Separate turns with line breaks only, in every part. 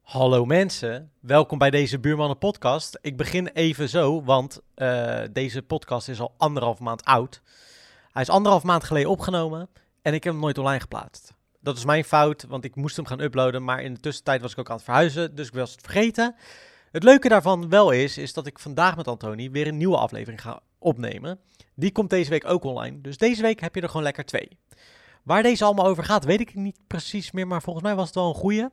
Hallo mensen, welkom bij deze Buurmannen podcast. Ik begin even zo, want eh, deze podcast is al anderhalf maand oud. Hij is anderhalf maand geleden opgenomen en ik heb hem nooit online geplaatst. Dat is mijn fout, want ik moest hem gaan uploaden, maar in de tussentijd was ik ook aan het verhuizen, dus ik was het vergeten. Het leuke daarvan wel is, is dat ik vandaag met Antoni weer een nieuwe aflevering ga opnemen. Die komt deze week ook online, dus deze week heb je er gewoon lekker twee. Waar deze allemaal over gaat, weet ik niet precies meer, maar volgens mij was het wel een goeie.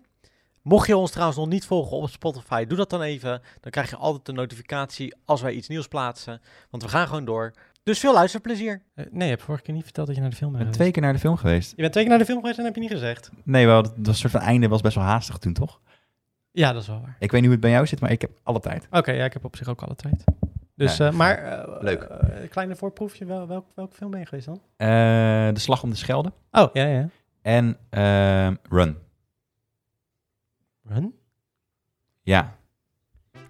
Mocht je ons trouwens nog niet volgen op Spotify, doe dat dan even. Dan krijg je altijd een notificatie als wij iets nieuws plaatsen. Want we gaan gewoon door. Dus veel luisterplezier.
Eh, nee, je hebt vorige keer niet verteld dat je naar de film
Ik ben
bent.
twee keer naar de film geweest.
Je bent twee keer naar de film geweest en heb je niet gezegd.
Nee, wel, dat, dat soort van einde was best wel haastig toen, toch?
Ja, dat is wel waar.
Ik weet niet hoe het bij jou zit, maar ik heb alle tijd.
Oké, ja, ik heb op zich ook alle tijd. Dus,
Ja.
eh, maar... eh,
Leuk.
eh, een kleine voorproefje, wel, welk, welk film ben je geweest dan?
Eh, de Slag om de Schelde
Oh, ja, ja.
en ehm, Run.
Run?
Ja,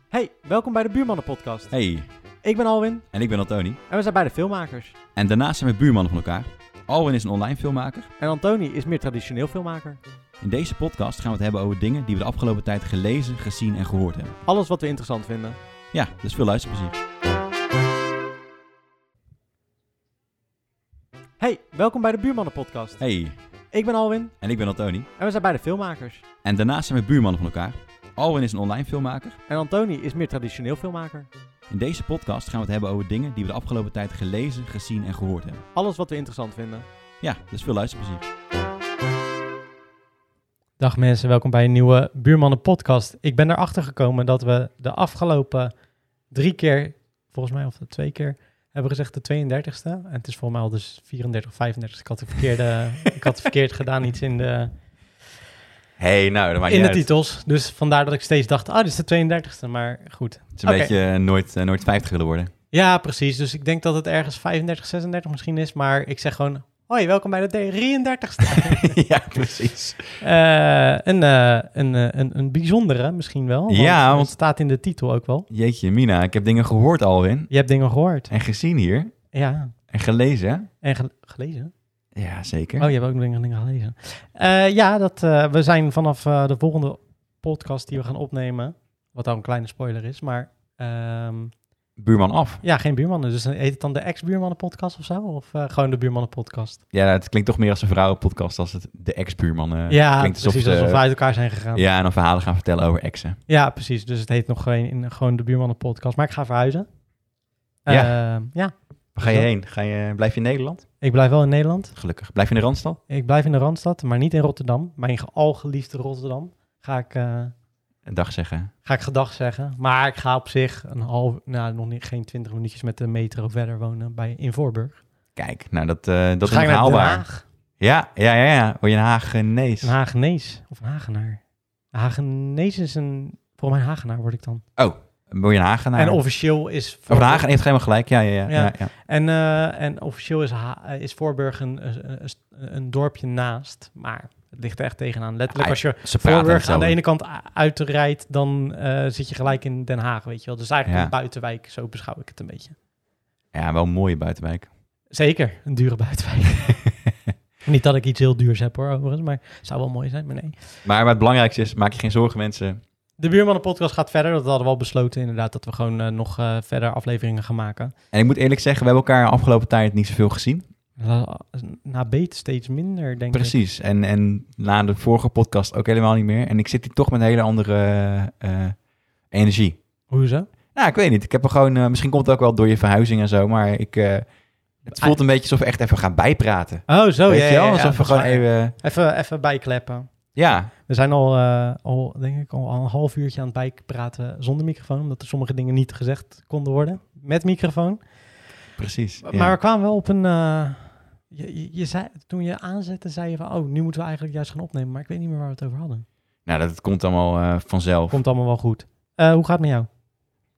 Hey, welkom bij de Buurmannen Podcast.
hey.
Ik ben Alwin
En ik ben Antoni.
en we zijn beide filmmakers.
En daarnaast zijn we buurmannen van elkaar. Alwin is een online filmmaker.
En Antoni is meer traditioneel filmmaker.
In deze podcast gaan we het hebben over dingen die we de afgelopen tijd gelezen, gezien en gehoord hebben.
Alles wat we interessant vinden.
Ja, dus veel luisterplezier.
Hey, welkom bij de Buurmannen Podcast.
Hey.
Ik ben Alwin
En ik ben Antoni.
en we zijn beide filmmakers.
En daarnaast zijn we buurmannen van elkaar. Alwin is een online filmmaker.
En Antoni is meer traditioneel filmmaker.
In deze podcast gaan we het hebben over dingen die we de afgelopen tijd gelezen, gezien en gehoord hebben.
Alles wat we interessant vinden.
Ja, dus veel luisterplezier.
Dag mensen, welkom bij een nieuwe Buurmannen podcast. Ik ben erachter gekomen dat we de afgelopen drie keer, volgens mij of de twee keer, hebben gezegd de 32e. En het is volgens mij al dus 34, 35. Ik had, de verkeerde, ik had verkeerd gedaan iets in de,
hey, nou, dat maakt
in de titels. Dus vandaar dat ik steeds dacht, ah, dit is de 32e. Maar goed,
Het is een
Oké.
beetje eh, nooit, eh, nooit 50 willen worden.
Ja, precies. Dus ik denk dat het ergens 35, 36 misschien is. Maar ik zeg gewoon, hoi, welkom bij de 33ste.
ja, precies.
Eh, een, eh, een, eh, een, een bijzondere misschien wel. Want
Ja,
Het
want-
staat in de titel ook wel.
Jeetje, Mina, ik heb dingen gehoord, Alwin.
Je hebt dingen gehoord.
En gezien hier.
Ja,
En gelezen.
en ge- gelezen.
hè? Ja, zeker.
Oh, je hebt ook dingen, dingen gelezen. Eh, ja, dat, eh, we zijn vanaf eh, de volgende podcast die we gaan opnemen... wat al een kleine spoiler is, maar... ehm,
Buurman af.
ja, geen buurmannen. Dus heet het dan de ex-buurmannen-podcast of zo? Of eh, gewoon de buurmannen-podcast?
Ja, het klinkt toch meer als een vrouwenpodcast als het de ex-buurman eh,
ja,
klinkt.
precies.
ze,
alsof we uit elkaar zijn gegaan.
ja, en dan verhalen gaan vertellen over exen.
Ja, precies. Dus het heet nog gewoon, in, gewoon de buurmannen podcast. Maar ik ga verhuizen.
Ja.
Ehm, ja,
Waar ga je heen? Ga je, blijf je in Nederland?
ik blijf wel in Nederland.
Gelukkig. Blijf je in de Randstad?
Ik blijf in de Randstad, maar niet in Rotterdam. Mijn algeliefde Rotterdam ga ik, eh,
Een dag zeggen.
ga ik gedag zeggen. Maar ik ga op zich een half, nou, nog niet, geen twintig minuutjes met de metro verder wonen bij, in Voorburg.
Kijk, nou dat, eh, dat
Dus
is
ga
nog
ik naar Den
haalbaar.
Haag.
Ja, ja, ja, ja. Word je in Hagenees.
Een Hagenees of een Hagenaar. Hagenees is een, volgens mij een Hagenaar word ik dan.
Word je in Hagenaar?
En officieel is...
Nou Of
Voorburg-
in Hagen heeft helemaal gelijk. Ja, ja, ja.
Ja.
ja. ja.
En, eh, en officieel is, Ha- eh, is Voorburg een, een, een- een dorpje naast, maar het ligt er echt tegenaan. Letterlijk,
Ah,
als je
Ze praten
Voorburg aan de
hetzelfde.
ene kant a- uitrijdt, dan eh, zit je gelijk in Den Haag, weet je wel. Dus eigenlijk
Ja.
een buitenwijk, zo beschouw ik het een beetje.
Ja, wel een mooie buitenwijk.
Zeker, een dure buitenwijk. Niet dat ik iets heel duurs heb hoor, overigens, maar het zou wel mooi zijn, maar nee.
Maar wat het belangrijkste is, maak je geen zorgen mensen.
De Buurmannen-podcast gaat verder, dat hadden we al besloten inderdaad, dat we gewoon eh, nog eh, verder afleveringen gaan maken.
En ik moet eerlijk zeggen, we hebben elkaar de afgelopen tijd niet zoveel gezien.
La- Na beet steeds minder, denk ik.
Precies. En, en na de vorige podcast ook helemaal niet meer. En ik zit hier toch met een hele andere eh, eh, energie.
Hoezo?
Nou, ik weet niet. Ik heb er gewoon, eh, misschien komt het ook wel door je verhuizing en zo, maar ik, eh, het voelt een beetje alsof we echt even gaan bijpraten.
Ah. Oh, zo,
weet
ja,
je
ja,
wel?
ja,
alsof
dat
we
is
gewoon
waar.
even,
Even, even bijkleppen.
ja,
We zijn al, eh, al, denk ik, al een half uurtje aan het bijpraten zonder microfoon. Omdat er sommige dingen niet gezegd konden worden met microfoon.
precies. Ja.
Maar we kwamen wel op een... eh, je, je, je zei, toen je aanzette, zei je van... Oh, nu moeten we eigenlijk juist gaan opnemen. Maar ik weet niet meer waar we het over hadden.
Nou, dat komt allemaal eh, vanzelf.
Komt allemaal wel goed. Eh, hoe gaat het met jou?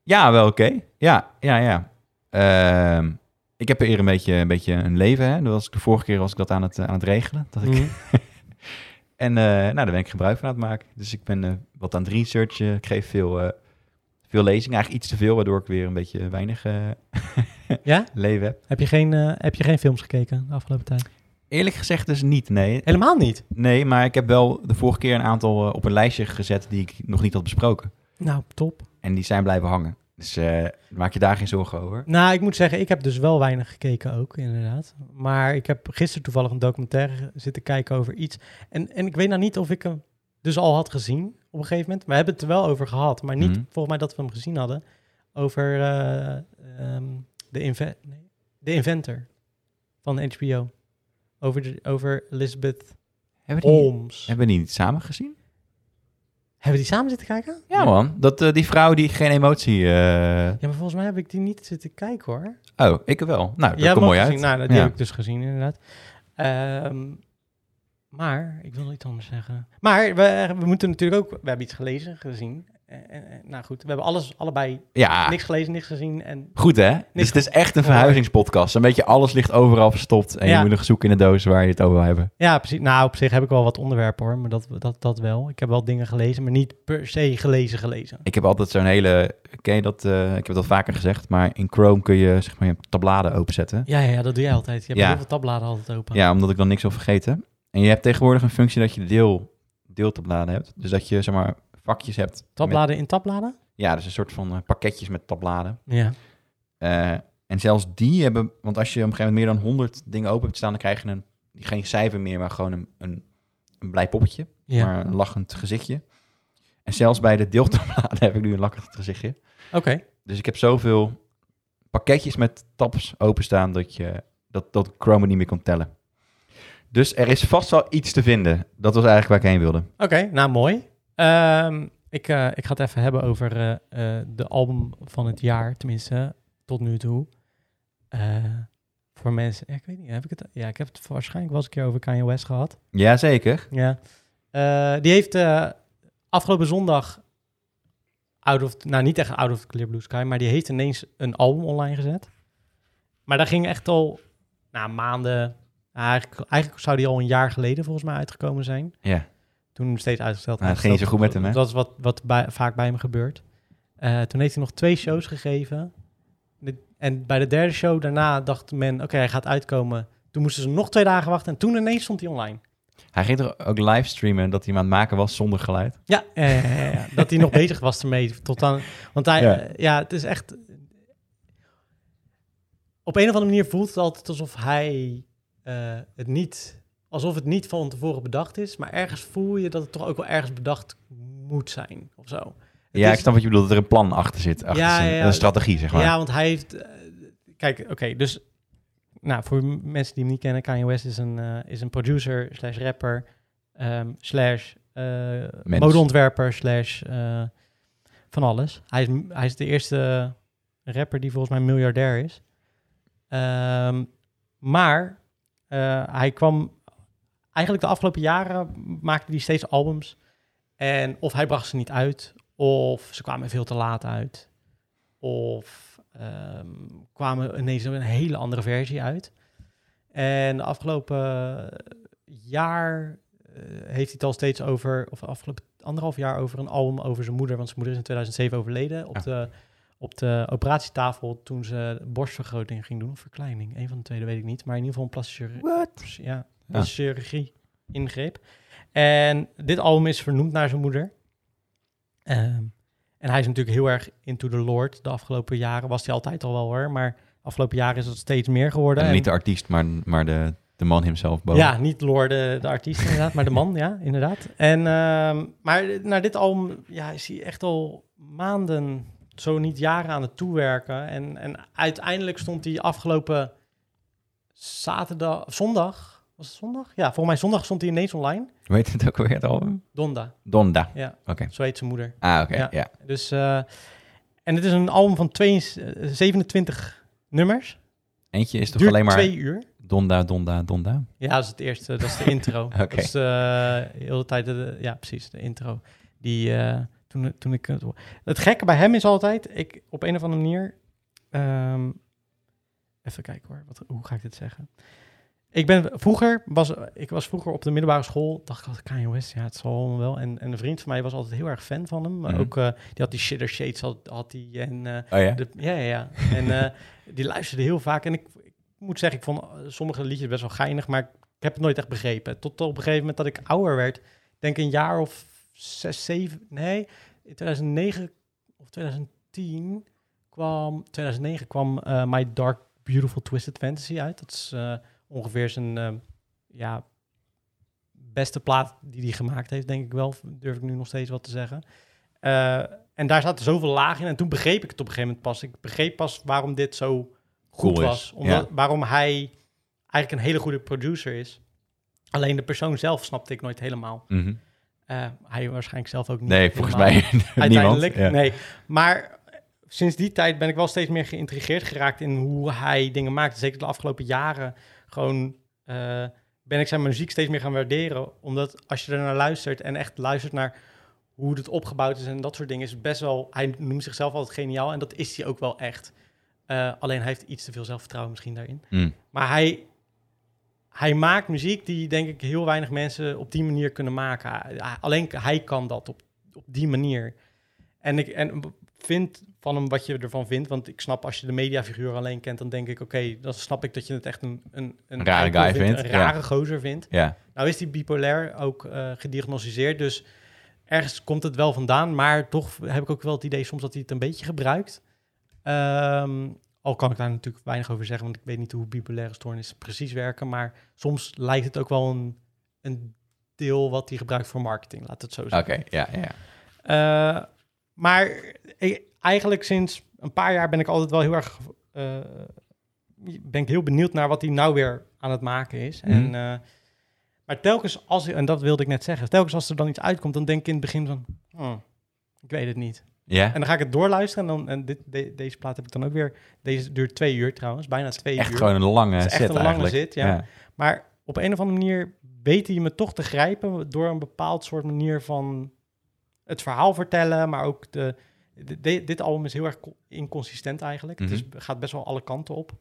Ja, wel oké. Ja, ja, ja. Ehm, ik heb er een beetje, een beetje een leven, hè. Dat was ik de vorige keer was ik dat aan het, eh, aan het regelen. Dat ik
Mm.
En eh, nou, daar ben ik gebruik van aan het maken. Dus ik ben eh, wat aan het researchen. Ik geef veel, eh, veel lezingen. Eigenlijk iets te veel, waardoor ik weer een beetje weinig eh,
Ja?
leven heb.
Heb je, geen, eh, heb je geen films gekeken de afgelopen tijd?
Eerlijk gezegd dus niet, nee.
Helemaal niet.
Nee, maar ik heb wel de vorige keer een aantal eh, op een lijstje gezet die ik nog niet had besproken.
Nou, top.
En die zijn blijven hangen. Dus eh, maak je daar geen zorgen over.
Nou, ik moet zeggen, ik heb dus wel weinig gekeken ook, inderdaad. Maar ik heb gisteren toevallig een documentaire zitten kijken over iets. En, en ik weet nou niet of ik hem dus al had gezien op een gegeven moment. We hebben het er wel over gehad, maar niet
Mhm.
volgens mij dat we hem gezien hadden. Over eh, ehm, de, inve- nee, de Inventor van HBO. Over, de, over Elizabeth
Hebben we die,
Holmes.
Oh. hebben we die niet samen gezien?
Hebben we die samen zitten kijken?
Ja man, dat, eh, die vrouw die geen emotie... eh,
Ja, maar volgens mij heb ik die niet zitten kijken hoor.
Oh, ik wel. Nou, dat
Ja,
komt mooi uit.
Nou, die
Ja.
heb ik dus gezien, inderdaad. Ehm, maar, ik wil iets anders zeggen. Maar we, we moeten natuurlijk ook... We hebben iets gelezen, gezien. Eh, eh, eh, nou goed, we hebben alles, allebei
Ja,
niks gelezen, niks gezien. En
goed hè? Dus het is echt een verhuizingspodcast. Een beetje alles ligt overal verstopt. En
Ja.
je moet nog zoeken in de doos waar je het over wil hebben.
ja, precies. Nou, op zich heb ik wel wat onderwerpen hoor. Maar dat, dat, dat wel. Ik heb wel dingen gelezen, maar niet per se gelezen gelezen.
Ik heb altijd zo'n hele... Ken je dat? eh, ik heb dat vaker gezegd. Maar in Chrome kun je zeg maar je tabbladen openzetten.
Ja, ja, ja, dat doe jij altijd. Je hebt
Ja.
heel veel tabbladen altijd open.
Ja, omdat ik dan niks wil vergeten. En je hebt tegenwoordig een functie dat je deel, deeltabbladen hebt. Dus dat je zeg maar vakjes hebt. met-
Tabbladen in tabbladen?
ja, dus een soort van eh, pakketjes met tabbladen.
Ja.
Eh, en zelfs die hebben, want als je op een gegeven moment meer dan 100 dingen open hebt staan, dan krijg je een, geen cijfer meer, maar gewoon een, een, een blij poppetje,
ja.
maar een lachend gezichtje. En zelfs bij de deeltabbladen heb ik nu een lachend gezichtje.
Oké.
Dus ik heb zoveel pakketjes met tabs openstaan dat, je, dat, dat Chrome het niet meer kon tellen. Dus er is vast wel iets te vinden. Dat was eigenlijk waar ik heen wilde.
Oké, nou mooi. Ehm, ik, eh, ik ga het even hebben over eh, eh, de album van het jaar, tenminste, tot nu toe. Eh, voor mensen, ja, ik weet niet, heb ik het? Ja, ik heb het waarschijnlijk wel eens een keer over Kanye West gehad.
Jazeker.
Ja. Eh, die heeft eh, afgelopen zondag, out of, nou niet echt out of the clear blue sky, maar die heeft ineens een album online gezet. Maar daar ging echt al, nou maanden, nou, eigenlijk, eigenlijk zou die al een jaar geleden volgens mij uitgekomen zijn.
Ja.
Toen steeds uitgesteld.
Nou, het ging niet zo goed met hem, hè?
Dat is wat, wat bij- vaak bij hem gebeurt. Eh, toen heeft hij nog twee shows gegeven. De- en bij de derde show daarna dacht men, oké, hij gaat uitkomen. Toen moesten ze nog twee dagen wachten en toen ineens stond hij online.
Hij ging er ook livestreamen dat hij hem aan het maken was zonder geluid.
Ja, eh, ja, ja, ja. dat hij nog bezig was ermee tot aan... Want hij,
Ja.
ja. ja, het is echt... Op een of andere manier voelt het altijd alsof hij eh, het niet... Alsof het niet van tevoren bedacht is, maar ergens voel je dat het toch ook wel ergens bedacht moet zijn of zo. Het
ja,
is-
ik snap wat je bedoelt, dat er een plan achter zit. Achter
Ja,
zijn-
ja, ja.
Een strategie, zeg maar.
Ja, want hij heeft... eh, kijk, oké, dus... Nou, voor m- mensen die hem niet kennen, Kanye West is een, eh, is een producer slash rapper ehm, slash eh, modeontwerper slash eh, van alles. Hij is, m- hij is de eerste rapper die volgens mij miljardair is. Ehm, maar eh, hij kwam... Eigenlijk de afgelopen jaren maakte hij steeds albums. En of hij bracht ze niet uit, of ze kwamen veel te laat uit of ehm, kwamen ineens een hele andere versie uit. En de afgelopen eh, jaar eh, heeft hij het al steeds over, of de afgelopen anderhalf jaar over een album over zijn moeder, want zijn moeder is in 2007 overleden op
Ah.
de op de operatietafel toen ze borstvergroting ging doen, of verkleining, een van de tweede weet ik niet, maar in ieder geval een plastische Pers- Ja,
Ah.
dat is chirurgie ingreep. En dit album is vernoemd naar zijn moeder. Ehm, en hij is natuurlijk heel erg into the Lord. De afgelopen jaren was hij altijd al wel hoor, maar afgelopen jaren is dat steeds meer geworden.
En
En-
niet de artiest, maar, maar de, de man hemzelf boven.
ja, niet Lord de, de artiest inderdaad, maar de man, ja, inderdaad. En, ehm, maar naar dit album ja, is hij echt al maanden, zo niet jaren aan het toewerken. En, en uiteindelijk stond hij afgelopen zaterdag, zondag, was het zondag? Ja, volgens mij zondag stond hij ineens online.
Hoe heet het ook alweer, het album?
Donda,
Donda.
ja,
Oké.
zo heet zijn moeder.
Ah, oké,
Ja.
ja.
Dus, eh, en het is een album van 22, eh, 27 nummers.
Eentje is toch
Duurt
alleen maar
twee uur.
Donda, Donda, Donda?
Ja, dat is het eerste. Dat is de intro. Dat is eh, heel de tijd, de, ja precies, de intro. Die, eh, toen, toen ik, het, het gekke bij hem is altijd, ik op een of andere manier, ehm, even kijken hoor, wat, hoe ga ik dit zeggen? Ik ben vroeger, was, ik was vroeger op de middelbare school, dacht ik altijd Kanye West, ja het zal wel. En, en een vriend van mij was altijd heel erg fan van hem. Maar
Mhm.
Ook, eh, die had die Shitter Shades, had, had die en... eh,
Oh ja?
de- ja, ja, ja. En eh, die luisterde heel vaak. En ik, ik moet zeggen, ik vond eh, sommige liedjes best wel geinig, maar ik Ik heb het nooit echt begrepen. Tot op een gegeven moment dat ik ouder werd, denk een jaar of zes, zeven, nee, in 2009 of 2010 kwam, 2009 kwam eh, My Dark Beautiful Twisted Fantasy uit. Dat is eh, ongeveer zijn eh, ja, beste plaat die hij gemaakt heeft, denk ik wel. Durf ik nu nog steeds wat te zeggen. Eh, en daar zaten zoveel lagen in. En toen begreep ik het op een gegeven moment pas. Ik begreep pas waarom dit zo goed
Cool is,
was. Omdat, Waarom hij eigenlijk een hele goede producer is. Alleen de persoon zelf snapte ik nooit helemaal.
Mhm.
Eh, hij waarschijnlijk zelf ook niet.
Nee, volgens
helemaal.
mij niemand.
Uiteindelijk,
Ja.
nee. Maar sinds die tijd ben ik wel steeds meer geïntrigeerd geraakt in hoe hij dingen maakt. Zeker de afgelopen jaren gewoon eh, ben ik zijn muziek steeds meer gaan waarderen. Omdat als je er naar luistert en echt luistert naar hoe het opgebouwd is en dat soort dingen, is best wel. Hij noemt zichzelf altijd geniaal en dat is hij ook wel echt. Eh, alleen hij heeft iets te veel zelfvertrouwen misschien daarin.
Mm.
Maar hij, hij maakt muziek die denk ik heel weinig mensen op die manier kunnen maken. Hij- Alleen hij kan dat op, op die manier. En ik en b- vind van hem wat je ervan vindt. Want ik snap als je de mediafiguur alleen kent, dan denk ik oké, dan snap ik dat je het echt een, een, een
Rare
eikel
guy vindt,
Een
ja.
rare gozer vindt.
Ja.
Nou is die bipolair ook eh, gediagnosticeerd, dus ergens komt het wel vandaan. Maar toch heb ik ook wel het idee soms dat hij het een beetje gebruikt. Ehm, al kan ik daar natuurlijk weinig over zeggen, want ik weet niet hoe bipolaire stoornissen precies werken. Maar soms lijkt het ook wel een, een deel wat hij gebruikt voor marketing, laat het zo
Oké,
zeggen.
ja, ja.
Eh, maar ik- eigenlijk sinds een paar jaar ben ik altijd wel heel erg. eh, ben ik heel benieuwd naar wat hij nou weer aan het maken is.
Mhm.
En, eh, maar telkens als en dat wilde ik net zeggen, telkens als er dan iets uitkomt, dan denk ik in het begin van. "Hmm, ik weet het niet.
Ja?
En dan ga ik het doorluisteren. En, dan, en dit, de- deze plaat heb ik dan ook weer. Deze duurt twee uur trouwens, bijna twee
Echt
uur.
gewoon een lange
Het is
set
echt een lange
eigenlijk.
zit, ja. Maar op een of andere manier weet hij me toch te grijpen door een bepaald soort manier van het verhaal vertellen, maar ook de. de- de- dit album is heel erg co- inconsistent eigenlijk. Het is- gaat best wel alle kanten op.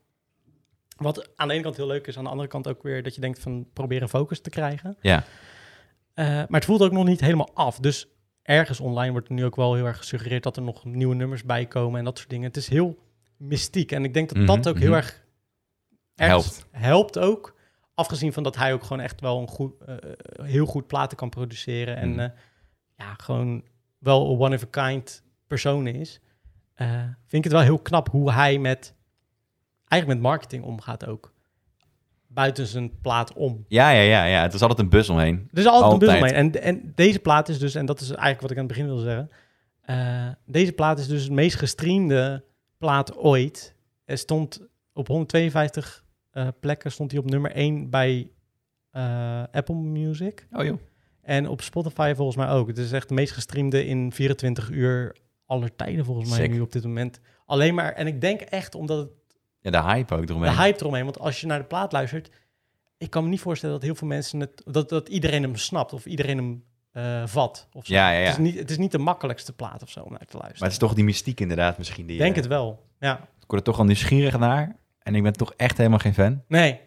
Wat aan de ene kant heel leuk is, aan de andere kant ook weer dat je denkt van probeer een focus te krijgen.
Ja.
Eh, maar het voelt ook nog niet helemaal af. Dus ergens online wordt nu ook wel heel erg gesuggereerd dat er nog nieuwe nummers bij komen en dat soort dingen. Het is heel mystiek. En ik denk dat
Mhm,
dat ook heel
mhm.
erg ergens helpt ook. Afgezien van dat hij ook gewoon echt wel een goed, eh, heel goed platen kan produceren. En
Mhm.
eh, ja, gewoon wel een one-of-a-kind persoon is. eh, vind ik het wel heel knap hoe hij met, eigenlijk met marketing omgaat ook. Buiten zijn plaat om.
Ja, ja, ja, ja. Het is altijd een bus omheen.
Er is altijd, een
Altijd.
bundel omheen. En, en deze plaat is dus, en dat is eigenlijk wat ik aan het begin wilde zeggen. eh, deze plaat is dus het meest gestreamde plaat ooit. Er stond op 152 eh, plekken stond hij op nummer 1 bij eh, Apple Music.
Oh joh.
En op Spotify volgens mij ook. Het is echt het meest gestreamde in 24 uur aller tijden volgens mij
Sick.
nu op dit moment. Alleen maar, en ik denk echt omdat het
Ja, de hype ook eromheen.
de hype eromheen. Want als je naar de plaat luistert, ik kan me niet voorstellen dat heel veel mensen het, dat, dat iedereen hem snapt of iedereen hem eh, vat. Of zo.
Ja, ja, ja.
Het, is niet, het is niet de makkelijkste plaat of zo om naar te luisteren.
Maar het is toch die mystiek inderdaad misschien. Die,
Ik denk
eh,
het wel. Ja,
Ik word er toch al nieuwsgierig naar. En ik ben toch echt helemaal geen fan.
nee. Nee,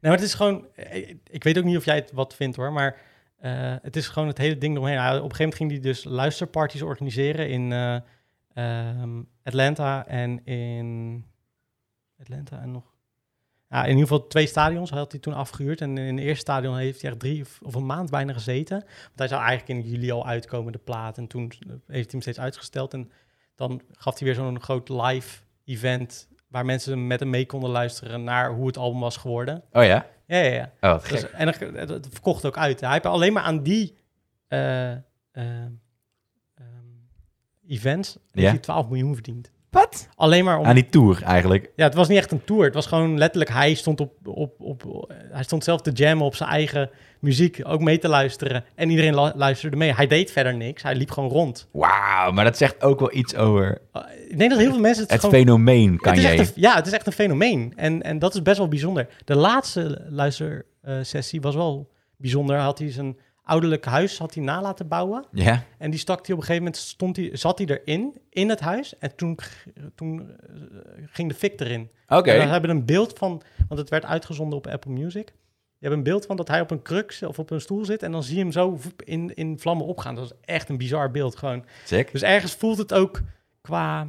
maar het is gewoon, ik, ik weet ook niet of jij het wat vindt hoor, maar eh, het is gewoon het hele ding eromheen. Nou, op een gegeven moment ging hij dus luisterparties organiseren in eh, ehm, Atlanta en in Atlanta en nog. Ja, in ieder geval twee stadions had hij toen afgehuurd. En in het eerste stadion heeft hij echt drie of, of een maand bijna gezeten. Want hij zou eigenlijk in juli al uitkomen, de plaat. En toen eh, heeft hij hem steeds uitgesteld. En dan gaf hij weer zo'n groot live event... waar mensen met hem mee konden luisteren naar hoe het album was geworden.
Oh ja?
Ja, ja, ja.
Oh, wat
Dus-
gek.
en er- het het verkocht ook uit. Hij heeft alleen maar aan die eh, eh, ehm, events heeft
Ja.
hij 12 miljoen verdiend.
Wat?
Alleen maar om...
Aan die tour eigenlijk.
Ja, het was niet echt een tour. Het was gewoon letterlijk... Hij stond, op, op, op, hij stond zelf te jammen op zijn eigen muziek. Ook mee te luisteren. En iedereen lu- luisterde mee. Hij deed verder niks. Hij liep gewoon rond.
Wauw, maar dat zegt ook wel iets over
Uh, ik denk dat heel veel mensen het,
het
gewoon...
fenomeen kan
het is
je.
echt een, ja, het is echt een fenomeen. En, en dat is best wel bijzonder. De laatste luistersessie was wel bijzonder. Had hij zijn ouderlijk huis had hij nalaten bouwen.
Ja?
En die stak hij op een gegeven moment, stond hij, zat hij erin, in het huis. En toen, g- toen eh, ging de fik erin.
Oké.
En we hebben een beeld van, want het werd uitgezonden op Apple Music. Je hebt een beeld van dat hij op een kruk zit- of op een stoel zit. En dan zie je hem zo voep in, in vlammen opgaan. Dat is echt een bizar beeld gewoon.
Sick.
Dus ergens voelt het ook qua...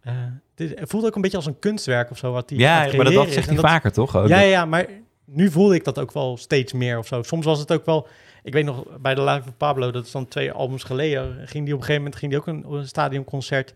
eh, het, is- het voelt ook een beetje als een kunstwerk of zo. Wat hij aan
Ja,
het
maar dat,
creëren
dat zegt
is. En
hij vaker toch? Ook
Ja,
dat-
ja, ja, maar nu voelde ik dat ook wel steeds meer of zo. Soms was het ook wel... Ik weet nog, bij de Live van Pablo, dat is dan twee albums geleden... ging die op een gegeven moment ging die ook een, een stadionconcert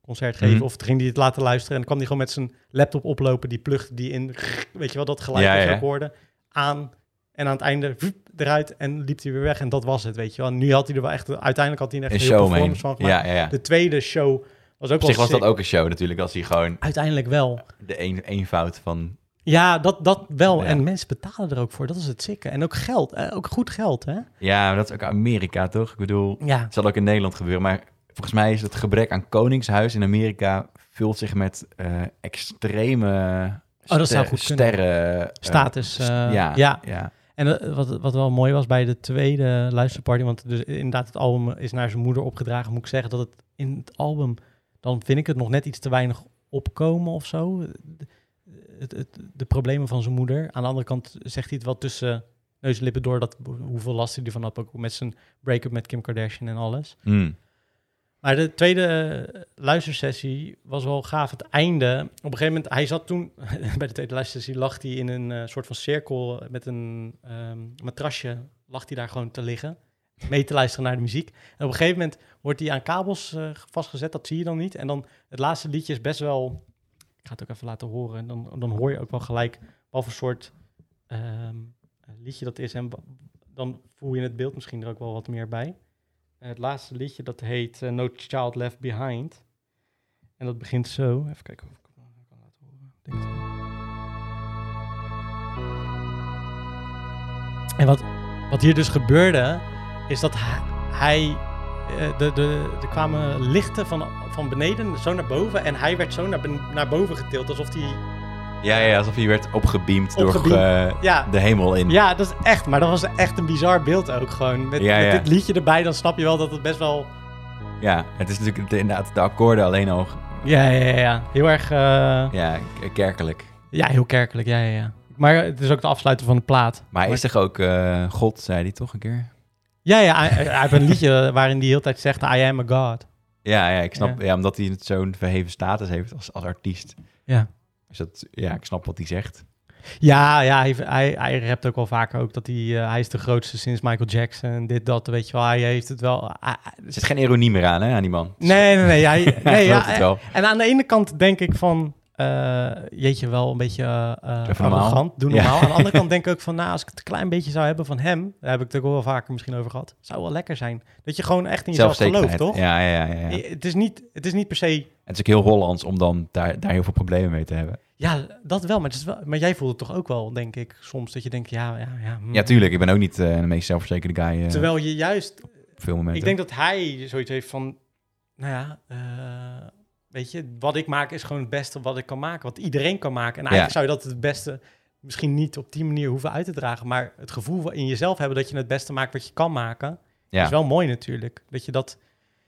concert geven.
Mhm.
Of ging die het laten luisteren en dan kwam die gewoon met zijn laptop oplopen. Die plugde die in, weet je wel, dat geluid
Ja,
dat je
ja.
ook hoorde, aan. En aan het einde voep, eruit en liep hij weer weg. En dat was het, weet je wel. En nu had hij er wel echt... Uiteindelijk had hij er echt
Een
een heel
show, man.
performance van gemaakt.
Ja, ja, ja.
De tweede show was ook
Op zich
wel
was dat
sick.
ook een show natuurlijk, als hij gewoon
Uiteindelijk wel.
de een, eenvoud van...
Ja, dat, dat wel.
Ja.
En mensen betalen er ook voor. Dat is het zikke. En ook geld. eh, ook goed geld, hè?
Ja, maar dat is ook Amerika, toch? Ik bedoel,
Ja.
het zal ook in Nederland gebeuren, maar volgens mij is het gebrek aan koningshuis in Amerika vult zich met eh, extreme
Oh, dat zou
ster-
goed kunnen.
sterren... eh,
Status. eh, ja.
ja, ja. ja.
En eh, wat, wat wel mooi was bij de tweede luisterparty... want dus inderdaad, het album is naar zijn moeder opgedragen. Moet ik zeggen dat het in het album... dan vind ik het nog net iets te weinig opkomen of zo. Het, het, de problemen van zijn moeder. Aan de andere kant zegt hij het wel tussen neus en lippen door... Dat, hoeveel last hij ervan had, ook met zijn break-up met Kim Kardashian en alles.
Hmm.
Maar de tweede eh, luistersessie was wel gaaf. Het einde. Op een gegeven moment, hij zat toen bij de tweede luistersessie, lag hij in een eh, soort van cirkel met een ehm, matrasje. Lag hij daar gewoon te liggen, mee te luisteren naar de muziek. En op een gegeven moment wordt hij aan kabels eh, vastgezet. Dat zie je dan niet. En dan het laatste liedje is best wel. Ik ga het ook even laten horen. En dan, dan hoor je ook wel gelijk wat voor soort ehm, liedje dat is. En wa- dan voel je in het beeld misschien er ook wel wat meer bij. En Eh, het laatste liedje dat heet eh, No Child Left Behind. En dat begint zo. Even kijken of ik het nog kan laten horen. Ik Denk het wel. En wat, wat hier dus gebeurde, is dat hij. hij, eh, de, de, er kwamen lichten van, van beneden zo naar boven. En hij werd zo naar, ben- naar boven getild. Alsof hij.
Ja, ja, alsof je werd opgebeamd, door
Opgebeamd.
eh,
Ja,
de hemel in.
ja, dat is echt. Maar dat was echt een bizar beeld ook gewoon. Met,
Ja,
met
ja.
dit liedje erbij, dan snap je wel dat het best wel.
Ja, het is natuurlijk de- inderdaad de akkoorden alleen al
Ja, ja, ja. ja. Heel erg. eh,
ja, k- kerkelijk.
Ja, heel kerkelijk, ja, ja, ja. Maar het is ook het afsluiten van de plaat.
Maar hij is toch ook eh, God, zei hij toch een keer?
Ja, ja, hij, hij heeft een liedje waarin hij heel tijd zegt, I am a god.
Ja, ja ik snap. Ja. omdat hij het zo'n verheven status heeft als, als artiest.
Ja.
Dus dat, ja, ik snap wat hij zegt.
Ja, ja, hij, hij, hij rapt ook wel vaker ook dat hij, eh, hij is de grootste sinds Michael Jackson, dit, dat, weet je wel. Hij heeft het wel... hij- hij-
Er zit geen ironie meer aan, hè, aan die man.
nee, nee, nee. Hij, nee
Hij
ja,
gelooft
eh,
het wel.
en aan de ene kant denk ik van, eh, jeetje, wel een beetje eh eh,
Even normaal.
arrogant, doe
Ja.
normaal. Aan de andere kant denk ik ook van, nou, als ik het een klein beetje zou hebben van hem, daar heb ik het ook wel vaker misschien over gehad, zou wel lekker zijn. Dat je gewoon echt in jezelf gelooft,
Zelfzekerheid.
toch?
Ja, ja, ja. ja.
Eh, Het, is niet, het is niet per se.
Het is ook heel Hollands om dan daar, daar heel veel problemen mee te hebben.
Ja, dat wel maar, het is wel. maar jij voelt het toch ook wel, denk ik, soms dat je denkt, ja, ja, ja. hm.
Ja, tuurlijk. Ik ben ook niet eh, de meest zelfverzekerde guy eh,
Terwijl je juist.
op veel momenten.
Ik denk dat hij zoiets heeft van. Nou ja, eh, weet je, wat ik maak is gewoon het beste wat ik kan maken. Wat iedereen kan maken. En eigenlijk
Ja.
zou je dat het beste misschien niet op die manier hoeven uit te dragen. Maar het gevoel in jezelf hebben dat je het beste maakt wat je kan maken.
ja.
Is wel mooi natuurlijk. Dat je dat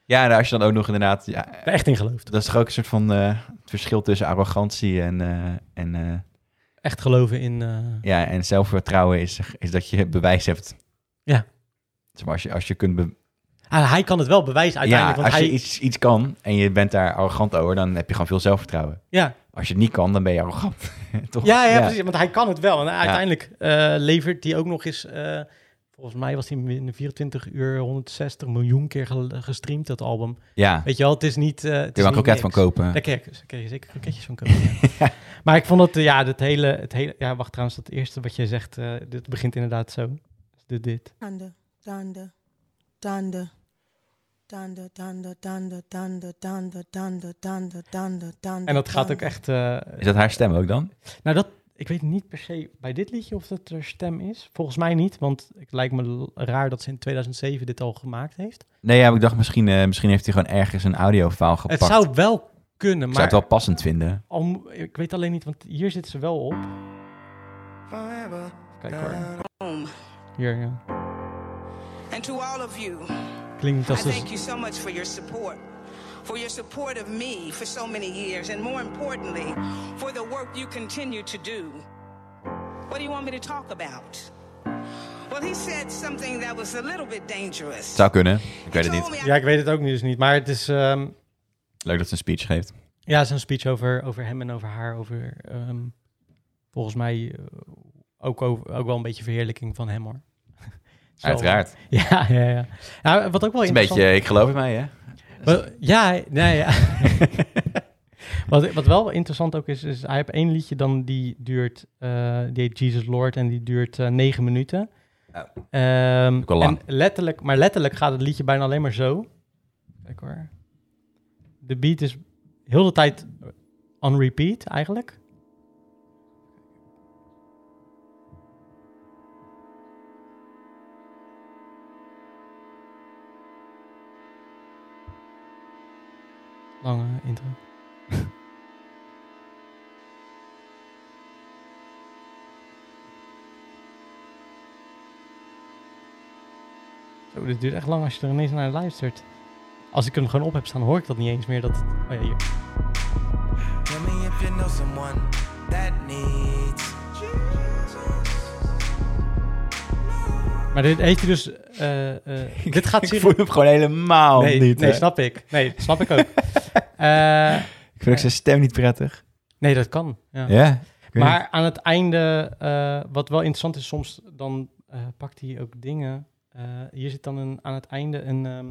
ja, en als je dan ook nog inderdaad... Ja,
er echt in gelooft.
dat is toch ook een soort van eh, het verschil tussen arrogantie en, eh, en, eh,
Echt geloven in. eh,
ja, en zelfvertrouwen is, is dat je bewijs hebt.
Ja.
Zeg maar, als je, als je kunt be-
ah, hij kan het wel bewijzen
ja,
uiteindelijk.
als
want
je
hij,
iets, iets kan en je bent daar arrogant over, dan heb je gewoon veel zelfvertrouwen.
ja,
Als je het niet kan, dan ben je arrogant. Toch?
Ja, ja, precies. Want hij kan het wel. En uiteindelijk eh, levert hij ook nog eens... eh, volgens mij was hij in 24 uur 160 miljoen keer ge- gestreamd, dat album.
Ja, kun
Weet je wel, het is niet... eh het
je
is
wel een
niet
kroket van
niks.
kopen.
Daar kreeg, ik- daar kreeg je zeker kroketjes van kopen. ja. Maar ik vond het, eh, ja, dat hele, het hele... Ja, wacht trouwens, dat eerste wat jij zegt, eh, dit begint inderdaad zo. Dit, dit.
Thunder, thunder, thunder. Thunder, thunder, thunder, thunder, thunder, thunder, thunder, thunder, thunder.
En dat gaat ook echt... eh,
Is dat haar stem ook dan?
nou, dat... Ik weet niet per se bij dit liedje of dat er stem is. Volgens mij niet, want het lijkt me l- raar dat ze in 2007 dit al gemaakt heeft.
Nee, ja, maar ik dacht misschien, eh, misschien heeft hij gewoon ergens een audiofile gepakt.
Het zou wel kunnen, maar
Ik zou het wel passend vinden.
al mo- ik weet alleen niet, want hier zit ze wel op. Kijk hoor.
home.
Hier, ja.
And to all of you,
Klinkt niet
I
als dus...
thank you so much for your support. For your support of me for so many years, and more importantly, for the work you continue to do. What do you want me to talk about? Well, he said something that was a little bit dangerous.
Zou kunnen. Ik weet het niet.
Told me I
Ja, ik weet het ook niet, dus niet. Maar het is... ehm,
Leuk dat ze een speech geeft.
ja, het is een speech over, over hem en over haar. Over, ehm, volgens mij, eh, ook, over- ook wel een beetje verheerlijking van hem hoor. Het is wel-
Uiteraard. Het
Ja, ja, ja. Nou, wat ook wel
is een
interessant-
beetje, ik geloof in mij, hè?
Wat- ja, nee, ja. wat, wat wel interessant ook is, is hij heeft één liedje dan die duurt, eh, die heet Jesus Lord en die duurt eh, negen minuten.
Oh.
Ehm,
Ook al lang.
En letterlijk, maar letterlijk gaat het liedje bijna alleen maar zo. Kijk hoor. De beat is heel de tijd on repeat eigenlijk. Lange intro. Zo, dit duurt echt lang als je er ineens naar luistert. Als ik hem gewoon op heb staan, hoor ik dat niet eens meer. Dat het- oh ja, hier.
Tell me if you know someone that needs
Maar dit heeft hij dus... eh, eh, dit gaat
Ik
serieus...
voel hem gewoon helemaal
nee,
niet.
nee
hè.
snap ik. Nee, snap ik ook. Eh,
Ik vind ook zijn stem niet prettig.
nee, dat kan. Ja.
Ja. ik weet
Maar aan het einde, eh, wat wel interessant is, soms dan eh, pakt hij ook dingen. Eh, hier zit dan een, aan het einde een, ehm,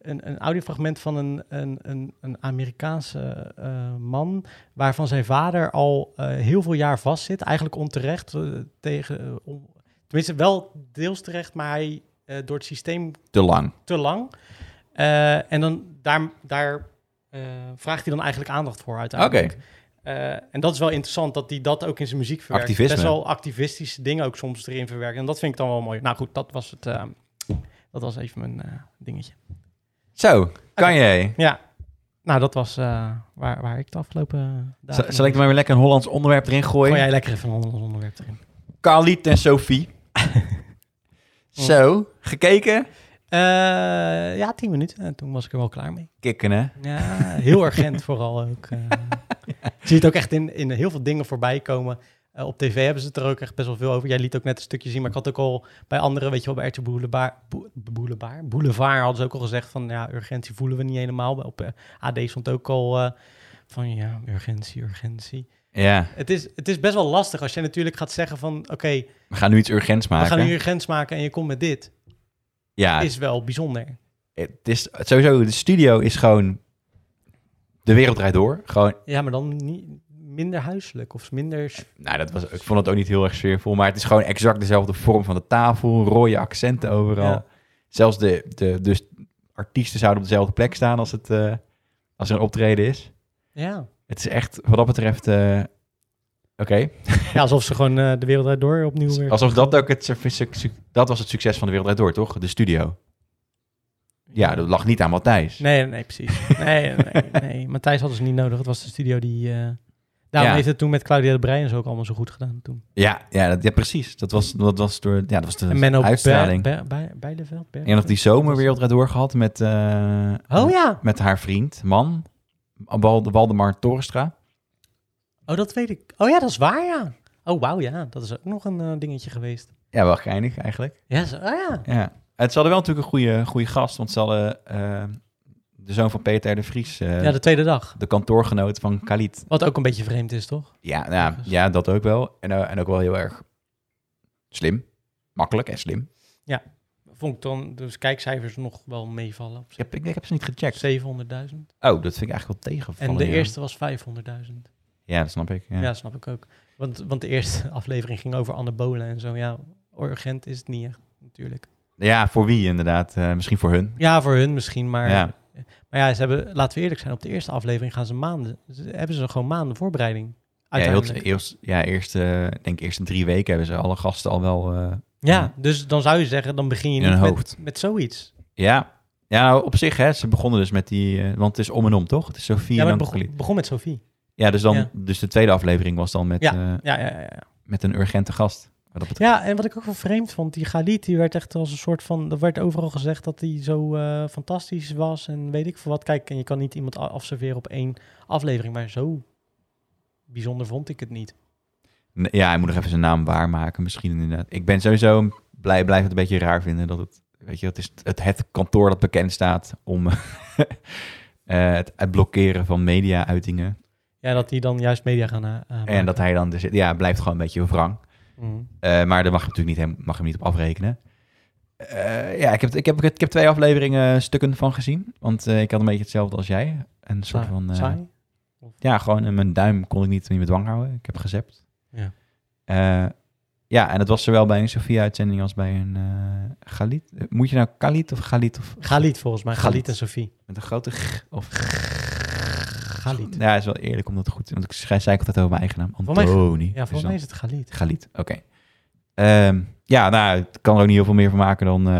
een, een audiofragment van een, een, een, een Amerikaanse eh, man, waarvan zijn vader al eh, heel veel jaar vastzit. Eigenlijk onterecht, eh, tegen, eh, om- tenminste wel deels terecht, maar hij eh, door het systeem
niet. Te lang.
te lang. Eh, en dan daar, daar eh, vraagt hij dan eigenlijk aandacht voor
Oké.
uiteindelijk. Eh, en dat is wel interessant dat hij dat ook in zijn muziek verwerkt.
Activisme.
Best wel activistische dingen ook soms erin verwerkt. En dat vind ik dan wel mooi. Nou goed, dat was het. eh, dat was even mijn eh, dingetje.
Zo, kan jij?
Ja. Nou, dat was eh, waar, waar ik de afgelopen eh, dagen...
Z- Zal ik er maar weer lekker een Hollands onderwerp erin gooien?
Gooi jij lekker even een ander onderwerp erin.
Khalid en Sophie. Zo, gekeken?
Eh, ja, tien minuten. En toen was ik er wel klaar mee.
Kikken, hè?
Ja, heel urgent vooral ook. eh. Je ziet ook echt in, in heel veel dingen voorbij komen. Eh, op tv hebben ze het er ook echt best wel veel over. Jij liet ook net een stukje zien, maar ik had ook al bij anderen, weet je wel, bij RTL Boulevard, Boe- Boulevard, Boulevard hadden ze ook al gezegd van, ja, urgentie voelen we niet helemaal. Bij- Op eh, AD stond ook al eh, van, ja, urgentie, urgentie.
Ja,
Het is, het is best wel lastig als je natuurlijk gaat zeggen van, oké,
we gaan nu iets urgents
we
maken.
gaan nu urgent maken en je komt met dit.
Ja,
Is wel bijzonder.
het is sowieso, de studio is gewoon... De wereld draait door. Gewoon,
Ja, maar dan niet, minder huiselijk of minder... s-
nou, dat was, ik vond het ook niet heel erg sfeervol, maar het is gewoon exact dezelfde vorm van de tafel, rode accenten overal.
Ja.
Zelfs de, de dus artiesten zouden op dezelfde plek staan als, het, eh, als er een optreden is.
Ja.
Het is echt, wat dat betreft, eh, oké.
Ja, alsof ze gewoon eh, de wereld Draait door opnieuw weer.
Alsof dat ook het, suc- suc- suc- dat was het succes van de wereld Draait door, toch? De studio. Ja, dat lag niet aan Matthijs.
Nee, nee, precies. Nee, nee, nee. Matthijs hadden ze niet nodig. Het was de studio die. eh, Daarom
Ja.
heeft het toen met Claudia de Breij en zo ook allemaal zo goed gedaan toen.
Ja, ja, dat, ja, precies. Dat was, dat was door, ja, dat was de
En Menno
uitstraling.
Bij, bij, Bijleveld. Ber-
en nog die zomer wereld Draait door gehad met, eh,
Oh ja.
met haar vriend, man, Wal- Waldemar Torstra.
Oh, dat weet ik. Oh ja, dat is waar, ja. Oh, wauw, ja. Dat is ook nog een eh, dingetje geweest.
Ja, wel geinig eigenlijk.
Ja, zo, oh ja.
Ja. Het ze hadden wel natuurlijk een goede, goede gast, want ze hadden eh, de zoon van Peter R. de Vries, eh,
Ja, de tweede dag.
de kantoorgenoot van Khalid,
Wat ook een beetje vreemd is, toch?
Ja, nou,
Ergens.
ja, dat ook wel. En, eh, en ook wel heel erg slim. Makkelijk en slim.
Vond ik dan dus kijkcijfers nog wel meevallen.
Ik heb, ik, ik heb ze niet gecheckt.
700.000.
Oh, dat vind ik eigenlijk wel tegenvallen.
En de
ja.
eerste was 500.000.
Ja, dat snap ik. Ja.
Ja, snap ik ook. Want, want de eerste aflevering ging over anabolen en zo. Ja, urgent is het niet echt, natuurlijk.
Ja, voor wie inderdaad? Eh, misschien voor hun.
Ja, voor hun misschien, maar...
Ja.
Maar ja, ze hebben, laten we eerlijk zijn, op de eerste aflevering gaan ze maanden... Ze, hebben ze gewoon maanden voorbereiding,
Ja, heel,
uiteindelijk.
eerst, ja, eerst, eh, ik denk eerste drie weken hebben ze alle gasten al wel... eh,
Ja, dus dan zou je zeggen, dan begin je
In
niet
hun
met,
hoofd.
met zoiets.
ja. ja, op zich hè. Ze begonnen dus met die... eh, want het is om en om, toch? Het is Sophie
Ja,
en
maar
dan
het begon,
Khalid.
begon met Sophie.
Ja, dus, dan,
Ja.
dus de tweede aflevering was dan met, eh,
Ja, ja, ja, ja.
met een urgente gast. Wat dat betreft.
ja, en wat ik ook wel vreemd vond, die Galit, die werd echt als een soort van... Er werd overal gezegd dat hij zo eh, fantastisch was en weet ik veel wat. Kijk, en je kan niet iemand a- afserveren op één aflevering, maar zo bijzonder vond ik het niet.
Nee, Ja, hij moet nog even zijn naam waarmaken misschien inderdaad. Ik ben sowieso blij, blijf het een beetje raar vinden dat het... Weet je, het is het, het kantoor dat bekend staat om eh, het, het blokkeren van media-uitingen.
Ja, dat die dan juist media gaan... eh, aanmaken.
En dat hij dan... Dus, ja, het blijft gewoon een beetje wrang.
Mhm.
Eh, maar daar mag je natuurlijk niet, hem- mag je hem niet op afrekenen. Eh, ja, ik heb, ik, heb, ik heb twee afleveringen eh, stukken van gezien. Want eh, ik had een beetje hetzelfde als jij. Een soort
Saai-
van... eh,
saai?
ja, gewoon eh, mijn duim kon ik niet in bedwang houden. Ik heb gezept.
Ja.
Eh, ja, en dat was zowel bij een Sofia-uitzending als bij een eh Galit. Eh, Moet je nou Galit of Galit? Of,
Galit volgens mij.
Galit.
Galit en Sofie.
Met een grote G of...
Galit.
Ja, is wel eerlijk om dat goed te Want ik schrijf zei ik altijd over mijn eigen naam.
mij-
Antoni.
Ja,
Dus
volgens mij is het Galit.
dan Galit, oké. Ehm, ja, nou, ik kan er ook niet heel veel meer van maken dan... eh,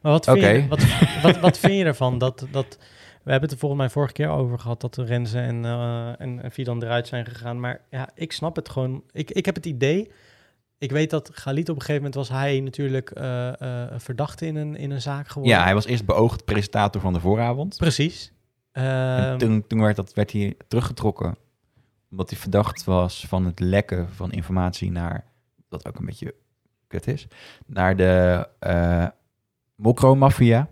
Maar wat vind,
Oké.
je, wat, wat, wat vind je ervan? Dat, dat, we hebben het er volgens mij vorige keer over gehad dat Renze en, eh en, en Fidan eruit zijn gegaan. Maar ja, ik snap het gewoon. Ik, ik heb het idee. Ik weet dat Galit op een gegeven moment was hij natuurlijk eh, eh, verdachte in een, in een zaak geworden.
ja, hij was eerst beoogd presentator van de vooravond.
Precies.
En
Ehm,
toen toen werd, dat, werd hij teruggetrokken. Omdat hij verdacht was van het lekken van informatie naar... Wat ook een beetje kut is. Naar de eh mokro-maffia.
niet,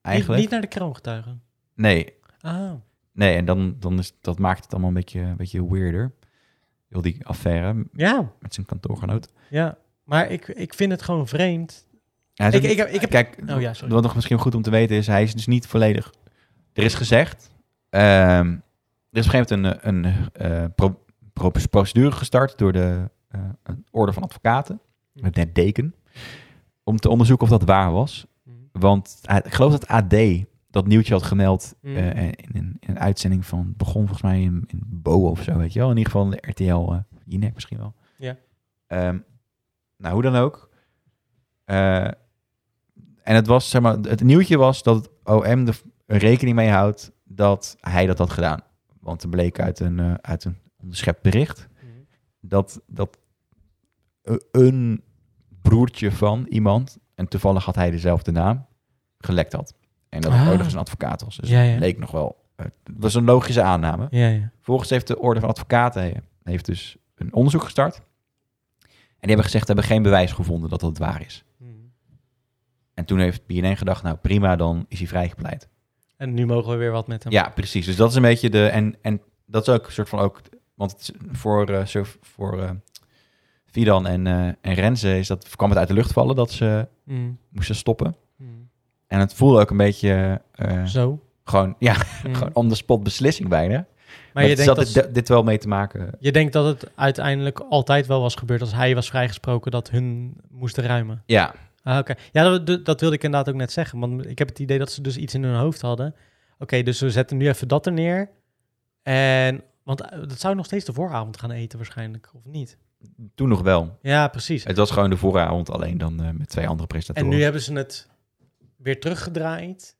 Eigenlijk.
niet naar de kroongetuigen.
Nee,
Ah,
nee en dan, dan is, dat maakt het allemaal een beetje, een beetje weirder. Heel die affaire
ja.
met zijn kantoorgenoot.
Ja. Maar ik, ik vind het gewoon vreemd.
Hij is
Ik-
ook
ik
niet-
heb- ik heb-
Kijk,
Oh ja, sorry.
wat nog misschien goed om te weten is... hij is dus niet volledig... Er is gezegd... ehm, er is op een gegeven moment een, eh, een eh, pro- pro- procedure gestart... door de eh, een orde van advocaten,
Hm.
met net deken... om te onderzoeken of dat waar was.
Mm.
Want hij- ik geloof dat AD dat nieuwtje had gemeld...
Mm.
eh, in, een- in een uitzending van... het begon volgens mij in, in Bo of zo, weet je wel. In ieder geval in de RTL, eh Jinek misschien wel.
Ja.
Ehm, nou, hoe dan ook... Eh, en het was, zeg maar, het nieuwtje was dat het OM er rekening mee houdt dat hij dat had gedaan. Want er bleek uit een, eh, uit een onderschept bericht
Mm.
dat, dat e- een broertje van iemand, en toevallig had hij dezelfde naam, gelekt had. En dat het
Ah.
ook nog eens een advocaat was. Dus
Ja, ja.
het leek nog wel. Het was een logische aanname.
Ja, ja.
Vervolgens heeft de Orde van Advocaten he- heeft dus een onderzoek gestart. En die hebben gezegd, hebben geen bewijs gevonden dat dat waar is.
Mm.
En toen heeft BNN gedacht, nou prima, dan is hij vrijgepleit.
En nu mogen we weer wat met hem.
Ja, precies. Dus dat is een beetje de. En, en dat is ook een soort van ook. Want het is voor, eh, zo- voor eh, Fidan en, eh en Renze is dat, kwam het uit de lucht vallen dat ze
Mm.
moesten stoppen.
Mm.
En het voelde ook een beetje eh,
Zo.
gewoon, ja,
Mm.
gewoon on the spot beslissing bijna. Maar,
Maar je
het
denkt,
zat
dat,
dit, dit wel mee te maken.
je denkt dat het uiteindelijk altijd wel was gebeurd als hij was vrijgesproken dat hun moesten ruimen.
Ja,
Ah, oké. Ja, dat, dat- dat wilde ik inderdaad ook net zeggen. Want ik heb het idee dat ze dus iets in hun hoofd hadden. Oké, dus we zetten nu even dat er neer. En, want eh, dat zou nog steeds de vooravond gaan eten waarschijnlijk, of niet?
toen nog wel.
Ja, precies.
Het was gewoon de vooravond alleen dan eh, met twee andere
En
presentatoren.
nu hebben ze het weer teruggedraaid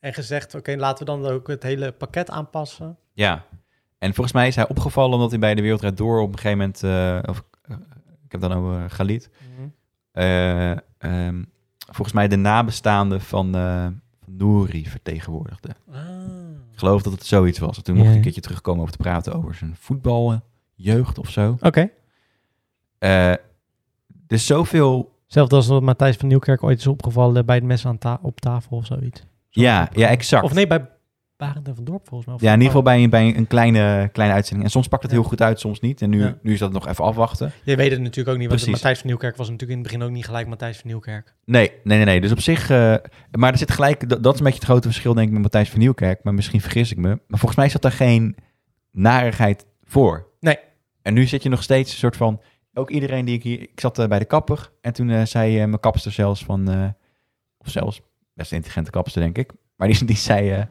en gezegd... oké, laten we dan ook het hele pakket aanpassen.
Ja. En volgens mij is hij opgevallen omdat hij bij de Wereldraad Door op een gegeven moment... eh, of, eh, ik heb dan over Galit. eh, ehm, volgens mij de nabestaanden van, eh van Nouri vertegenwoordigde.
Ah.
Ik geloof dat het zoiets was. En Toen
Ja,
mocht ik
ja.
een keertje terugkomen over te praten over zijn voetbaljeugd of zo.
Oké.
Eh, dus zoveel...
Zelfs als wat Matthijs van Nieuwkerk ooit is opgevallen bij het mes aan ta- op tafel of zoiets.
Ja, ja, exact.
Of nee, bij Barend en Van Dorp volgens mij. Of
ja, in ieder geval bij, een- bij een kleine, kleine uitzending. En soms pakt het
Ja.
heel goed uit, soms niet. En nu,
Ja.
nu is dat nog even afwachten.
Je weet het natuurlijk ook niet, want
Precies.
Matthijs van Nieuwkerk was natuurlijk in het begin ook niet gelijk Matthijs van Nieuwkerk.
Nee, nee, nee. nee. Dus op zich... eh, maar er zit gelijk... Dat, dat is een beetje het grote verschil, denk ik, met Matthijs van Nieuwkerk. Maar misschien vergis ik me. Maar volgens mij zat daar geen narigheid voor.
Nee.
En nu zit je nog steeds een soort van... Ook iedereen die ik hier... Ik zat eh, bij de kapper. En toen eh, zei eh, mijn kapster zelfs van... eh, of zelfs, best een intelligente kapster, denk ik. Maar die, die zei... eh,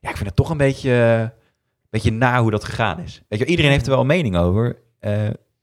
ja, ik vind het toch een beetje... eh, beetje na hoe dat gegaan is. Weet je, wel, iedereen heeft er wel een mening over. eh,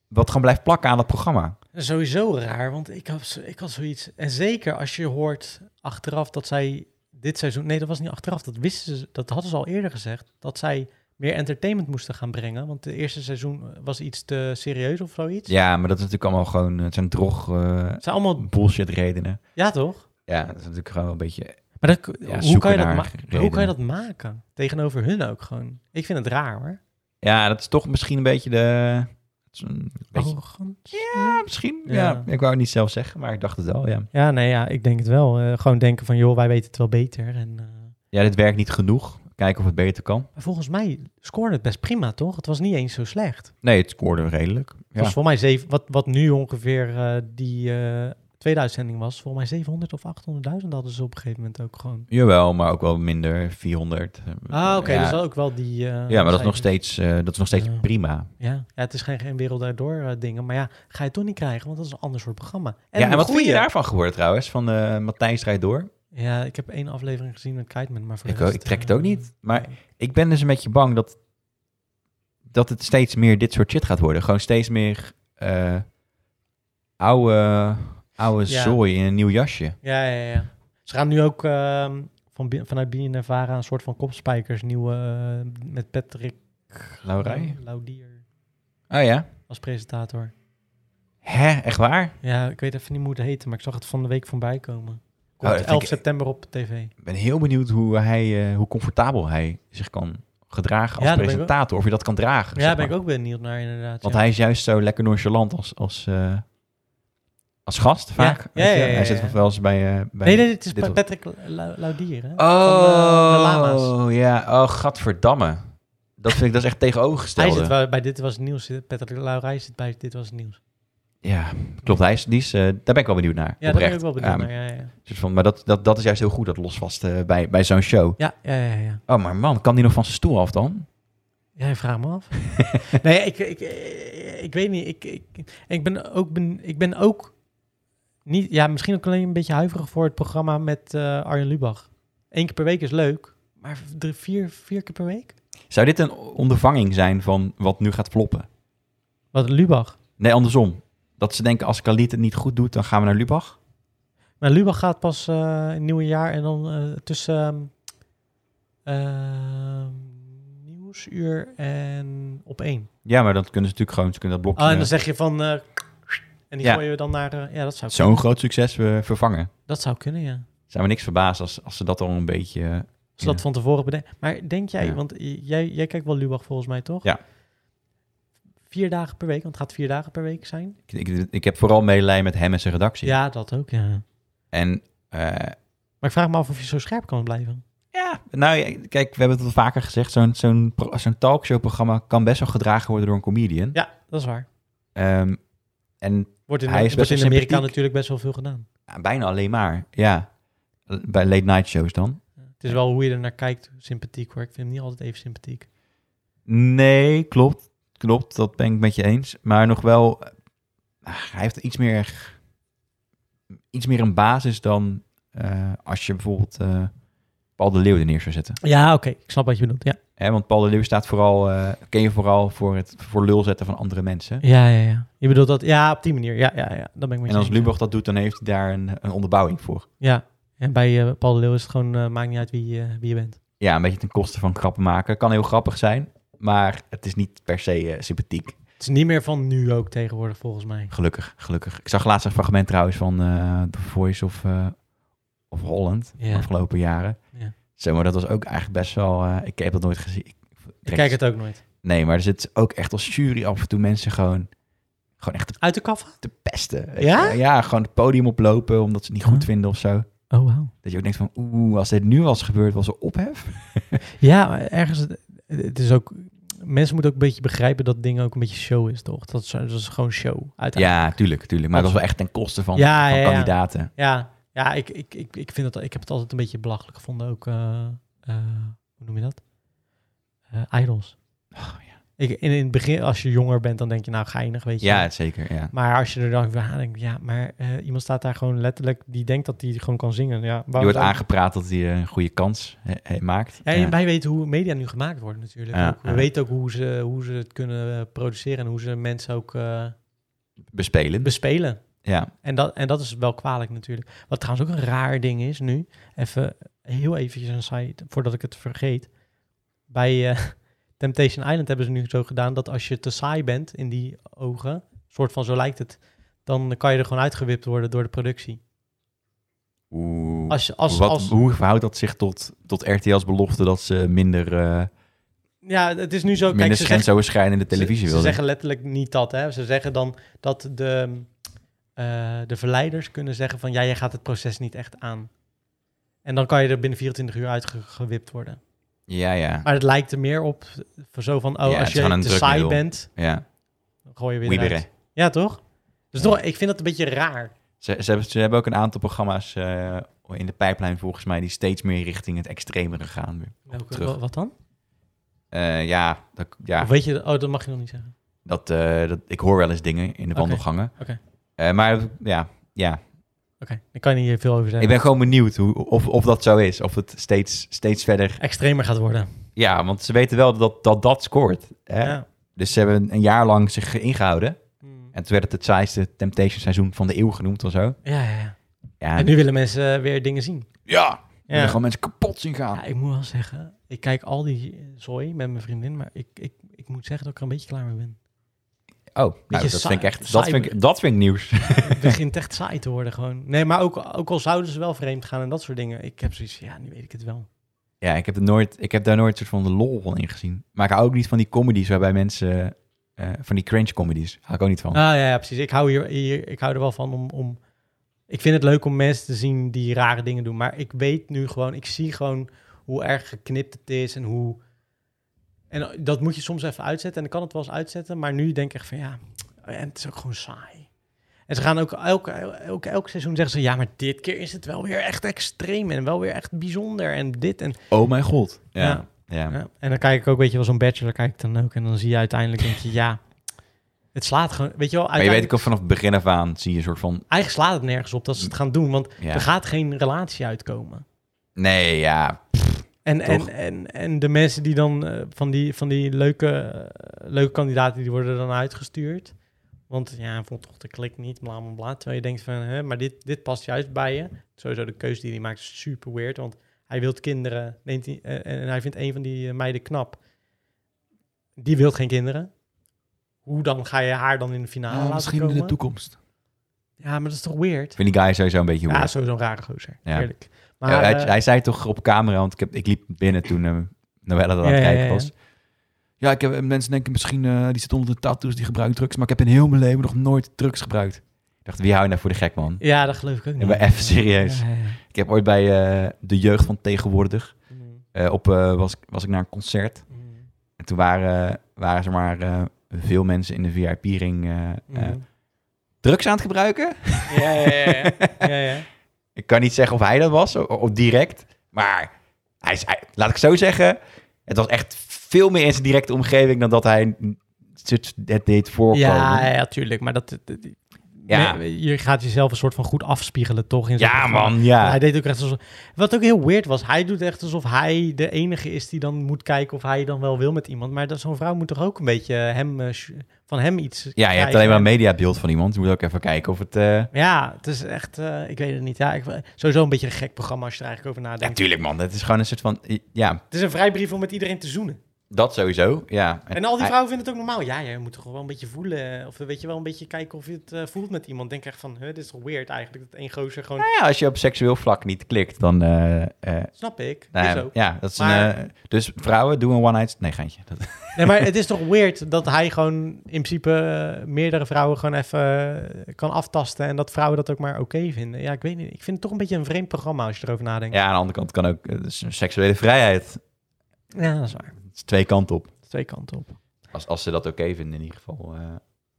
wat gewoon blijft plakken aan dat programma.
Sowieso raar, want ik had, zo- ik had zoiets. En zeker als je hoort achteraf dat zij dit seizoen. Nee, dat was niet achteraf. Dat wisten ze. Dat hadden ze al eerder gezegd. Dat zij meer entertainment moesten gaan brengen. Want het eerste seizoen was iets te serieus of zoiets.
Ja, maar dat is natuurlijk allemaal gewoon... Het zijn drog... eh,
Het zijn allemaal.
bullshit redenen.
Ja, toch?
Ja, dat is natuurlijk gewoon een beetje...
Maar dat, hoe,
zoeken
kan je dat
naar
ma- hoe
redenen.
kan je dat maken? Tegenover hun ook gewoon. Ik vind het raar hoor.
Ja, dat is toch misschien een beetje de... het is een beetje-
Arrogant.
Ja, misschien. Oh. Ja.
Ja.
ik wou het niet zelf zeggen, maar ik dacht het wel, ja.
Ja, nee, ja, ik denk het wel. Eh, gewoon denken van, joh, wij weten het wel beter. En, eh,
Ja, dit werkt niet genoeg. Kijken of het beter kan.
Maar volgens mij scoorde het best prima, toch? Het was niet eens zo slecht.
Nee, het scoorde redelijk.
Het was
Ja.
voor mij zeven, wat, wat nu ongeveer eh, die eh, tweede uitzending was. Volgens mij 700 of 800.000 hadden ze op een gegeven moment ook gewoon.
Jawel, maar ook wel minder. 400.
Ah, oké.
ja.
Dus ook wel die... eh,
ja, maar dat is nog
cijfers.
steeds, eh, dat is nog steeds
Ja.
prima.
Ja. ja, het is geen, geen wereld daardoor eh, dingen. Maar ja, ga je toch niet krijgen, want dat is een ander soort programma.
ja, en
een
wat vind je
goeie.
daarvan gehoord trouwens? Van eh Matthijs rijdt door?
Ja, ik heb één aflevering gezien met Kiteman, maar voor de
Ik, ook-
rest,
ik trek het
eh,
ook niet. Maar ik ben dus een beetje bang dat, dat het steeds meer dit soort shit gaat worden. Gewoon steeds meer eh oude, oude
Ja.
zooi in een nieuw jasje.
Ja, ja, ja. Ze gaan nu ook ehm, van, bi- vanuit BNNVARA een soort van kopspijkers, nieuwe eh, met Patrick
Laurij?
Laudier
Oh ja?
als presentator.
Hè, echt waar?
Ja, ik weet even niet hoe het heet, maar ik zag het van de week voorbij komen.
Oh, dat
Komt
vind
11
ik-
september op tv.
Ik ben heel benieuwd hoe, hij, eh, hoe comfortabel hij zich kan gedragen als
Ja, daar ben ik ook-
presentator. Of je dat kan dragen.
Ja,
zeg
daar ben
maar.
ik ook benieuwd naar inderdaad.
Want
ja.
hij is juist zo lekker nonchalant als, als, eh, als gast vaak.
Ja,
weet je.
ja, ja, ja,
Hij
ja.
zit wel eens bij... eh, bij
Nee, nee, het is
dit-
Patrick Lau- Laudier, hè?
Oh,
eh, de lama's.
ja. Oh, gadverdamme. Dat vind ik dat is echt tegenovergestelde.
Hij zit wel bij Dit Was Het Nieuws. Patrick Laurij zit bij Dit Was Het Nieuws.
Ja, klopt. Hij is, die is, eh, daar ben ik wel benieuwd naar.
Ja, daar ben
oprecht.
ik ook wel benieuwd
Ja,
naar. Ja, ja.
een soort van, maar dat, dat, dat is juist heel goed, dat losvast eh, bij, bij zo'n show.
Ja, ja, ja, ja.
Oh, maar man, kan die nog van zijn stoel af dan?
Jij vraagt me af. nee, ik, ik, eh, ik weet niet. Ik, ik, ik, ben ook ben, ik ben ook niet. Ja, misschien ook alleen een beetje huiverig voor het programma met eh, Arjen Lubach. Eén keer per week is leuk, maar drie, vier, vier keer per week?
Zou dit een ondervanging zijn van wat nu gaat floppen?
Wat Lubach?
Nee, andersom. Dat ze denken, als Khalid het niet goed doet, dan gaan we naar Lubach.
Maar Lubach gaat pas eh, in het nieuwe jaar en dan eh, tussen ehm, ehm, nieuwsuur en op één.
Ja, maar dat kunnen ze natuurlijk gewoon, ze kunnen dat
Ah, en
blokje...
dan zeg je van. eh, en die
Ja.
gooien we dan naar. eh, ja, dat zou,
Zo'n groot succes we vervangen.
dat zou kunnen, ja.
Zijn we niks verbaasd als, als ze dat al een beetje... eh,
Als ze dat
Ja.
van tevoren bedenken. Maar denk jij,
Ja.
want j- jij, jij kijkt wel Lubach volgens mij, toch?
Ja.
Vier dagen per week, want het gaat vier dagen per week zijn.
ik, ik, ik heb vooral medelij met hem en zijn redactie.
Ja, dat ook, ja.
En eh,
Maar ik vraag me af of je zo scherp kan blijven.
ja, nou ja, kijk, we hebben het al vaker gezegd. Zo'n zo'n pro- zo'n talkshowprogramma kan best wel gedragen worden door een comedian.
Ja, dat is waar.
Ehm, en
Wordt in,
Hij is
wordt
best
in
wel
Amerika
sympathiek.
natuurlijk best wel veel gedaan.
ja, bijna alleen maar, ja. Bij late night shows dan.
Het is wel hoe je er naar kijkt, sympathiek hoor. Ik vind hem niet altijd even sympathiek.
Nee, klopt. Klopt, dat ben ik met je eens. Maar nog wel, eh, hij heeft iets meer, iets meer een basis dan eh, als je bijvoorbeeld eh, Paul de Leeuw er neer zou zetten.
Ja, oké. Ik snap wat je bedoelt. Ja,
Hè, want Paul de Leeuw staat vooral, eh, ken je vooral voor het voor lul zetten van andere mensen.
ja, ja. ja. Je bedoelt dat, ja, op die manier. Ja, ja, ja. Dat ben ik met
En
je
als
eens,
Lubach dat doet, dan heeft hij daar een, een onderbouwing voor.
Ja. Ja. En bij eh, Paul de Leeuw is het gewoon, eh, maakt niet uit wie, eh, wie je bent.
Ja, een beetje ten koste van grappen maken. Kan heel grappig zijn, maar het is niet per se eh, sympathiek.
Het is niet meer van nu ook tegenwoordig volgens mij.
Gelukkig, gelukkig. Ik zag laatst een fragment trouwens van eh, The Voice of, eh, of Holland
Ja.
de afgelopen jaren.
Ja.
Zeg maar, dat was ook eigenlijk best wel... eh, ik heb dat nooit gezien. Ik,
Ik kijk het ook nooit.
Nee, maar er zit ook echt als jury af en toe mensen gewoon... Gewoon echt te,
Uit de kaf?
te pesten. weet
Ja?
je wel. Ja, gewoon het podium oplopen omdat ze het niet goed
Huh?
vinden of zo.
Oh, wauw.
Dat je ook denkt van, oeh, als dit nu was gebeurd, was er ophef.
Ja, maar ergens, het is ook, mensen moeten ook een beetje begrijpen dat ding ook een beetje show is, toch? Dat is, dat is gewoon show, uiteindelijk.
Ja, tuurlijk, tuurlijk. Maar dat was wel echt ten koste van,
Ja,
van
ja, ja.
kandidaten.
Ja, ja, ik, ik, ik, ik, vind dat, ik heb het altijd een beetje belachelijk gevonden, ook, eh, eh, hoe noem je dat? Eh, idols.
Oh, ja.
Ik, in, in het begin, als je jonger bent, dan denk je, nou, geinig, weet je.
ja, zeker. Ja.
Maar als je er dan over nadenkt, ja, maar eh, iemand staat daar gewoon letterlijk, die denkt dat hij gewoon kan zingen. Ja,
Je
waarom
wordt
zou-
aangepraat dat hij een goede kans eh, eh, maakt.
Ja, en
Ja.
wij weten hoe media nu gemaakt worden natuurlijk.
Ja,
Ook- we
ja.
weten ook hoe ze, hoe ze het kunnen eh, produceren en hoe ze mensen ook eh,
Bespelen.
bespelen.
ja.
En dat, en dat is wel kwalijk natuurlijk. Wat trouwens ook een raar ding is nu. Even heel eventjes een site voordat ik het vergeet. Bij eh, Temptation Island hebben ze nu zo gedaan dat als je te saai bent in die ogen, soort van zo lijkt het, dan kan je er gewoon uitgewipt worden door de productie.
Oeh.
Als, je- als,
Wat,
als,
Hoe verhoudt dat zich tot, tot RTL's belofte dat ze minder, eh
ja, het is nu zo. Kijk,
minder
ze zeggen-
grensoverschrijdende televisie
ze,
wilden?
Ze zeggen letterlijk niet dat. Hè? Ze zeggen dan dat de, eh, de verleiders kunnen zeggen van... ja, jij gaat het proces niet echt aan. En dan kan je er binnen 24 uur uitgewipt worden.
Ja, ja.
Maar het lijkt er meer op voor zo van, oh,
Ja, het
als
is
je
gewoon een
te saai
drukmiddel.
bent,
ja.
dan gooi je weer
Wieberen.
eruit. Ja, toch? Dus toch, ik vind dat een beetje raar.
Ze, ze, hebben, ze hebben ook een aantal programma's eh, in de pijplijn volgens mij die steeds meer richting het extremere gaan. weer. terug.
Wat dan?
Eh, ja, dat, ja
Of weet je, oh, dat mag je nog niet zeggen.
dat, eh, dat, ik hoor wel eens dingen in de
Oké,
wandelgangen.
oké.
Eh, maar ja, ja.
Oké, ik kan je hier veel over
ik
zeggen.
ben gewoon benieuwd hoe, of, of dat zo is. Of het steeds, steeds verder...
Extremer gaat worden.
Ja, want ze weten wel dat dat, dat scoort. Hè?
Ja.
Dus ze hebben een jaar lang zich ingehouden. En toen werd het het saaiste Temptation seizoen van de eeuw genoemd of zo.
Ja, ja, ja.
Ja,
En nu willen mensen eh, weer dingen zien.
ja.
Ja.
gewoon mensen kapot zien gaan.
Ja, ik moet wel zeggen, ik kijk al die eh, zooi met mijn vriendin, maar ik, ik, ik moet zeggen dat ik er een beetje klaar mee ben.
Oh, nou,
Beetje
dat
saai-
vind ik echt... Dat
saai-
vind ik, dat vind ik nieuws.
Het begint echt saai te worden gewoon. Nee, maar ook, ook al zouden ze wel vreemd gaan en dat soort dingen, ik heb zoiets van, ja, nu weet ik het wel.
Ja, ik heb, er nooit, ik heb daar nooit soort van de lol van ingezien. Maar ik hou ook niet van die comedies waarbij mensen... eh, van die cringe comedies. Hou ik ook niet van.
Ah ja, ja, precies. Ik hou, hier, hier, ik hou er wel van om, om... Ik vind het leuk om mensen te zien die rare dingen doen, maar ik weet nu gewoon, ik zie gewoon hoe erg geknipt het is en hoe... En dat moet je soms even uitzetten en ik kan het wel eens uitzetten, maar nu denk ik echt van ja, en het is ook gewoon saai. En ze gaan ook elk, elk, elk seizoen zeggen ze ja, maar dit keer is het wel weer echt extreem en wel weer echt bijzonder en dit en...
Oh mijn god.
Ja.
Ja. ja.
Ja, en dan kijk ik ook, weet je wel, zo'n bachelor kijk ik dan ook en dan zie je uiteindelijk, denk je ja, het slaat gewoon, weet je wel,
Maar je weet
uiteindelijk-
ook al vanaf het begin af aan zie je een soort van...
Eigenlijk slaat het nergens op dat ze het gaan doen, want
Ja.
er gaat geen relatie uitkomen.
Nee, ja.
En, en,
Toch?
en, en de mensen die dan eh, van die, van die leuke, eh, leuke kandidaten, die worden dan uitgestuurd. Want ja, hij vond toch de klik niet, bla bla bla. Terwijl je denkt van, hè, maar dit, dit past juist bij je. Sowieso de keuze die hij maakt is super weird, want hij wil kinderen. Neemt hij, eh, en, en hij vindt een van die eh, meiden knap. Die wil geen kinderen. Hoe dan ga je haar dan Eh, in de
Ah,
finale laten komen?
toekomst.
ja, maar dat is toch weird?
Ik vind die guy sowieso een beetje
Ja,
weird.
sowieso een rare gozer.
Ja.
Eerlijk.
Ja,
Maar,
hij,
eh,
hij zei toch op camera, want ik, heb, ik liep binnen toen eh Noelle dat aan
Ja,
het
ja,
kijken
ja, ja.
was. Ja, ik heb, mensen denken misschien, eh, die zit onder de tattoos, die gebruikt drugs. Maar ik heb in heel mijn leven nog nooit drugs gebruikt. Ik dacht, wie hou je nou voor de gek, man?
ja, dat geloof ik ook niet.
maar even serieus.
Ja, ja, ja.
Ik heb ooit bij eh, de jeugd van tegenwoordig,
Mm,
eh, op, eh, was, ik- was ik naar een concert.
mm,
En toen waren, waren zeg maar, eh, veel mensen in de VIP-ring eh, eh,
mm.
drugs aan het gebruiken.
Ja, ja, ja, ja. ja, ja.
Ik kan niet zeggen of hij dat was, o- of direct. Maar hij, is- hij- laat ik zo zeggen, het was echt veel meer in zijn directe omgeving dan dat hij het, het deed voorkomen.
Ja, ja, tuurlijk. Maar dat, dat- dat-
Ja.
me- je gaat jezelf een soort van goed afspiegelen, toch? In zo'n
Ja,
programma.
man, ja.
Hij deed ook echt alsof... Wat ook heel weird was, hij doet echt alsof hij de enige is die dan moet kijken of hij dan wel wil met iemand. Maar dat- zo'n vrouw moet toch ook een beetje hem, eh, sh- van hem iets
ja, je hebt alleen maar een mediabeeld van iemand. Je moet ook even kijken of het... eh,
Ja, het is echt... eh, ik weet het niet. Ja, ik, sowieso een beetje een gek programma als je er eigenlijk over
Ja,
nadenkt.
tuurlijk, man. Het is gewoon een soort van... Ja,
het is een vrijbrief om met iedereen te zoenen.
dat sowieso, ja.
En al die
hij-
vrouwen vinden het ook normaal. Ja, je moet toch wel een beetje voelen. eh, Of weet je wel, een beetje kijken of je het eh, voelt met iemand. Denk echt van, huh, dit is toch weird eigenlijk. Dat één gozer gewoon,
Nou ja, als je op seksueel vlak niet klikt, dan... eh, eh,
snap ik.
nou ja,
is ook.
ja, dat is
Maar-
een, eh, dus vrouwen, doe een one-night... Nee, geintje. Dat,
Nee, maar het is toch weird dat hij gewoon in principe eh, meerdere vrouwen gewoon even eh, kan aftasten. En dat vrouwen dat ook maar oké vinden. Ja, ik weet niet. Ik vind het toch een beetje een vreemd programma als je erover nadenkt.
ja, aan de andere kant kan ook... eh, dus seksuele vrijheid.
Ja, dat is waar.
Het is twee kanten op.
Twee kanten op.
Als, als ze dat oké vinden in ieder geval. eh,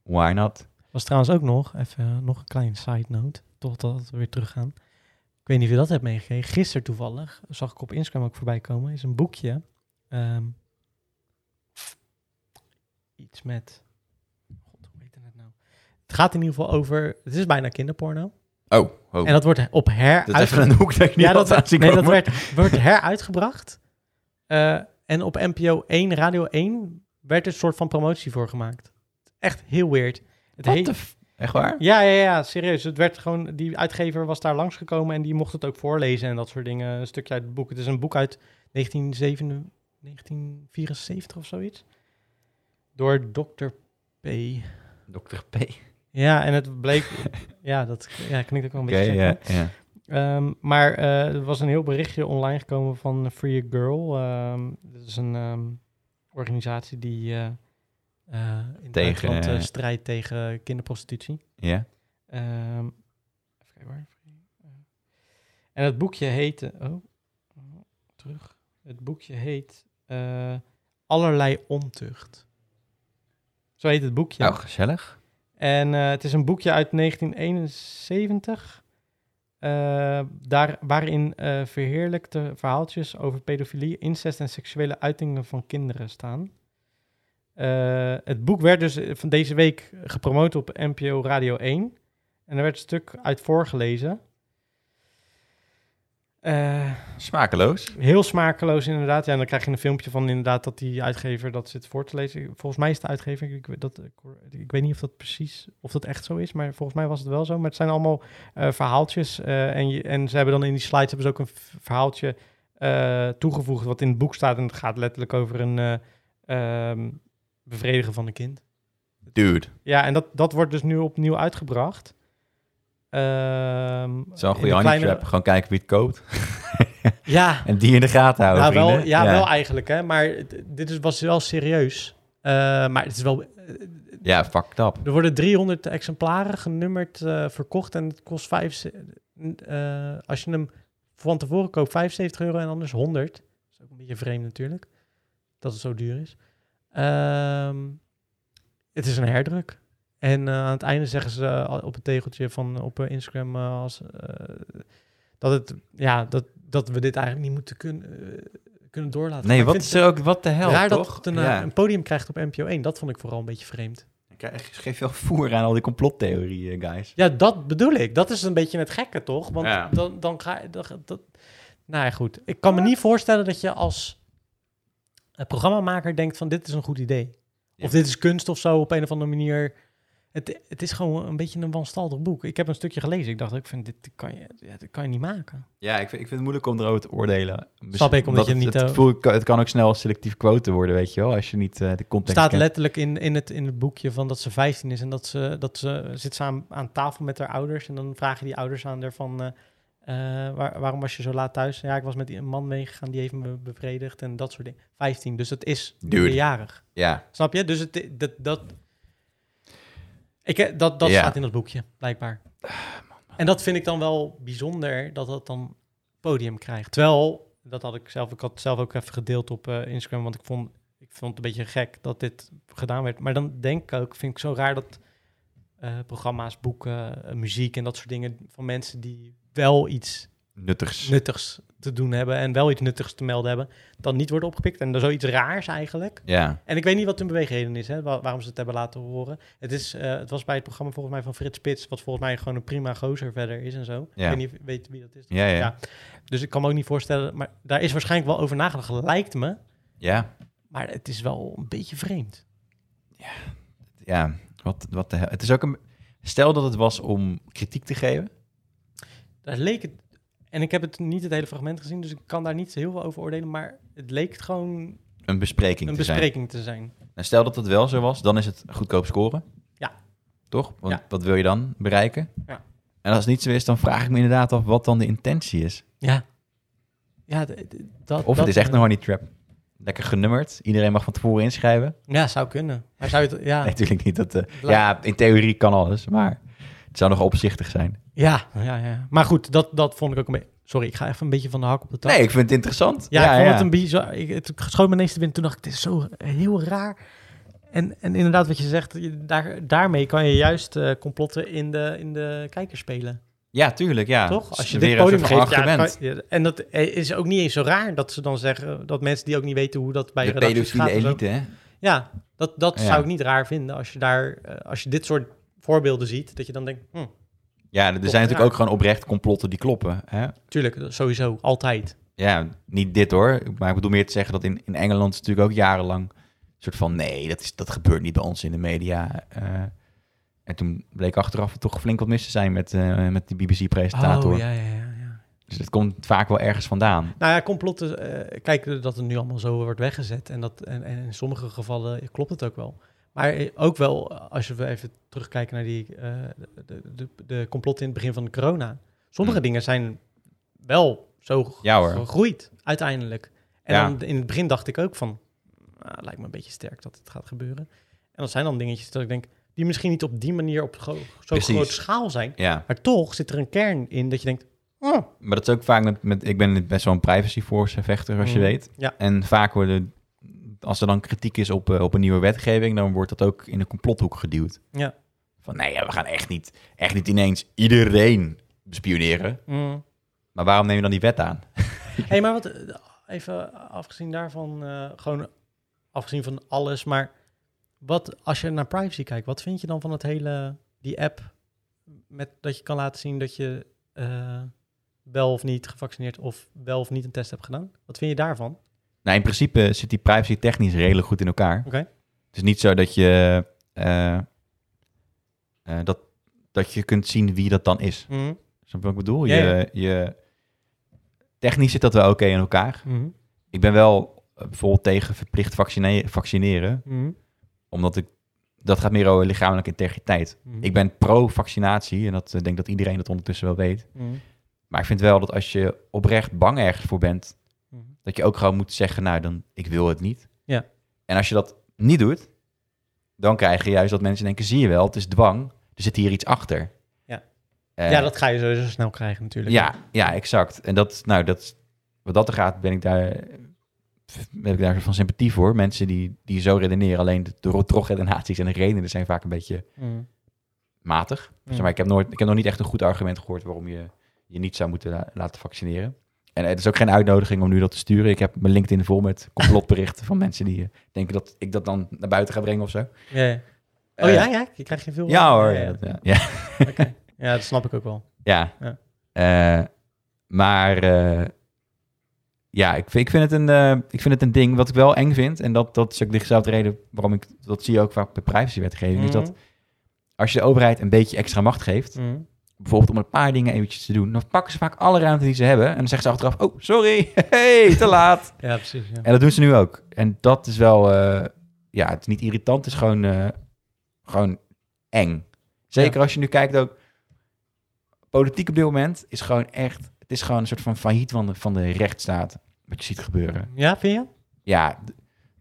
why not?
Was trouwens ook nog, even eh, nog een kleine side note, totdat we weer teruggaan. Ik weet niet of je dat hebt meegekregen. Gisteren toevallig zag ik op Instagram ook voorbij komen, is een boekje. ehm, iets met. God, hoe heet het nou? Het gaat in ieder geval over. Het is bijna kinderporno.
Oh, oh.
En dat wordt op her.
dat is even een hoek dat ik niet
Ja,
had
dat,
aanzien
nee, dat
komen.
werd, wordt heruitgebracht. Eh, en op NPO 1, Radio 1, werd er een soort van promotie voor gemaakt. Echt heel weird. Het
What
heet-
the f- Echt waar?
ja, ja, ja, serieus. Het werd gewoon, die uitgever was daar langsgekomen en die mocht het ook voorlezen en dat soort dingen. Een stukje uit het boek. Het is een boek uit 1907 1974 of zoiets. Door Dr. P.
Dr. P.
Ja, en het bleek. ja, dat ja, klinkt ook wel een
Oké,
beetje. gek, hè?
ja, ja.
Ehm, maar eh, er was een heel berichtje online gekomen van Free A Girl. Ehm, dat is een ehm, organisatie die eh, eh, in het
Tegen,
buitenland eh,
eh,
strijdt tegen kinderprostitutie.
Ja.
Ehm, even kijken hoor. En het boekje heette. Oh, eh, terug. Eh, Het boekje heet eh, Allerlei Ontucht. Zo heet het boekje.
Nou, gezellig.
En eh, het is een boekje uit 1971. eh, daar, waarin eh, verheerlijkte verhaaltjes over pedofilie, incest en seksuele uitingen van kinderen staan. Eh, het boek werd dus eh, van deze week gepromoot op NPO Radio 1. En er werd een stuk uit voorgelezen. Eh,
Smakeloos.
heel smakeloos inderdaad. Ja, en dan krijg je een filmpje van inderdaad dat die uitgever dat zit voor te lezen. Volgens mij is de uitgever, ik, weet dat, ik, hoor- ik weet niet of dat precies, of dat echt zo is, maar volgens mij was het wel zo. Maar het zijn allemaal eh, verhaaltjes eh, en, je, en ze hebben dan in die slides hebben ze ook een v- verhaaltje eh, toegevoegd wat in het boek staat. En het gaat letterlijk over een eh, ehm, bevredigen van een kind.
Dude.
Ja, en dat, dat wordt dus nu opnieuw uitgebracht. Ehm,
Het is wel een
in
goede
de
honeytrap.
kleine-
Gewoon kijken wie het koopt.
Ja,
En die in de gaten houden,
nou, wel,
vrienden.
ja, wel eigenlijk, hè. Maar het- dit is, was wel serieus. Eh, maar het is wel...
Ja, fucked up.
Er worden 300 exemplaren genummerd eh, verkocht en het kost 5... eh, als je hem van tevoren koopt, 75 euro en anders 100. Dat is ook een beetje vreemd natuurlijk, dat het zo duur is. Ehm, het is een herdruk. En eh, aan het einde zeggen ze eh, al- op het tegeltje van op eh, Instagram eh, als, eh, dat, het, ja, dat, dat we dit eigenlijk niet moeten kunnen, eh, kunnen doorlaten. Maar
Nee,
ik
wat
vind
is er ook... Wat de hel,
raar dat
toch?
het een, eh,
ja.
een podium krijgt op NPO 1. Dat vond ik vooral een beetje vreemd.
Ik krijg- geef wel voer aan al die complottheorieën, eh, guys.
Ja, dat bedoel ik. Dat is een beetje het gekke, toch? Want
Ja.
dan, dan ga je... Dan, dat... Nou ja, goed. Ik kan me niet voorstellen dat je als eh, programmamaker denkt van... dit is een goed idee.
Ja.
Of dit is kunst of zo op een of andere manier. Het, het is gewoon een beetje een wanstaltig boek. Ik heb een stukje gelezen. Ik dacht, ik vind, dit kan je, ja, dit kan je niet maken.
Ja, ik vind, ik vind het moeilijk om erover te oordelen.
Snap ik, omdat je
het,
niet,
Het,
eh,
gevoel- het kan- het kan ook snel selectief quoten worden, weet je wel. Als je niet eh, de
Het
context
staat
kent.
letterlijk in, in, het, in het boekje van dat ze 15 is en dat ze, dat ze zit ze aan, aan tafel met haar ouders. En dan vragen die ouders aan haar van, eh, eh, waar- waarom was je zo laat thuis? Ja, ik was met die- een man meegegaan, die heeft me bevredigd en dat soort dingen. 15, dus dat is
Dude.
meerjarig.
Ja,
Snap je? Dus het, dat, dat, ik, eh, dat, dat
Ja.
staat in dat boekje, blijkbaar. En dat vind ik dan wel bijzonder, dat dat dan podium krijgt. Terwijl, dat had ik zelf, ik had het zelf ook even gedeeld op eh, Instagram, want ik vond, ik vond het een beetje gek dat dit gedaan werd. Maar dan denk ik ook, vind ik zo raar dat eh, programma's, boeken, eh, muziek en dat soort dingen van mensen die wel iets
nuttigs.
nuttigs te doen hebben en wel iets nuttigs te melden hebben, dan niet worden opgepikt. En dan zoiets raars eigenlijk.
ja,
En ik weet niet wat hun beweegreden is, hè, wa- waarom ze het hebben laten horen. Het, is, eh, het was bij het programma volgens mij van Frits Spits, wat volgens mij gewoon een prima gozer verder is en zo.
Ja.
Ik weet niet weet wie dat is.
ja, ja.
Ja.
ja.
Dus ik kan me ook niet voorstellen, maar daar is waarschijnlijk wel over nagedacht, lijkt me.
ja.
Maar het is wel een beetje vreemd.
Wat, wat de hel. Het is ook een... Stel dat het was om kritiek te geven.
Daar leek het, en ik heb het niet het hele fragment gezien, dus ik kan daar niet zo heel veel over oordelen, maar het leek gewoon
Een bespreking
een
te zijn.
bespreking te zijn.
En stel dat het wel zo was, dan is het goedkoop scoren.
Ja.
Toch? Want
Ja.
wat wil je dan bereiken?
Ja.
En als het niet zo is, dan vraag ik me inderdaad af wat dan de intentie is.
Ja. Ja, d- d- dat, dat,
Of het is echt
eh,
een honey trap. Lekker genummerd. Iedereen mag van tevoren inschrijven.
Ja, zou kunnen. Maar zou je het... Ja.
Nee, natuurlijk niet. Dat, eh, ja, in theorie kan alles, maar het zou nog opzichtig zijn.
Ja, ja, ja. Maar goed, dat, dat vond ik ook een beetje... Sorry, ik ga even een beetje van de hak op de tak.
Nee, ik vind het interessant.
ja, ik vond het een bizar... Ik, het schoot me ineens te binnen. Toen dacht ik, dit is zo heel raar. En, en inderdaad, wat je zegt, je- daar, daarmee kan je juist eh, complotten in de, in de kijker spelen.
Ja, tuurlijk, ja.
toch? Als je
Weer
dit
een
podium
soort van
geeft, ja,
argument.
kan- ja, En dat eh, is ook niet eens zo raar dat ze dan zeggen... dat mensen die ook niet weten hoe dat bij
de
redacties
pedofiele
gaat... en zo-
elite, hè?
Ja, dat, dat
Ja.
zou ik niet raar vinden als je, daar, eh, als je dit soort voorbeelden ziet. Dat je dan denkt, hm,
Ja, er zijn natuurlijk
raar.
ook gewoon oprecht complotten die kloppen. Hè?
tuurlijk, eh, sowieso, altijd.
Ja, niet dit hoor. Maar ik bedoel meer te zeggen dat in, in Engeland is natuurlijk ook jarenlang... een soort van, nee, dat, is, dat gebeurt niet bij ons in de media. eh. en toen bleek achteraf toch flink wat mis te zijn met, eh, met die BBC-presentator.
Oh, ja, ja, ja, ja.
Dus het komt vaak wel ergens vandaan.
Nou ja, complotten, eh kijk dat het nu allemaal zo wordt weggezet. En, dat, en, en in sommige gevallen klopt het ook wel. Maar eh, ook wel, eh, als we even terugkijken naar die, eh, de, de, de complotten in het begin van de corona. Sommige
Hmm.
dingen zijn wel zo g-
Ja, hoor.
gegroeid, uiteindelijk. En
Ja.
dan in het begin dacht ik ook van, ah, het lijkt me een beetje sterk dat het gaat gebeuren. En dat zijn dan dingetjes dat ik denk, die misschien niet op die manier op gro- zo'n
Precies.
grote schaal zijn.
Ja,
Maar toch zit er een kern in dat je denkt, Oh,
Maar dat is ook vaak met, met ik ben best wel een privacy force vechter, als je
Mhm.
weet.
Ja.
En vaak worden, als er dan kritiek is op, eh, op een nieuwe wetgeving, dan wordt dat ook in de complothoek geduwd.
Ja.
Van nee, ja, we gaan echt niet, echt niet ineens iedereen bespioneren.
mm.
Maar waarom neem je dan die wet aan?
hey, maar wat, eh, even afgezien daarvan, eh, gewoon afgezien van alles, maar wat, als je naar privacy kijkt, wat vind je dan van het hele, die app, met, dat je kan laten zien dat je eh, wel of niet gevaccineerd of wel of niet een test hebt gedaan? Wat vind je daarvan?
Nou, in principe zit die privacy technisch redelijk goed in elkaar.
Oké.
Het is niet zo dat je, eh, eh, dat, dat je kunt zien wie dat dan is.
Mm.
Snap je wat ik bedoel?
Ja, ja.
Je, je, technisch zit dat wel oké in elkaar. Ik ben wel eh, bijvoorbeeld tegen verplicht vaccine- vaccineren, omdat ik, dat gaat meer over lichamelijke integriteit.
Mm.
Ik ben pro-vaccinatie en dat eh, denk dat iedereen dat ondertussen wel weet.
Mm.
Maar ik vind wel dat als je oprecht bang ergens voor bent, dat je ook gewoon moet zeggen, nou dan, ik wil het niet.
Mhm. Ja.
En als je dat niet doet, dan krijg je juist dat mensen denken, zie je wel, het is dwang, er zit hier iets achter.
Ja.
Eh,
ja, dat ga je sowieso snel krijgen natuurlijk.
ja, ja, exact. En dat, nou, dat, wat dat er gaat, ben ik daar, ben ik daar van sympathie voor. Mensen die, die zo redeneren, alleen de, de trogredenaties en de redenen zijn vaak een beetje
Mm.
matig.
Mm.
Zeg maar ik, heb nooit, ik heb nog niet echt een goed argument gehoord waarom je je niet zou moeten la- laten vaccineren. En eh, het is ook geen uitnodiging om nu dat te sturen. Ik heb mijn LinkedIn vol met complotberichten van mensen die eh, denken dat ik dat dan naar buiten ga brengen of zo.
Ja, ja. Oh
Eh,
ja, ja, je krijgt je veel.
Ja hoor.
Ja,
Ja,
ja.
dat- ja. Ja.
Oké. Ja, dat snap ik ook wel.
Ja.
Ja.
Eh, maar eh, ja, ik, vind- ik, vind het een, eh, ik vind het een ding wat ik wel eng vind. En dat, dat is ook dezelfde reden waarom ik dat zie je ook vaak bij privacywetgeving. Is dat
Mhm.
als je de overheid een beetje extra macht geeft,
Mm.
bijvoorbeeld om een paar dingen eventjes te doen, dan pakken ze vaak alle ruimte die ze hebben. En dan zeggen ze achteraf: Oh, sorry, hey, te laat.
Ja, precies. Ja.
en dat doen ze nu ook. En dat is wel, eh, ja, het is niet irritant, het is gewoon, eh, gewoon eng. Zeker als je nu kijkt ook. Politiek op dit moment is gewoon echt. Het is gewoon een soort van failliet van de, van de rechtsstaat. Wat je ziet gebeuren.
Ja, vind je?
Ja, d-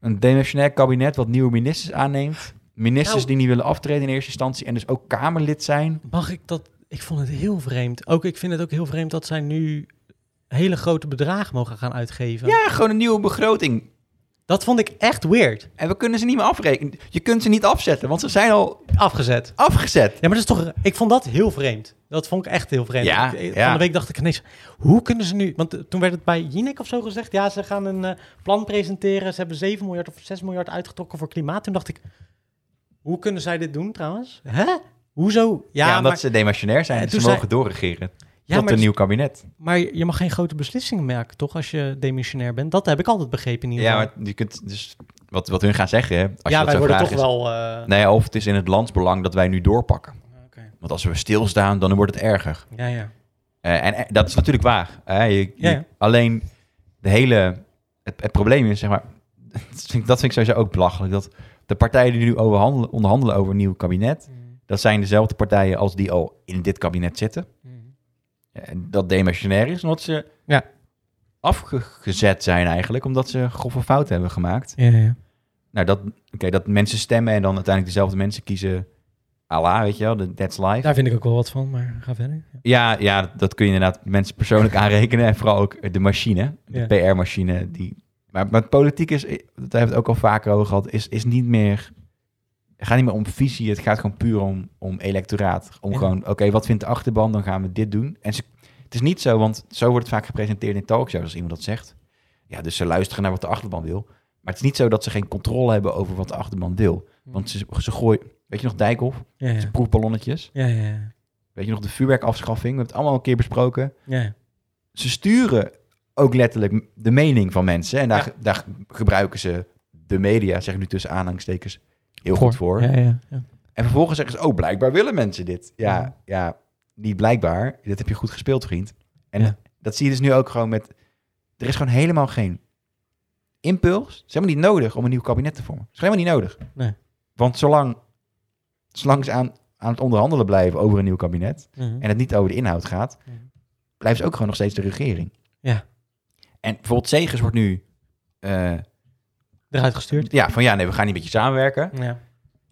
een demissionair kabinet wat nieuwe ministers aanneemt. Ministers
Nou.
die niet willen aftreden in eerste instantie. En dus ook Kamerlid zijn.
Mag ik dat? Ik vond het heel vreemd. Ook ik vind het ook heel vreemd dat zij nu hele grote bedragen mogen gaan uitgeven.
Ja, gewoon een nieuwe begroting.
Dat vond ik echt weird.
En we kunnen ze niet meer afrekenen. Je kunt ze niet afzetten, want ze zijn al
Afgezet.
afgezet.
Ja, maar dat is toch. Ik vond dat heel vreemd. Dat vond ik echt heel vreemd.
Ja,
Ik-
ja.
Van de week dacht ik ineens, hoe kunnen ze nu? Want eh, toen werd het bij Jinek of zo gezegd, ja, ze gaan een eh, plan presenteren. Ze hebben 7 miljard of 6 miljard uitgetrokken voor klimaat. Toen dacht ik, hoe kunnen zij dit doen trouwens? Hè? Hoezo? Ja,
Ja, omdat
maar,
ze demissionair zijn.
Ja,
dus ze
toen
mogen
zei-
doorregeren.
ja,
tot
maar dus
een nieuw kabinet.
Maar je mag geen grote beslissingen maken, toch? Als je demissionair bent. Dat heb ik altijd begrepen in ieder
Ja,
geval.
maar je kunt dus wat, wat hun gaan zeggen. hè, Als
ja
je dat
wij
zo
worden
vraagt,
toch
is,
wel... eh,
Nou ja, of het is in het landsbelang dat wij nu doorpakken.
oké.
Want als we stilstaan, dan wordt het erger.
Ja, ja.
Eh, en eh, dat is natuurlijk waar. Eh, je- je-
Ja, ja.
Alleen de hele, het, het probleem is, zeg maar, dat vind, ik- dat vind ik sowieso ook belachelijk. Dat de partijen die nu overhandelen- onderhandelen over een nieuw kabinet, dat zijn dezelfde partijen als die al in dit kabinet zitten. Eh, Dat demissionair is, omdat ze
Ja.
afgezet zijn eigenlijk, omdat ze grove fouten hebben gemaakt.
Ja, ja.
Nou, dat, oké, dat mensen stemmen en dan uiteindelijk dezelfde mensen kiezen. Allah, weet je wel, de- that's life.
Daar vind ik ook wel wat van, maar ga verder.
Ja, ja, dat- dat kun je inderdaad mensen persoonlijk aanrekenen. En vooral ook de machine, de
Ja.
PR-machine. Die... Maar, maar politiek is, eh, dat hebben we het ook al vaker over gehad, is, is niet meer... Het gaat niet meer om visie, het gaat gewoon puur om, om electoraat. Om
Ja.
gewoon, oké, wat vindt de achterban, dan gaan we dit doen. En ze, het is niet zo, want zo wordt het vaak gepresenteerd in talkshows als iemand dat zegt. Ja, dus ze luisteren naar wat de achterban wil. Maar het is niet zo dat ze geen controle hebben over wat de achterban wil. Want ze, ze gooien, weet je nog Dijkhoff?
Hm. Ja, ja.
Proefballonnetjes.
Ja, ja.
Weet je nog, de vuurwerkafschaffing, we hebben het allemaal een keer besproken.
ja.
Ze sturen ook letterlijk de mening van mensen. En daar,
Ja.
daar gebruiken ze de media, zeg ik nu tussen aanhangstekens, heel goed voor.
Ja, ja, ja.
En vervolgens zeggen ze, oh, blijkbaar willen mensen dit. Ja, ja,
Ja.
niet blijkbaar. Dit heb je goed gespeeld, vriend. En
Ja.
dat zie je dus nu ook gewoon met... Er is gewoon helemaal geen impuls. Het is helemaal niet nodig om een nieuw kabinet te vormen. Het is helemaal niet nodig.
Nee.
Want zolang, zolang ze aan, aan het onderhandelen blijven over een nieuw kabinet
Mhm.
en het niet over de inhoud gaat,
Ja.
blijft ze ook gewoon nog steeds de regering.
Ja.
En bijvoorbeeld Zegers wordt nu, eh,
Eruit gestuurd.
ja, van ja, nee, we gaan niet met je samenwerken.
Ja.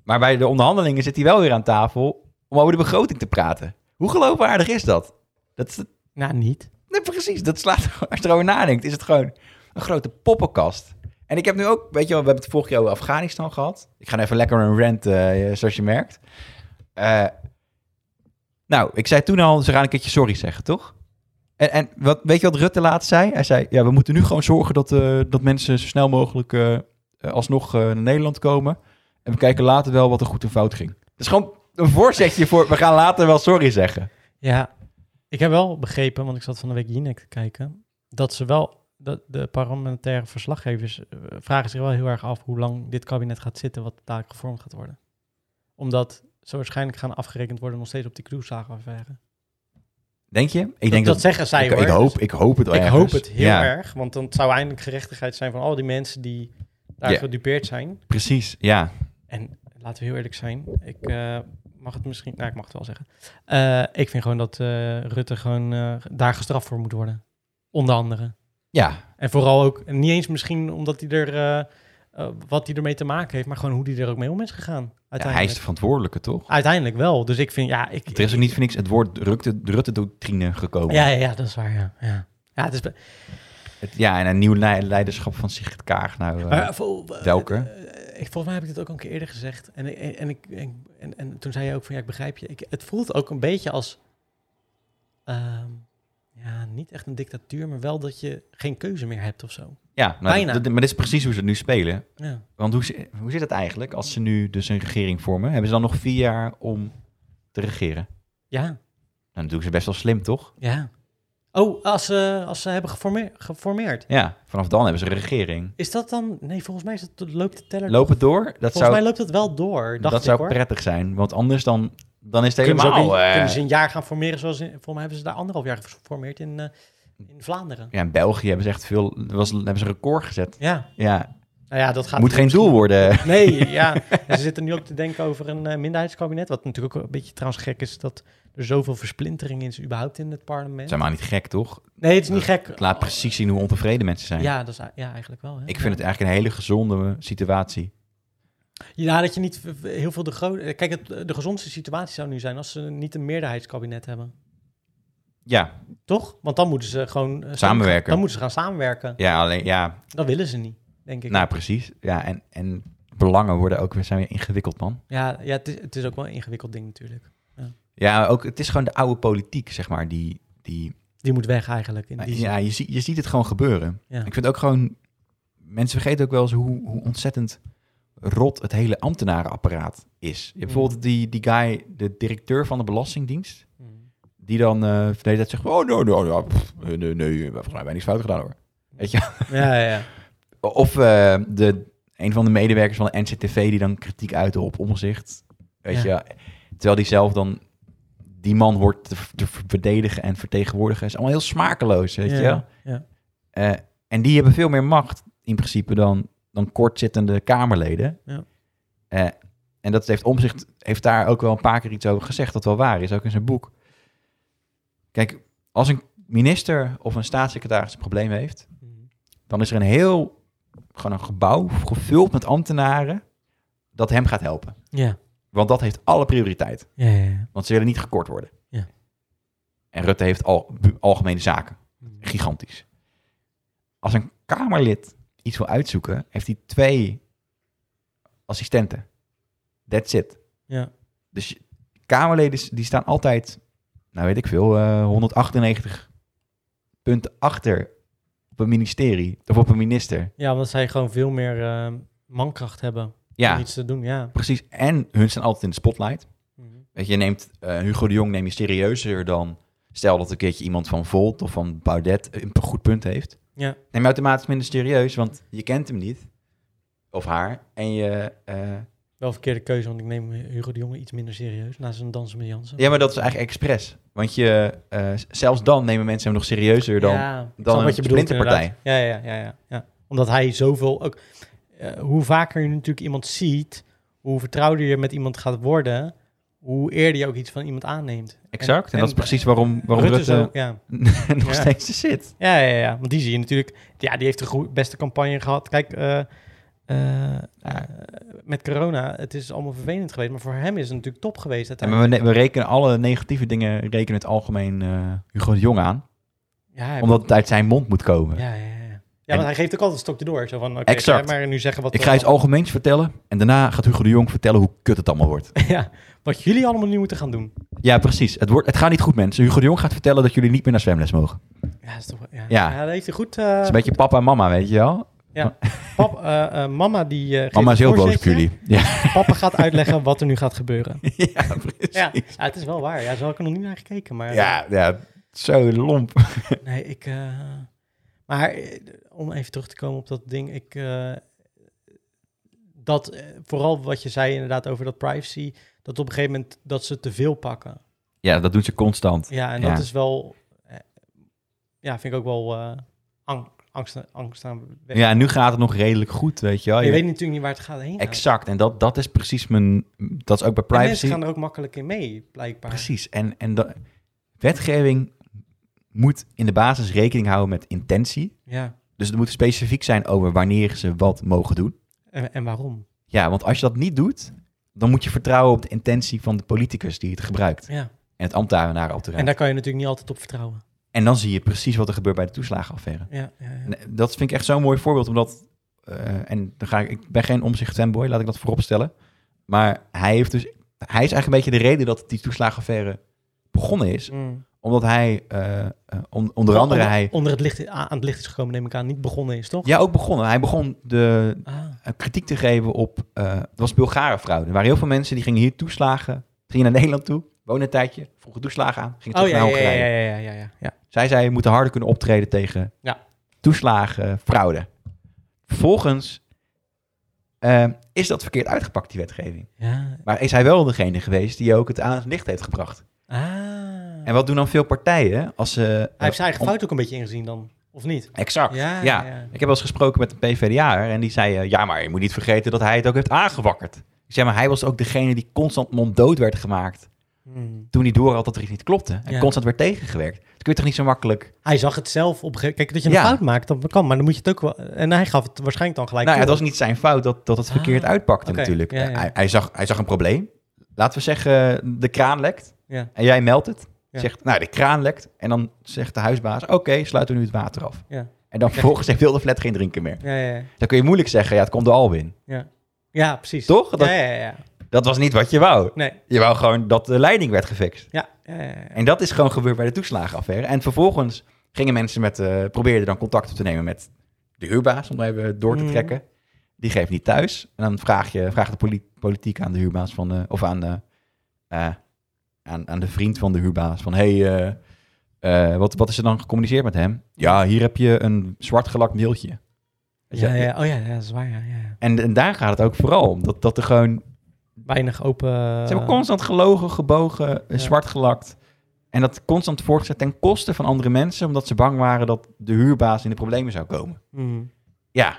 Maar bij de onderhandelingen zit hij wel weer aan tafel om over de begroting te praten. Hoe geloofwaardig is dat? Dat is,
Nou, niet.
Nee, precies. Dat slaat, als je erover nadenkt, is het gewoon een grote poppenkast. En ik heb nu ook, weet je wel, we hebben het vorige keer over Afghanistan gehad. Ik ga nu even lekker een rant, eh, zoals je merkt. Eh, nou, ik zei toen al, ze gaan een keertje sorry zeggen, toch? En, en wat, weet je wat Rutte laatst zei? Hij zei, ja, we moeten nu gewoon zorgen dat, eh, dat mensen zo snel mogelijk eh, eh, alsnog eh, naar Nederland komen. En we kijken later wel wat er goed en fout ging. Dat is gewoon een voorzetje voor, we gaan later wel sorry zeggen.
Ja, ik heb wel begrepen, want ik zat van de week Jinek te kijken, dat ze wel, dat de parlementaire verslaggevers eh, vragen zich wel heel erg af hoe lang dit kabinet gaat zitten, wat de taak gevormd gaat worden. Omdat ze waarschijnlijk gaan afgerekend worden nog steeds op die cruisezagenaffaire.
Denk je? Ik
Ik
denk
dat, dat zeggen zij
ik,
hoor.
ik hoop, ik hoop het wel
Dus ik
ergens.
hoop het heel
Ja,
erg, want dan zou eindelijk gerechtigheid zijn van al die mensen die daar
Ja.
gedupeerd zijn.
Precies, ja.
En laten we heel eerlijk zijn, ik eh, mag het misschien, nou ik mag het wel zeggen. Eh, ik vind gewoon dat eh, Rutte gewoon eh, daar gestraft voor moet worden. Onder andere.
Ja,
En vooral ook, en niet eens misschien omdat hij er, eh, eh, wat hij ermee te maken heeft, maar gewoon hoe hij er ook mee om is gegaan.
ja, hij
Uiteindelijk,
is de verantwoordelijke, toch?
Uiteindelijk wel. Dus ik vind, ja, ik...
Er is ook niet voor niks het woord Rutte- Rutte-doctrine gekomen.
Ja, ja, ja, dat is waar, ja. Ja, ja het is... be-
Het- ja, en een nieuw le- leiderschap van Sigrid Kaag. Nou, eh,
Maar, vol-
welke?
eh, ik, volgens mij heb ik dit ook al een keer eerder gezegd. En, ik- en, en, ik- en, en, en toen zei je ook van, ja, ik begrijp je. Ik, het voelt ook een beetje als... ehm, ja, niet echt een dictatuur, maar wel dat je geen keuze meer hebt of zo.
ja, nou,
bijna.
dat- maar dit is precies hoe ze het nu spelen.
Ja.
Want hoe, zi- hoe zit het eigenlijk als ze nu dus een regering vormen? Hebben ze dan nog vier jaar om te regeren?
Ja,
Nou, dan doen ze best wel slim, toch?
ja. Oh, als ze, als ze hebben geforme- geformeerd.
Ja, vanaf dan hebben ze een regering.
Is dat dan... Nee, volgens mij is dat, loopt de teller...
Loop het door? Dat
volgens
zou,
mij loopt het wel door, dacht
dat
ik
zou
hoor.
prettig zijn, want anders dan, dan is het
Kunnen ze, ook
helemaal...
niet-
eh,
kunnen ze een jaar gaan formeren zoals... In, volgens mij hebben ze daar anderhalf jaar geformeerd in, eh, in Vlaanderen.
ja, in België hebben ze echt veel... Was, hebben ze een record gezet.
Ja,
Ja,
nou ja, dat gaat...
moet geen doel worden.
Nee, ja. En ze zitten nu ook te denken over een eh, minderheidskabinet. Wat natuurlijk ook een beetje trouwens gek is dat er zoveel versplintering is überhaupt in het parlement.
Zijn maar niet gek, toch?
Nee, het is niet gek.
Het laat precies zien hoe ontevreden mensen zijn.
Ja, dat is, ja, eigenlijk wel. Hè?
Ik vind het eigenlijk een hele gezonde eh, situatie.
Ja, dat je niet v- v- heel veel de grote... Kijk, het, de gezondste situatie zou nu zijn als ze niet een meerderheidskabinet hebben.
Ja,
Toch? Want dan moeten ze gewoon... eh, samen-
Samenwerken.
Dan moeten ze gaan samenwerken.
ja alleen ja,
Dat willen ze niet, denk ik.
nou precies. Ja, en, en belangen worden ook weer, zijn weer ingewikkeld, man.
Ja, ja het, is, het is ook wel een ingewikkeld ding natuurlijk.
Ja, ook, het is gewoon de oude politiek, zeg maar, die... die
Die moet weg eigenlijk. In die zin.
Nou, ja, je, zie- je ziet het gewoon gebeuren.
Ja.
Ik vind ook gewoon... Mensen vergeten ook wel eens hoe, hoe ontzettend rot het hele ambtenarenapparaat is. Je hebt bijvoorbeeld die, die guy, de directeur van de Belastingdienst...
Mm.
die dan eh de hele tijd zegt... Oh, no, no, no, pff, nee, nee, nee, we hebben volgens mij niks fout gedaan, hoor. Weet je,
ja, ja, ja.
Of eh, de, een van de medewerkers van de NCTV die dan kritiek uitte op omzicht. Weet
Ja.
je, terwijl die zelf dan die man hoort te, te verdedigen en vertegenwoordigen. is allemaal heel smakeloos, weet je. wel.
Ja, ja.
Eh, en die hebben veel meer macht in principe dan, dan kortzittende Kamerleden.
Ja.
Eh, en dat heeft omzicht heeft daar ook wel een paar keer iets over gezegd, dat wel waar is, ook in zijn boek. Kijk, als een minister of een staatssecretaris een probleem heeft,
Mm.
dan is er een heel gewoon een gebouw gevuld met ambtenaren dat hem gaat helpen.
ja.
Want dat heeft alle prioriteit.
Ja, ja, ja.
Want ze willen niet gekort worden.
Ja.
En Rutte heeft al, bu- algemene zaken.
Mm.
Gigantisch. Als een Kamerlid iets wil uitzoeken, heeft hij twee assistenten. That's it.
Ja.
Dus je- Kamerleden s- die staan altijd, nou weet ik veel, eh 198 punten achter op een ministerie of op een minister.
Ja, omdat zij gewoon veel meer eh, mankracht hebben om
Ja,
iets te doen. Ja. Mhm.
precies. En hun staan altijd in de spotlight. Weet je, je neemt eh, Hugo de Jong neem je serieuzer dan stel dat een keertje iemand van Volt of van Baudet een p- goed punt heeft.
Ja.
Neem je automatisch minder serieus, want je kent hem niet of haar en je. eh,
Wel verkeerde keuze, want ik neem Hugo de Jonge iets minder serieus na zijn dansen met Jansen.
ja, maar dat is eigenlijk expres, want je eh, zelfs dan nemen mensen hem nog serieuzer dan.
Ja, ik
dan
snap
een splinterpartij.
inderdaad. Ja, ja, ja, ja, ja. Omdat hij zoveel ook. eh, hoe vaker je natuurlijk iemand ziet, hoe vertrouwder je met iemand gaat worden, hoe eerder je ook iets van iemand aanneemt.
Exact. En, dat is precies waarom, waarom
Rutte
Rutte,
zo, ja.
nog
Ja.
steeds er zit.
Ja, ja, ja. Want die zie je natuurlijk. Ja, die heeft de goe- beste campagne gehad. Kijk, eh, eh, eh, met corona, het is allemaal vervelend geweest. Maar voor hem is het natuurlijk top geweest
Ja, maar we,
uiteindelijk.
ne- we rekenen alle negatieve dingen rekenen het algemeen eh, Hugo de Jong aan.
Ja, hij-
Omdat het uit zijn mond moet komen.
Ja, ja, ja. ja
En-
want hij geeft ook altijd een stokje door. Zo van, oké,
Exact.
ga jij maar nu zeggen wat...
Ik ga iets algemeens vertellen en daarna gaat Hugo de Jong vertellen hoe kut het allemaal wordt.
ja, wat jullie allemaal nu moeten gaan doen.
Ja, precies. Het, wordt, het gaat niet goed, mensen. Hugo de Jong gaat vertellen dat jullie niet meer naar zwemles mogen. Het
Ja, dat is toch... Ja,
Ja.
dat heeft hij goed... eh,
is een beetje papa en mama, weet je wel?
pap, eh, eh, mama die... eh, geeft
Mama is
een
heel boos op
voorzetje.
jullie. Ja,
Papa gaat uitleggen wat er nu gaat gebeuren.
ja precies.
Ja,
Ja.
ja het is wel waar. Ja, zo had ik er nog niet naar gekeken. Maar
Ja, zo lomp.
nee, ik... eh, maar eh, om even terug te komen op dat ding. Ik, eh, dat, eh, vooral wat je zei inderdaad over dat privacy. Dat op een gegeven moment dat ze te veel pakken.
Ja, dat doen ze constant.
Ja, en dat
Ja.
is wel... eh, ja, vind ik ook wel eh, ang- angst, angst aan...
Ja, nu gaat het nog redelijk goed, weet je wel.
je weet natuurlijk niet waar het gaat heen.
Exact. En dat, dat is precies mijn... Dat is ook bij
En mensen
privacy.
gaan er ook makkelijk in mee, blijkbaar.
Precies. En, en dat- wetgeving moet in de basis rekening houden met intentie.
Ja.
Dus het moet specifiek zijn over wanneer ze wat mogen doen.
En, en waarom?
Ja, want als je dat niet doet, dan moet je vertrouwen op de intentie van de politicus die het gebruikt.
Ja.
En het ambtenaar op de
En
raad.
daar kan je natuurlijk niet altijd op vertrouwen.
En dan zie je precies wat er gebeurt bij de toeslagenaffaire.
Ja, ja, ja.
En dat vind ik echt zo'n mooi voorbeeld, omdat... eh, en dan ga ik, ik ben geen omzicht fanboy, laat ik dat vooropstellen. Maar hij, heeft dus, hij is eigenlijk een beetje de reden dat die toeslagenaffaire begonnen is.
Mm.
Omdat hij, eh, eh, on- onder andere
onder,
hij...
onder het licht, aan het licht is gekomen, neem ik aan, niet begonnen is, toch?
Ja, ook begonnen. Hij begon de,
Ah,
eh, kritiek te geven op... eh, het was Bulgare fraude. Er waren heel veel mensen die gingen hier toeslagen. Gingen naar Nederland toe, woonden een tijdje, vroegen toeslagen aan. Gingen
Oh
terug
ja,
naar
ja, ja,
Hongarije.
ja, ja, ja, ja, ja.
Zij zei, we moeten harder kunnen optreden tegen
Ja.
toeslagen, fraude. Vervolgens eh, is dat verkeerd uitgepakt, die wetgeving.
Ja.
Maar is hij wel degene geweest die ook het aan het licht heeft gebracht?
Ah.
En wat doen dan veel partijen als ze... eh,
Hij heeft zijn eigen
om-
fout ook een beetje ingezien dan, of niet?
Exact,
Ja,
ja.
ja, ja.
Ik heb wel eens gesproken met een PvdA en die zei... eh, ja, maar je moet niet vergeten dat hij het ook heeft aangewakkerd. Ik zei, maar hij was ook degene die constant monddood werd gemaakt...
Hmm.
toen hij door had dat er iets niet klopte. En
Ja.
constant werd tegengewerkt. Dat kun je toch niet zo makkelijk...
Hij zag het zelf op een gegeven Kijk, dat je een
Ja.
fout maakt, dat kan, maar dan moet je het ook wel... En hij gaf het waarschijnlijk dan gelijk
Nou, ja, het
toe.
was niet zijn fout dat, dat het verkeerd
Ah,
uitpakte
oké.
natuurlijk.
Ja, ja.
Hij, hij, zag, hij zag een probleem. Laten we zeggen, de kraan lekt.
Ja.
En jij meldt het.
Ja.
Zegt, nou, de kraan lekt. En dan zegt de huisbaas, oké, sluiten we nu het water af.
Ja.
En dan vervolgens heeft heel de flat geen drinken meer.
Ja, ja, ja.
Dan kun je moeilijk zeggen, ja, het komt door Alwin.
ja precies.
Toch?
Ja,
Dat,
ja, ja, ja.
dat was niet wat je wou.
Nee.
Je wou gewoon dat de leiding werd gefixt.
Ja, ja, ja, ja.
En dat is gewoon gebeurd bij de toeslagenaffaire. En vervolgens gingen mensen met, eh, probeerden dan contact op te nemen met de huurbaas, om daar even door te
Mhm.
trekken. Die geeft niet thuis. En dan vraag je, vraagt de poli- politiek aan de huurbaas van, eh, of aan, eh, eh, aan, aan de vriend van de huurbaas van, hey, eh, eh, wat, wat is er dan gecommuniceerd met hem? Ja, hier heb je een zwart gelakt mailtje. Weet je?
Ja, ja. Oh ja, ja, dat is waar, ja, ja, ja.
En, en daar gaat het ook vooral om. Dat, dat er gewoon
Weinig open... eh,
ze hebben constant gelogen, gebogen, eh,
ja.
zwart gelakt. En dat constant voortgezet ten koste van andere mensen, omdat ze bang waren dat de huurbaas in de problemen zou komen.
Hmm.
Ja.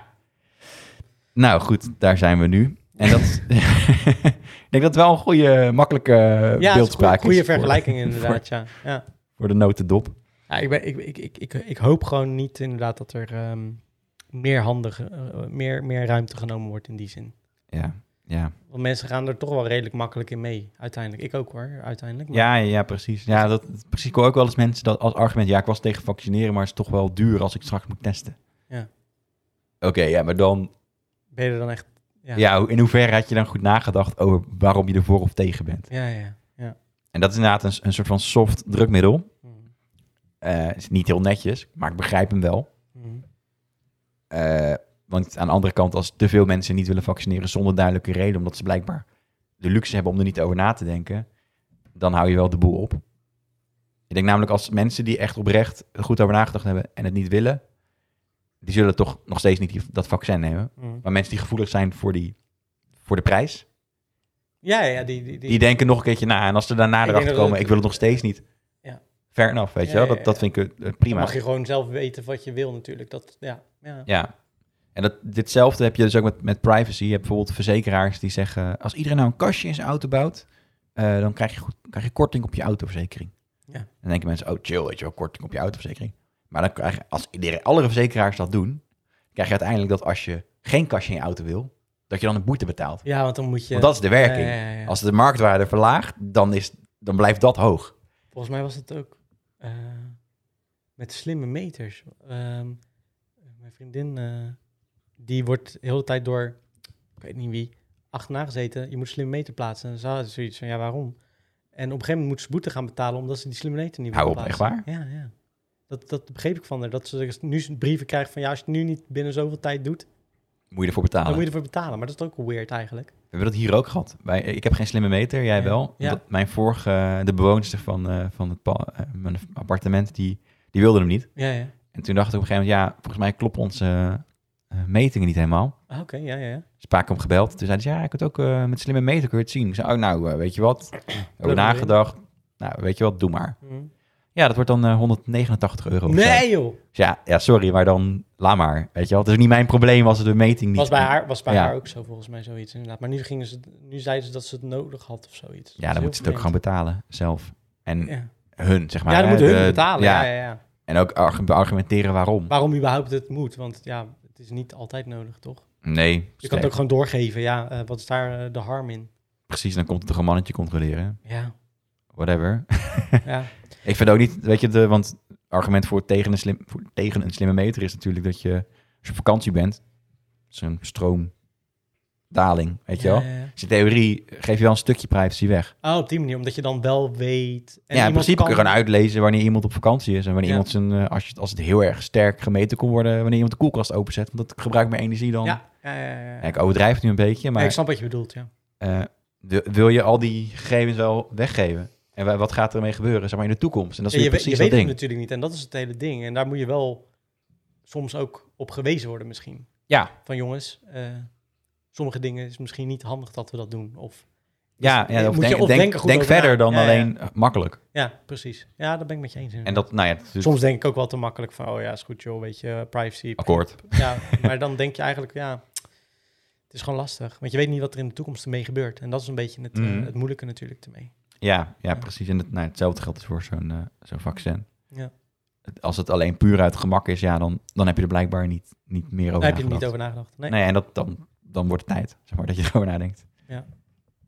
Nou goed, daar zijn we nu. En dat, ik denk dat het wel een goede, makkelijke eh,
Ja, het is een goede,
beeldspraak is.
goede
voor-
vergelijking inderdaad, ja. ja.
Voor de notendop.
Ja, ik, ben, ik, ik, ik, ik, ik hoop gewoon niet inderdaad dat er ehm, meer handige, eh, meer, meer ruimte genomen wordt in die zin.
Ja, ja.
Want mensen gaan er toch wel redelijk makkelijk in mee, uiteindelijk. Ik ook hoor, uiteindelijk. Maar-
Ja, ja, ja, precies. Ja, dat, precies. Ik hoor ook wel eens mensen dat als argument... ja, ik was tegen vaccineren, maar het is toch wel duur als ik straks moet testen.
Ja.
Oké, ja, maar dan
Ben je er dan echt... Ja, ja,
Ja, hoe- in hoeverre had je dan goed nagedacht over waarom je ervoor of tegen bent?
ja. ja, ja.
En dat is inderdaad een, een soort van soft drukmiddel.
Mm,
Eh, is niet heel netjes, maar ik begrijp hem wel.
mm.
Eh, want aan de andere kant, als te veel mensen niet willen vaccineren zonder duidelijke reden, omdat ze blijkbaar de luxe hebben om er niet over na te denken, dan hou je wel de boel op. Ik denk namelijk als mensen die echt oprecht er goed over nagedacht hebben en het niet willen, die zullen toch nog steeds niet die- dat vaccin nemen.
Mm.
Maar mensen die gevoelig zijn voor, die, voor de prijs,
Ja, ja, die... die, die-
Die denken nog een keertje na. En als ze daarna
Ik
erachter
denk dat
komen,
het-
ik wil het nog steeds niet.
Ja.
Fair enough, weet
Ja,
je wel.
ja,
Dat, dat
ja.
vind ik eh,
dan
prima.
mag je gewoon zelf weten wat je wil natuurlijk. Dat, ja, ja.
Ja. En dat, ditzelfde heb je dus ook met, met privacy. Je hebt bijvoorbeeld verzekeraars die zeggen... als iedereen nou een kastje in zijn auto bouwt... eh, dan krijg je, goed, krijg je korting op je autoverzekering.
Ja.
Dan denken mensen, oh chill, weet je wel, korting op je autoverzekering. Maar dan krijg je, als iedereen, alle verzekeraars dat doen... krijg je uiteindelijk dat als je geen kastje in je auto wil, dat je dan een boete betaalt.
Ja, want dan moet je...
Want dat is de werking.
Ja, ja, ja, ja.
Als de marktwaarde verlaagt, dan, is, dan blijft dat hoog.
Volgens mij was het ook eh, met slimme meters. Ehm, mijn vriendin, eh, die wordt heel de tijd door, ik weet niet wie, achterna gezeten. Je moet een slimme meter plaatsen. En ze hadden zoiets van, ja, waarom? En op een gegeven moment moet ze boete gaan betalen omdat ze die slimme meter niet
Hou
wil
op, echt waar?
Ja, ja. Dat, dat begreep ik van haar. Dat ze dus nu brieven krijgt van, ja, als je het nu niet binnen zoveel tijd doet,
Moet je ervoor
dan
betalen.
moet je ervoor betalen. Maar dat is ook weird eigenlijk.
We hebben dat hier ook gehad. Wij, ik heb geen slimme meter, jij
Ja.
wel.
Ja.
Omdat Mijn vorige, eh, de bewoonster van, eh, van het pa- eh, mijn appartement, die, die wilde hem niet.
Ja, ja.
En toen dacht ik op een gegeven moment, ja, volgens mij kloppen onze eh, eh, metingen niet helemaal.
Ah, Oké, ja, ja, ja.
Spaak hem gebeld. Toen zei hij, ja, ik het ook eh, met slimme meter kun je het zien. Ik zei, oh, nou, eh, weet je wat? Over
erin.
nagedacht. Nou, weet je wat, doe maar.
Hm.
Ja, dat wordt dan eh, 189 euro. of zo.
Nee, joh.
Dus ja, ja, sorry, maar dan laat maar. Weet je wel, het is niet mijn probleem als het de meting niet...
Was bij, haar, was bij
Ja.
haar ook zo, volgens mij, zoiets inderdaad. Maar nu, gingen ze, nu zeiden ze dat ze het nodig had of zoiets.
Ja, dan moet ze het ook gewoon betalen, zelf. En
Ja,
hun, zeg maar. eh,
ja dan
hè,
moeten hun
de-
betalen. Ja. Ja, ja,
En ook argu- argumenteren waarom.
Waarom überhaupt het moet, want ja, het is niet altijd nodig, toch?
Nee,
Je kan
sterk.
het ook gewoon doorgeven, ja, eh, wat is daar eh, de harm in?
precies, dan komt er toch een mannetje controleren.
Ja,
Whatever.
ja.
Ik vind ook niet, weet je, de, want het argument voor tegen, een slim, voor tegen een slimme meter is natuurlijk dat je, als je op vakantie bent, is er een stroomdaling, weet je wel.
Ja, ja, ja.
Dus in theorie geef je wel een stukje privacy weg.
Oh, op die manier, omdat je dan wel weet... en
ja, in
iemand
principe kun je
kan-
gewoon uitlezen wanneer iemand op vakantie is. En wanneer
Ja.
iemand zijn, eh, als, je, als het heel erg sterk gemeten kon worden, wanneer iemand de koelkast openzet. Want dat gebruikt meer energie dan.
Ja, ja, ja, ja.
Ja, ik overdrijf het nu een beetje, maar
Ja, ik snap wat je bedoelt, ja.
eh, wil- wil je al die gegevens wel weggeven? En wa- wat gaat ermee gebeuren, zeg maar, in de toekomst? En dat is
Ja, je,
weer
weet- je
precies
weet
dat
het
ding.
natuurlijk niet, en dat is het hele ding. En daar moet je wel soms ook op gewezen worden misschien.
Ja,
van jongens, eh, sommige dingen is misschien niet handig dat we dat doen. Of,
ja,
je-
ja
Dus moet
of
je
denk,
of
denk,
denken goed
denk
over na.
verder dan
Ja, ja.
alleen eh, makkelijk.
ja, precies. Ja, daar ben ik met je eens in.
En dat, nou ja, dat is dus
Soms denk ik ook wel te makkelijk van, oh ja, is goed joh, weet je, privacy.
akkoord.
Ja, maar dan denk je eigenlijk, ja, het is gewoon lastig. Want je weet niet wat er in de toekomst ermee gebeurt. En dat is een beetje het, eh,
Mhm.
het moeilijke natuurlijk ermee.
Ja, ja, precies. En het, nou, hetzelfde geldt dus voor zo'n eh, zo'n vaccin.
Ja.
Het- Als het alleen puur uit gemak is, ja, dan, dan heb je er blijkbaar niet, niet meer over
Daar heb je er niet
nagedacht.
over nagedacht. Nee.
Nee, en dat, dan, dan wordt het tijd, zeg maar, dat je erover nadenkt.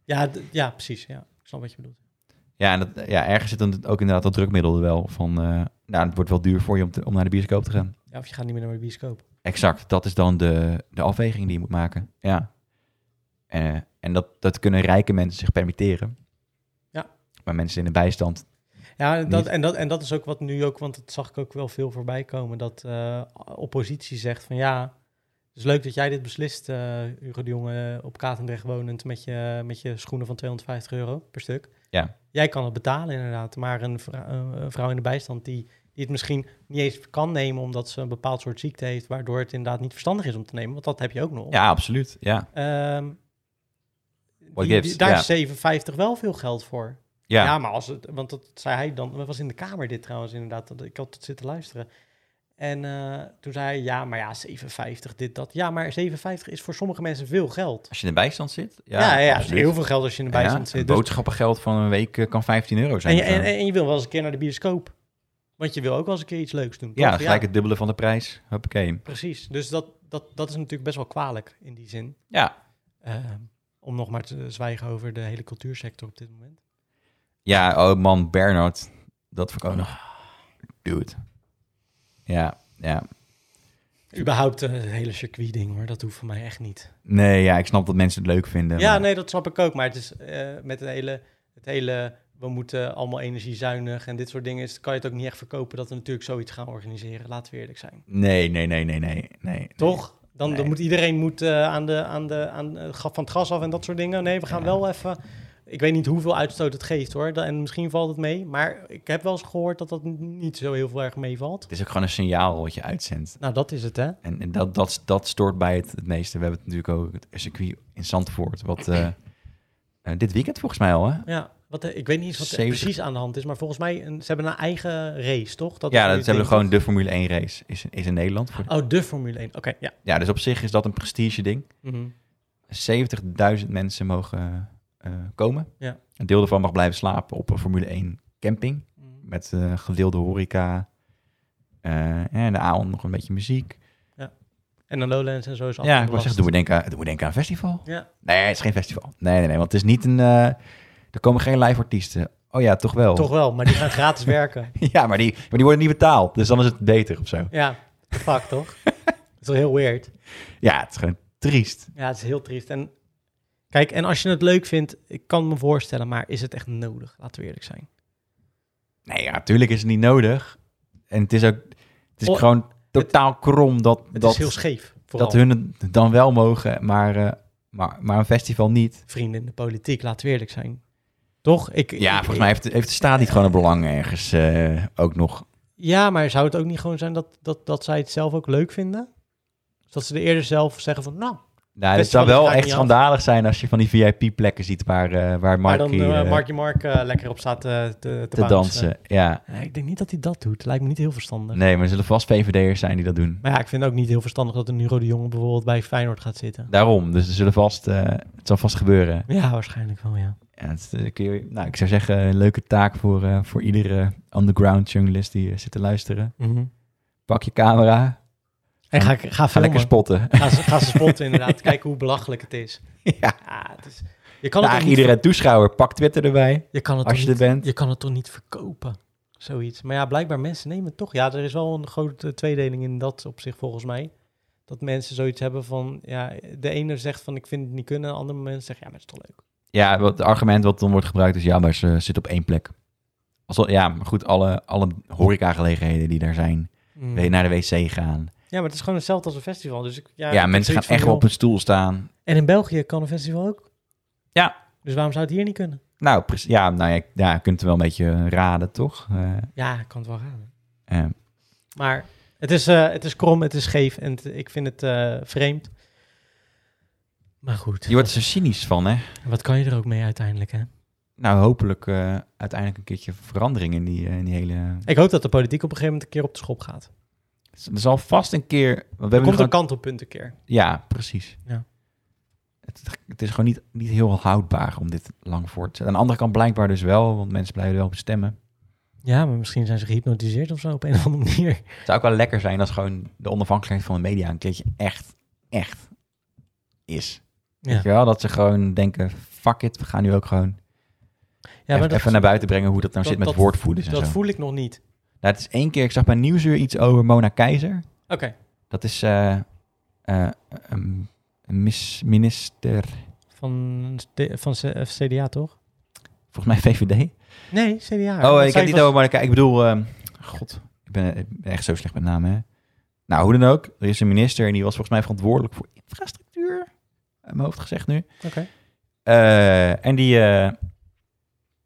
Ja, d- ja, precies. Ja. Ik snap wat je bedoelt.
Ja, en dat, ja, ergens zit dan ook inderdaad dat drukmiddel er wel van... eh, nou, het wordt wel duur voor je om, te- om naar de bioscoop te gaan.
Ja, of je gaat niet meer naar de bioscoop.
Exact, dat is dan de, de afweging die je moet maken. Ja. Eh, en dat, dat kunnen rijke mensen zich permitteren.
Ja.
Maar mensen in de bijstand.
Ja, en dat,
Niet.
en, dat, en dat is ook wat nu ook, want dat zag ik ook wel veel voorbij komen, dat eh, oppositie zegt van ja, het is leuk dat jij dit beslist, eh Hugo de Jonge, op Katendrecht wonend met je, met je schoenen van 250 euro per stuk.
Ja.
Jij kan het betalen inderdaad, maar een vrou- eh, een vrouw in de bijstand die, die het misschien niet eens kan nemen omdat ze een bepaald soort ziekte heeft, waardoor het inderdaad niet verstandig is om te nemen, want dat heb je ook nog.
Ja, absoluut. Ja.
Ehm,
What
die- die-
gives?
daar
Ja.
is 7,50 wel veel geld voor.
Ja.
Ja. maar als het, want dat zei hij dan, het was in de kamer dit trouwens inderdaad, dat ik had het zitten luisteren. En eh, toen zei hij, ja, maar ja, 57, dit, dat. Ja, maar 57 is voor sommige mensen veel geld.
Als je in de bijstand zit. Ja,
Ja, ja, ja,
absoluut.
heel veel geld als je in de bijstand
Ja,
zit.
Een
Dus-
boodschappengeld van een week eh, kan 15 euro
en,
zijn.
je,
of zo.
en, en je wil wel eens een keer naar de bioscoop. Want je wil ook wel eens een keer iets leuks doen.
ja,
toch?
gelijk het dubbele van de prijs. Huppakee.
precies. Dus dat, dat, dat is natuurlijk best wel kwalijk in die zin.
Ja.
Eh, om nog maar te zwijgen over de hele cultuursector op dit moment.
Ja, oh man, Bernard. Dat vond ik ook nog. Dude. Ja, ja.
Überhaupt eh, het hele circuit-ding hoor, dat hoeft voor mij echt niet.
Nee, ja, ik snap dat mensen het leuk vinden.
Ja,
maar-
nee, dat snap ik ook. Maar het is eh, met het hele, het hele, we moeten allemaal energiezuinig en dit soort dingen, is, kan je het ook niet echt verkopen dat we natuurlijk zoiets gaan organiseren. Laten we eerlijk zijn.
Nee, nee, nee, nee, nee. nee.
Toch? Dan, dan
Nee.
moet iedereen moet, eh, aan de, aan de, aan, eh, van het gas af en dat soort dingen. Nee, we gaan
Ja.
wel even. Ik weet niet hoeveel uitstoot het geeft hoor. Da- En misschien valt het mee. Maar ik heb wel eens gehoord dat dat niet zo heel veel erg meevalt.
Het is ook gewoon een signaal wat je uitzendt.
Nou, dat is het hè.
En, en dat, dat, dat stoort bij het, het meeste. We hebben het natuurlijk ook het circuit in Zandvoort. Wat eh, eh, dit weekend volgens mij al, hè?
Ja, wat, eh, ik weet niet eens wat er
70.
precies aan de hand is. Maar volgens mij, een, ze hebben een eigen race, toch? Dat is
ja,
nu
dat
het
hebben we
ding,
gewoon de Formule 1 race. Is, is in Nederland. Voor de-
toch? Oh, de Formule 1. Oké, ja.
Ja, dus op zich is dat een prestige ding.
Mhm.
70.000 mensen mogen eh, komen.
Ja.
Een deel daarvan mag blijven slapen op een Formule 1 camping.
Mhm.
Met eh, gedeelde horeca. eh, en de avond nog een beetje muziek.
Ja. En dan Lowlands en zo is
Ja,
altijd
ik was
last.
zeggen, doe me denken, aan- doe me denken aan een festival.
Ja.
Nee, het is geen festival. Nee, nee, nee, want het is niet een... eh, er komen geen live artiesten. Oh ja, toch wel.
Toch wel, maar die gaan gratis werken.
Ja, maar die, maar die worden niet betaald. Dus dan is het beter of zo.
Ja, fuck toch? Dat is wel heel weird.
Ja, het is gewoon triest.
Ja, het is heel triest. En kijk, en als je het leuk vindt, ik kan me voorstellen, maar is het echt nodig? Laten we eerlijk zijn.
Nee, ja, natuurlijk is het niet nodig. En het is ook... Het is
Oh,
gewoon totaal krom dat...
Het
dat,
is heel scheef. Vooral
dat hun het dan wel mogen, maar, eh, maar, maar een festival niet.
vrienden in de politiek, laten we eerlijk zijn. Toch? Ik,
Ja,
ik-
volgens mij heeft, heeft de staat niet gewoon een belang ergens eh, ook nog.
Ja, maar zou het ook niet gewoon zijn dat, dat, dat zij het zelf ook leuk vinden? Dus dat ze er eerder zelf zeggen van, nou,
Nou, het
Festival
zou
is
wel
vaak
echt
niet
schandalig zijn als je van die VIP-plekken ziet waar, eh waar
maar
Markie,
dan eh,
eh,
Marky Mark eh, lekker op staat eh, te, te,
te
bouncen.
dansen. Ja.
Nee, ik denk niet dat hij dat doet. Lijkt me niet heel verstandig.
Nee, maar er zullen vast VVD'ers zijn die dat doen.
Maar ja, ik vind het ook niet heel verstandig dat een Hugo de Jonge bijvoorbeeld bij Feyenoord gaat zitten.
Daarom, dus er zullen vast, eh, het zal vast gebeuren.
Ja, waarschijnlijk wel, ja.
Ja, het, is, eh, kun je, nou, ik zou zeggen, een leuke taak voor, eh, voor iedere underground journalist die eh, zit te luisteren. Pak je camera,
En ga, ik- ga
ga
filmen.
lekker spotten.
Ga ze, ga ze spotten inderdaad. Kijken hoe belachelijk het is.
ja,
Ja, het is je, kan het
Daag
toch niet,
iedere toeschouwer, pak Twitter erbij.
je, kan het
als
toch
je er
niet-
bent.
je kan het toch niet verkopen? Zoiets. Maar ja, blijkbaar mensen nemen het toch. Ja, er is wel een grote tweedeling in dat opzicht volgens mij. Dat mensen zoiets hebben van, ja, de ene zegt van ik vind het niet kunnen. En de andere mensen zeggen, ja, maar het is toch leuk.
Ja, wat, het argument wat dan wordt gebruikt is, ja, maar ze zit op één plek. Als, al- ja, maar goed, alle, alle horecagelegenheden die daar zijn, we- naar de wc gaan.
Ja, maar het is gewoon hetzelfde als een festival. Dus ik, ja,
Ja,
ik heb
mensen gaan
zoiets van,
echt wel
joh,
op een stoel staan.
En in België kan een festival ook.
Ja.
Dus waarom zou het hier niet kunnen?
Nou, prec- ja, nou ja, ja, je kunt het wel een beetje raden, toch? Eh,
Ja, ik kan het wel raden.
eh,
Maar het is, eh, het is krom, het is scheef en het- ik vind het eh, vreemd. Maar goed,
je wordt dus- er zo cynisch van, hè?
wat kan je er ook mee uiteindelijk, hè?
Nou, hopelijk eh, uiteindelijk een keertje verandering in die, eh, in die hele...
Ik hoop dat de politiek op een gegeven moment een keer op de schop gaat.
Er zal vast een keer... want
Er
We hebben nu
komt
gewoon-
een kantelpunt een keer.
Ja, precies.
Ja.
Het, het is gewoon niet, niet heel houdbaar om dit lang voor te zetten. Aan de andere kant blijkbaar dus wel, want mensen blijven wel op stemmen.
Ja, maar misschien zijn ze gehypnotiseerd of zo op een of andere manier.
Het zou ook wel lekker zijn als gewoon de onafhankelijkheid van de media een keertje echt, echt is.
Ja.
Weet je wel? Dat ze gewoon denken, fuck it, we gaan nu ook gewoon
Ja,
even,
maar dat,
even naar buiten brengen hoe dat nou
dat-
zit met
dat-
woordvoerders en
dat
zo.
voel ik nog niet.
Nou, het is één keer, ik zag bij Nieuwsuur iets over Mona Keizer.
Oké,
Dat is eh, eh, een een mis- minister,
van, de- van C- eh, CDA toch?
volgens mij VVD.
Nee, CDA.
Oh,
Want
ik
zij
heb niet
was-
over Monica. Ik bedoel, ehm, god, ik ben, ik ben echt zo slecht met namen. Hè? Nou, hoe dan ook, er is een minister en die was volgens mij verantwoordelijk voor infrastructuur. Uit mijn hoofd gezegd nu.
Oké.
Eh, en die. eh,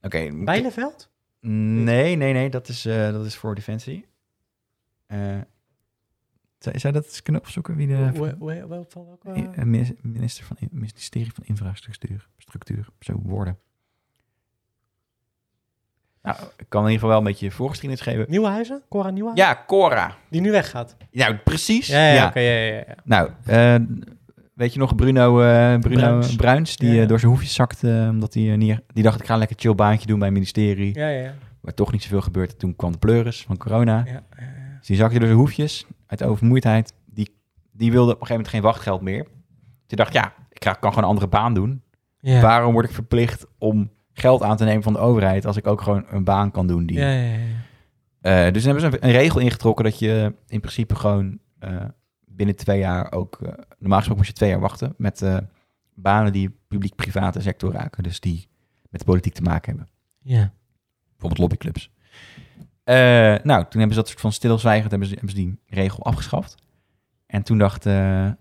Oké. moet ik-
Bijleveld?
nee, nee, nee, dat is, eh, dat is voor defensie. Eh zou, zou dat eens kunnen opzoeken wie de
Hoe- hoe- wel- van welke-
eh, minis- minister van ministerie van infrastructuur, structuur, zo worden? Nou, ik kan in ieder geval wel een beetje voorgeschiedenis geven.
Nieuwenhuizen? Cora Nieuwenhuizen?
Ja, Cora.
Die nu weggaat.
Nou, precies.
Ja, ja, oké, ja, ja, ja.
Nou, eh, weet je nog Bruno, eh, Bruno
Bruins.
Bruins, die
Ja, ja.
eh, door zijn hoefjes zakte, eh, omdat hij eh, niet, die dacht ik ga een lekker chill baantje doen bij het ministerie,
Ja, ja, ja.
waar toch niet zoveel gebeurt. Toen kwam de pleuris van corona.
ja, ja, ja.
Dus die zakte door zijn hoefjes uit overmoeidheid. Die, die wilde op een gegeven moment geen wachtgeld meer. Die dacht, ja, ik ga- kan gewoon een andere baan doen.
Ja.
Waarom word ik verplicht om geld aan te nemen van de overheid als ik ook gewoon een baan kan doen die
Ja, ja, ja, ja.
eh, dus dan hebben ze een, een regel ingetrokken dat je in principe gewoon eh, binnen twee jaar ook... eh, normaal gesproken moest je twee jaar wachten met eh, banen die publiek-private sector raken. Dus die met de politiek te maken hebben.
Ja.
Bijvoorbeeld lobbyclubs. Eh, nou, toen hebben ze dat soort van stilzwijgend hebben ze, hebben ze die regel afgeschaft. En toen dacht, eh, eh,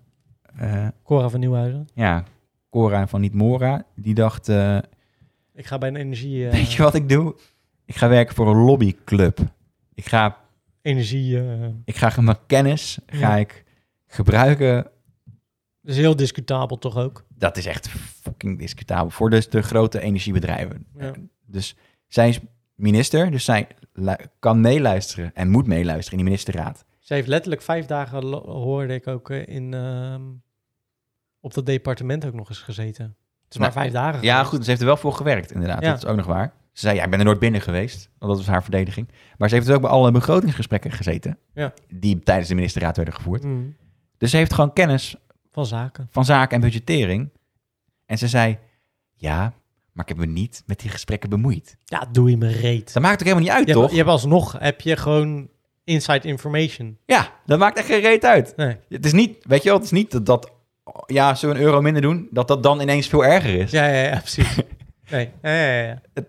Cora van Nieuwenhuizen.
ja, Cora van Niet Mora, die dacht, eh,
Ik ga bij een energie... eh,
weet je wat ik doe? Ik ga werken voor een lobbyclub. Ik ga
Energie... eh,
Ik ga mijn kennis ga
Ja.
ik gebruiken.
dat is heel discutabel toch ook?
Dat is echt fucking discutabel voor dus de grote energiebedrijven.
Ja.
Dus zij is minister, dus zij lu- kan meeluisteren en moet meeluisteren in die ministerraad.
Ze heeft letterlijk vijf dagen, lo- hoorde ik ook, eh, in, ehm, op dat departement ook nog eens gezeten. Het is
Nou,
maar vijf dagen
Ja,
geweest.
goed, ze heeft er wel voor gewerkt, inderdaad.
Ja.
Dat is ook nog waar. Ze zei, ja, ik ben er nooit binnen geweest. Want dat was haar verdediging. Maar ze heeft dus ook bij alle begrotingsgesprekken gezeten.
Ja.
Die tijdens de ministerraad werden gevoerd.
Mm.
Dus ze heeft gewoon kennis
Van zaken.
van zaken en budgettering. En ze zei, ja, maar ik heb me niet met die gesprekken bemoeid.
Ja, doe je me reet.
Dat maakt ook helemaal niet uit,
Je
toch?
hebt, je hebt alsnog heb je gewoon inside information.
Ja, dat maakt echt geen reet uit.
Nee.
Het is niet, weet je wel, het is niet dat, dat ja, zullen we een euro minder doen, dat dat dan ineens veel erger is.
Ja, ja, ja, precies. Nee, ja, ja, ja, ja.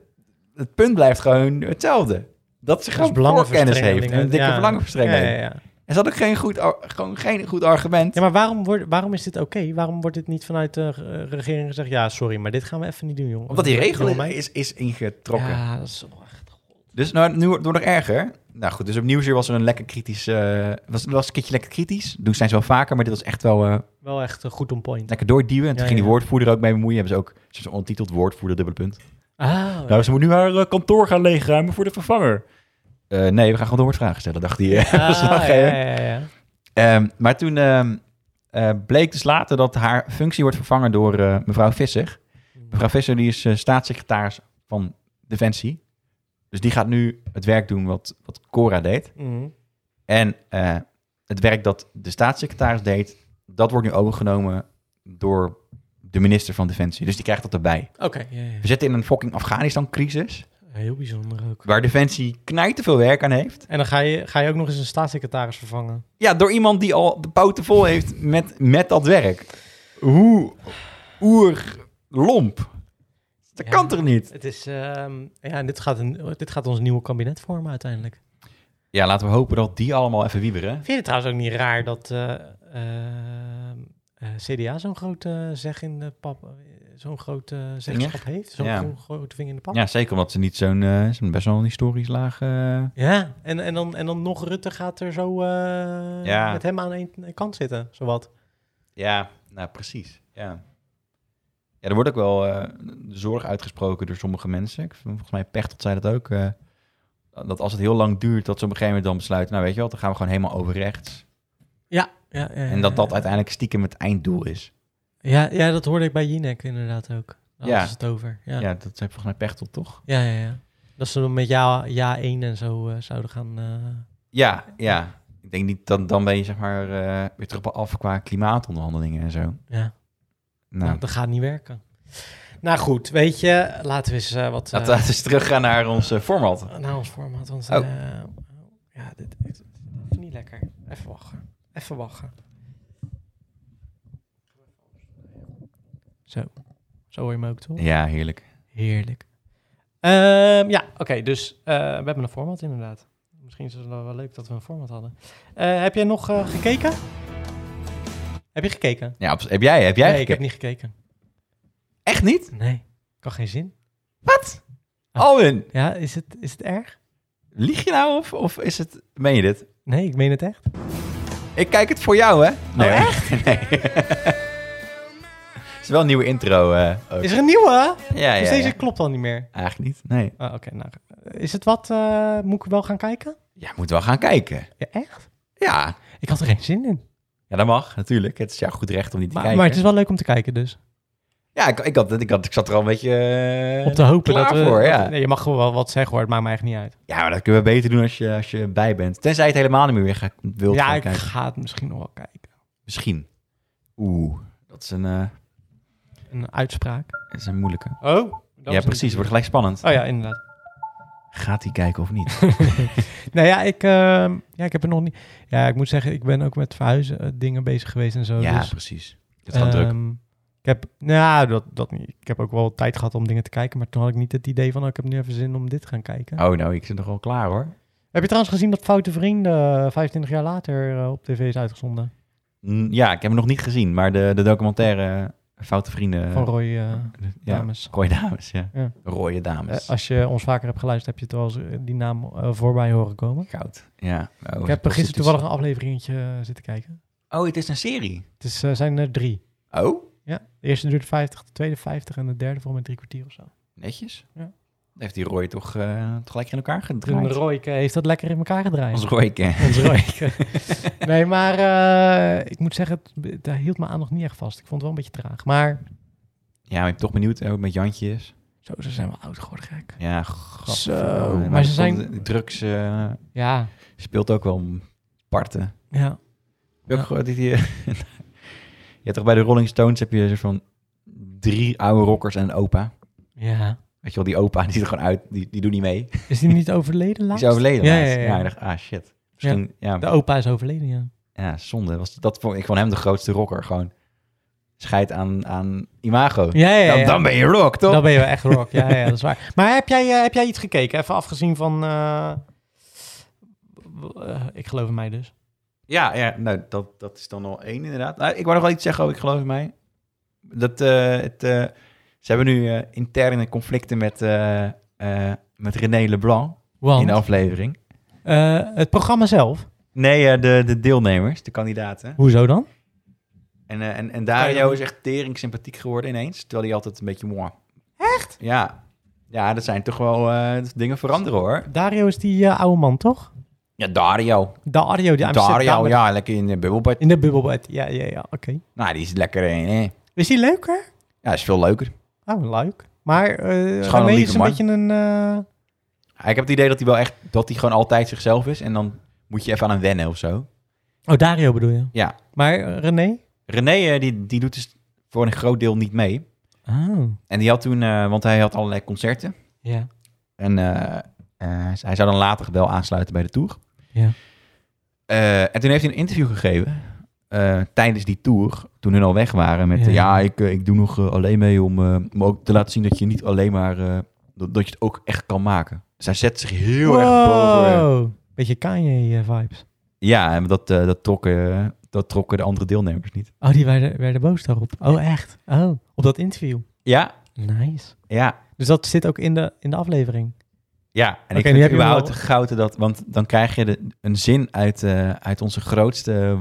Het punt blijft gewoon hetzelfde. Dat ze
Dus
gewoon voorkennis heeft en een dikke
ja.
belangenverstrengeling.
Ja, ja, ja.
En ze had ook geen goed, ar- gewoon geen goed argument.
Ja, maar waarom, wordt, waarom is dit oké? Waarom wordt dit niet vanuit de eh, regering gezegd... ja, sorry, maar dit gaan we even niet doen, jongen.
Omdat die regel
Jongen, mij-
is, is ingetrokken.
Ja, dat is wel echt...
Dus nou, nu wordt het nog erger. Nou goed, dus opnieuw was er een lekker kritisch... eh, was, was een keertje lekker kritisch. Doen zijn ze wel vaker, maar dit was echt wel eh,
Wel echt eh, goed on point.
lekker doorduwen. En toen
Ja,
ging die
ja.
woordvoerder ook mee bemoeien. Hebben ze ook zo'n onttiteld woordvoerder, dubbele punt.
Ah,
Nou, ze moet nu haar eh, kantoor gaan leegruimen voor de vervanger. Eh, nee, we gaan gewoon doorvragen stellen, dacht hij. eh,
ah, ja,
verslaggever.
ja, ja, ja.
Ehm, maar toen ehm, eh, bleek dus later dat haar functie wordt vervangen door eh, mevrouw Visser. Mevrouw Visser die is eh, staatssecretaris van Defensie. Dus die gaat nu het werk doen wat, wat Cora deed.
Mhm.
En eh, het werk dat de staatssecretaris deed, dat wordt nu overgenomen door de minister van Defensie. Dus die krijgt dat erbij.
Oké, ja, ja.
We zitten in een fucking Afghanistan-crisis,
heel bijzonder ook.
waar Defensie knijt te veel werk aan heeft.
En dan ga je, ga je ook nog eens een staatssecretaris vervangen.
Ja, door iemand die al de poten vol heeft met, met dat werk. Hoe oerlomp. Dat
Ja.
kan toch niet?
Het is, ehm, ja, en dit gaat, een, dit gaat ons nieuwe kabinet vormen uiteindelijk.
Ja, laten we hopen dat die allemaal even wieberen.
Vind je het trouwens ook niet raar dat eh, ehm, eh, CDA zo'n grote zeg in de pap, eh, zo'n grote eh, zeggenschap heeft? Zo'n
Ja.
gro- grote vinger in de pap?
Ja, zeker omdat ze niet zo'n eh, zo'n best wel een historisch laag... eh,
Ja, en, en, dan, en dan nog Rutte gaat er zo eh,
Ja.
met hem aan één eh, kant zitten, zowat.
Ja, nou precies. Ja. Ja, er wordt ook wel eh, zorg uitgesproken door sommige mensen. Ik- Volgens mij Pechtold zei dat ook. eh, dat als het heel lang duurt, dat ze op een gegeven moment dan besluiten... nou weet je wel, dan gaan we gewoon helemaal over rechts.
Ja, ja, ja,
En dat dat
ja.
uiteindelijk stiekem het einddoel is.
Ja, ja, dat hoorde ik bij Jinek inderdaad ook. Daar
Ja.
ja. het over. Ja.
Ja,
Ja.
dat zei volgens mij Pechtold toch?
Ja, ja, Dat ze dan met ja, ja 1 en zo eh, zouden gaan... eh,
Ja, ja. Ik denk niet, dan, dan ben je zeg maar eh, weer terug op af qua klimaatonderhandelingen en zo.
ja.
Nou,
Nou, dat gaat niet werken. Nou goed, weet je, laten we eens eh, wat eh,
laten we eens teruggaan naar ons eh, format.
naar ons formaat. Want
Oh.
eh, ja, dit dit is even niet lekker. Even wachten. Even wachten. Zo. Zo hoor je me ook, toch?
Ja, heerlijk.
Heerlijk. Ehm, ja, oké, dus eh, we hebben een format inderdaad. Misschien is het wel wel leuk dat we een format hadden. Eh, heb jij nog eh, gekeken? Heb je gekeken?
Ja, op- heb jij? Heb jij?
nee, ik heb
gekeken?
niet gekeken.
Echt niet?
Nee, kan geen zin.
Wat?
Ah.
Alwin,
Ja, is het, is het erg?
Lieg je nou of, of is het... Meen je dit?
Nee, ik meen het echt.
Ik kijk het voor jou, hè?
Oh,
Nee, echt? Nee. Het is wel een nieuwe intro. eh, ook.
Is er een nieuwe?
Ja,
dus
ja,
deze
ja.
klopt al niet meer.
Eigenlijk niet, nee.
Ah, Oké, nou. Is het wat? eh, moet ik wel gaan kijken?
Ja, moet wel gaan kijken.
Ja, echt?
Ja.
Ik had er geen zin in.
Ja, dat mag, natuurlijk. Het is jouw goed recht om niet te
Maar,
kijken.
maar het is wel leuk om te kijken dus.
Ja, ik, ik, had, ik, had, ik zat er al een beetje... eh,
Op te hopen
klaar
dat we...
voor,
dat-
ja.
nee, je mag gewoon wel wat zeggen hoor, het maakt mij echt niet uit.
Ja, maar dat kunnen we beter doen als je, als je bij bent. Tenzij je het helemaal niet meer weer gaat- wilt
ja,
gaan
ik
kijken.
ga het misschien nog wel kijken.
Misschien. Oeh, dat is een, eh,
Een uitspraak.
dat is een moeilijke.
Oh.
ja, precies. Het wordt gelijk spannend.
Oh ja, inderdaad.
Gaat hij kijken of niet?
Nou ja ik, ehm, ja, ik heb er nog niet... Ja, ik moet zeggen, ik ben ook met verhuizen eh, dingen bezig geweest en zo.
ja,
dus-
precies. Eh, Het gaat druk.
Ehm, Ik heb, nou, ja, dat, dat niet. Ik heb ook wel tijd gehad om dingen te kijken, maar toen had ik niet het idee van, oh, ik heb nu even zin om dit te gaan kijken.
Oh, nou, ik zit nog wel klaar hoor.
Heb je trouwens gezien dat Foute Vrienden eh, 25 jaar later eh, op tv is uitgezonden?
Mm, Ja, ik heb hem nog niet gezien, maar de, de documentaire eh, Foute Vrienden.
van Roy eh,
ja,
Dames.
Rooie Dames, ja.
Ja.
Rooie Dames.
Eh, als je ons vaker hebt geluisterd, heb je trouwens eh, die naam eh, voorbij horen komen.
Goud. Ja. Oh,
ik heb er
prostitutie.
gisteren toevallig een afleveringetje eh, zitten kijken.
Oh, het is een serie.
Het is, eh, zijn er drie.
Oh,
Ja, de eerste duurt 50, de tweede 50 en de derde voor met drie kwartier of zo.
netjes.
Ja.
Heeft die Roy toch eh gelijk in elkaar
Toen
gedraaid?
Roy eh, heeft dat lekker in elkaar gedraaid.
Als Roy eh, ken.
Ons roken. nee, maar eh, ik moet zeggen, het, het hield mijn aandacht niet echt vast. Ik vond het wel een beetje traag. Maar
Ja, maar ik ben toch benieuwd hoe het met Jantje is.
zo, ze zijn wel oud geworden, gek.
Ja, eh, god.
Zo, Oh, maar ze zijn...
Drugs eh,
Ja,
speelt ook wel parten.
ja.
Welke gro- die, die, je hebt toch bij de Rolling Stones heb je een soort van drie oude rockers en een opa.
Ja.
Weet je wel, die opa die ziet er gewoon uit, die, die doet niet mee.
Is die niet overleden
Die
laatst?
is overleden.
Ja,
laatst.
ja, ja.
ik dacht, ah shit. Misschien, ja.
De
Ja,
opa is overleden, ja.
zonde. Was, dat vond ik van hem de grootste rocker. Gewoon scheid aan, aan imago.
Ja, ja, ja.
Dan, dan ben je rock, toch?
Dan ben je wel echt rock. Ja, ja, dat is waar. Maar heb jij, eh, heb jij iets gekeken? Even afgezien van... eh, w- eh, ik geloof in mij dus.
Ja, ja nou, dat, dat is dan al één inderdaad. Nou, ik wou nog wel iets zeggen, oh, ik geloof in mij. Dat, eh, het, eh, ze hebben nu eh, interne conflicten met, eh, eh, met René Leblanc in
Want
de aflevering.
eh, het programma zelf.
Nee, eh, de, de deelnemers, de kandidaten.
Hoezo dan?
En, eh, en, en
Kan je
Dario
nog-
is echt tering sympathiek geworden ineens. Terwijl hij altijd een beetje mooi. Echt? Ja. Ja, dat zijn toch wel eh, dingen veranderen hoor.
Dario is die eh, oude man, toch?
Ja, Dario.
Dario, die Amsterdam-
Dario, ja, lekker in de bubbelbad.
In de bubbelbed. Ja, ja, ja. Oké.
Nou, die is lekker in. hè.
Is die leuker?
Ja, is veel leuker.
Oh, leuk. Maar eh
een
René is
lieve
een
man.
beetje een... eh,
Ja, Ah, Ik heb het idee dat hij wel echt, dat hij gewoon altijd zichzelf is. En dan moet je even aan hem wennen of zo.
Oh, Dario bedoel je?
Ja.
Maar eh, René?
René, eh, die, die doet dus voor een groot deel niet mee.
Oh,
En die had toen, eh, want hij had allerlei concerten.
ja.
En eh, eh, hij zou dan later wel aansluiten bij de tour.
Ja.
Eh, en toen heeft hij een interview gegeven. eh, tijdens die tour, toen hun al weg waren. Met, eh,
Ja.
ja, ik, eh, ik doe nog eh, alleen mee om, eh, om ook te laten zien dat je niet alleen maar... eh, dat, dat je het ook echt kan maken. Dus hij zet zich heel erg boven...
Wow. Beetje eh, Kanye-vibes.
Ja, en dat, eh, dat, trokken, dat trokken de andere deelnemers niet.
Oh, die werden, werden boos daarop. Oh, echt? Oh, op dat interview.
Ja,
Nice.
ja,
Dus dat zit ook in de, in de aflevering.
ja. En
nu
ik vind
heb
het
je
überhaupt
wel-
te gouden dat... Want dan krijg je de- een zin uit, eh, uit onze grootste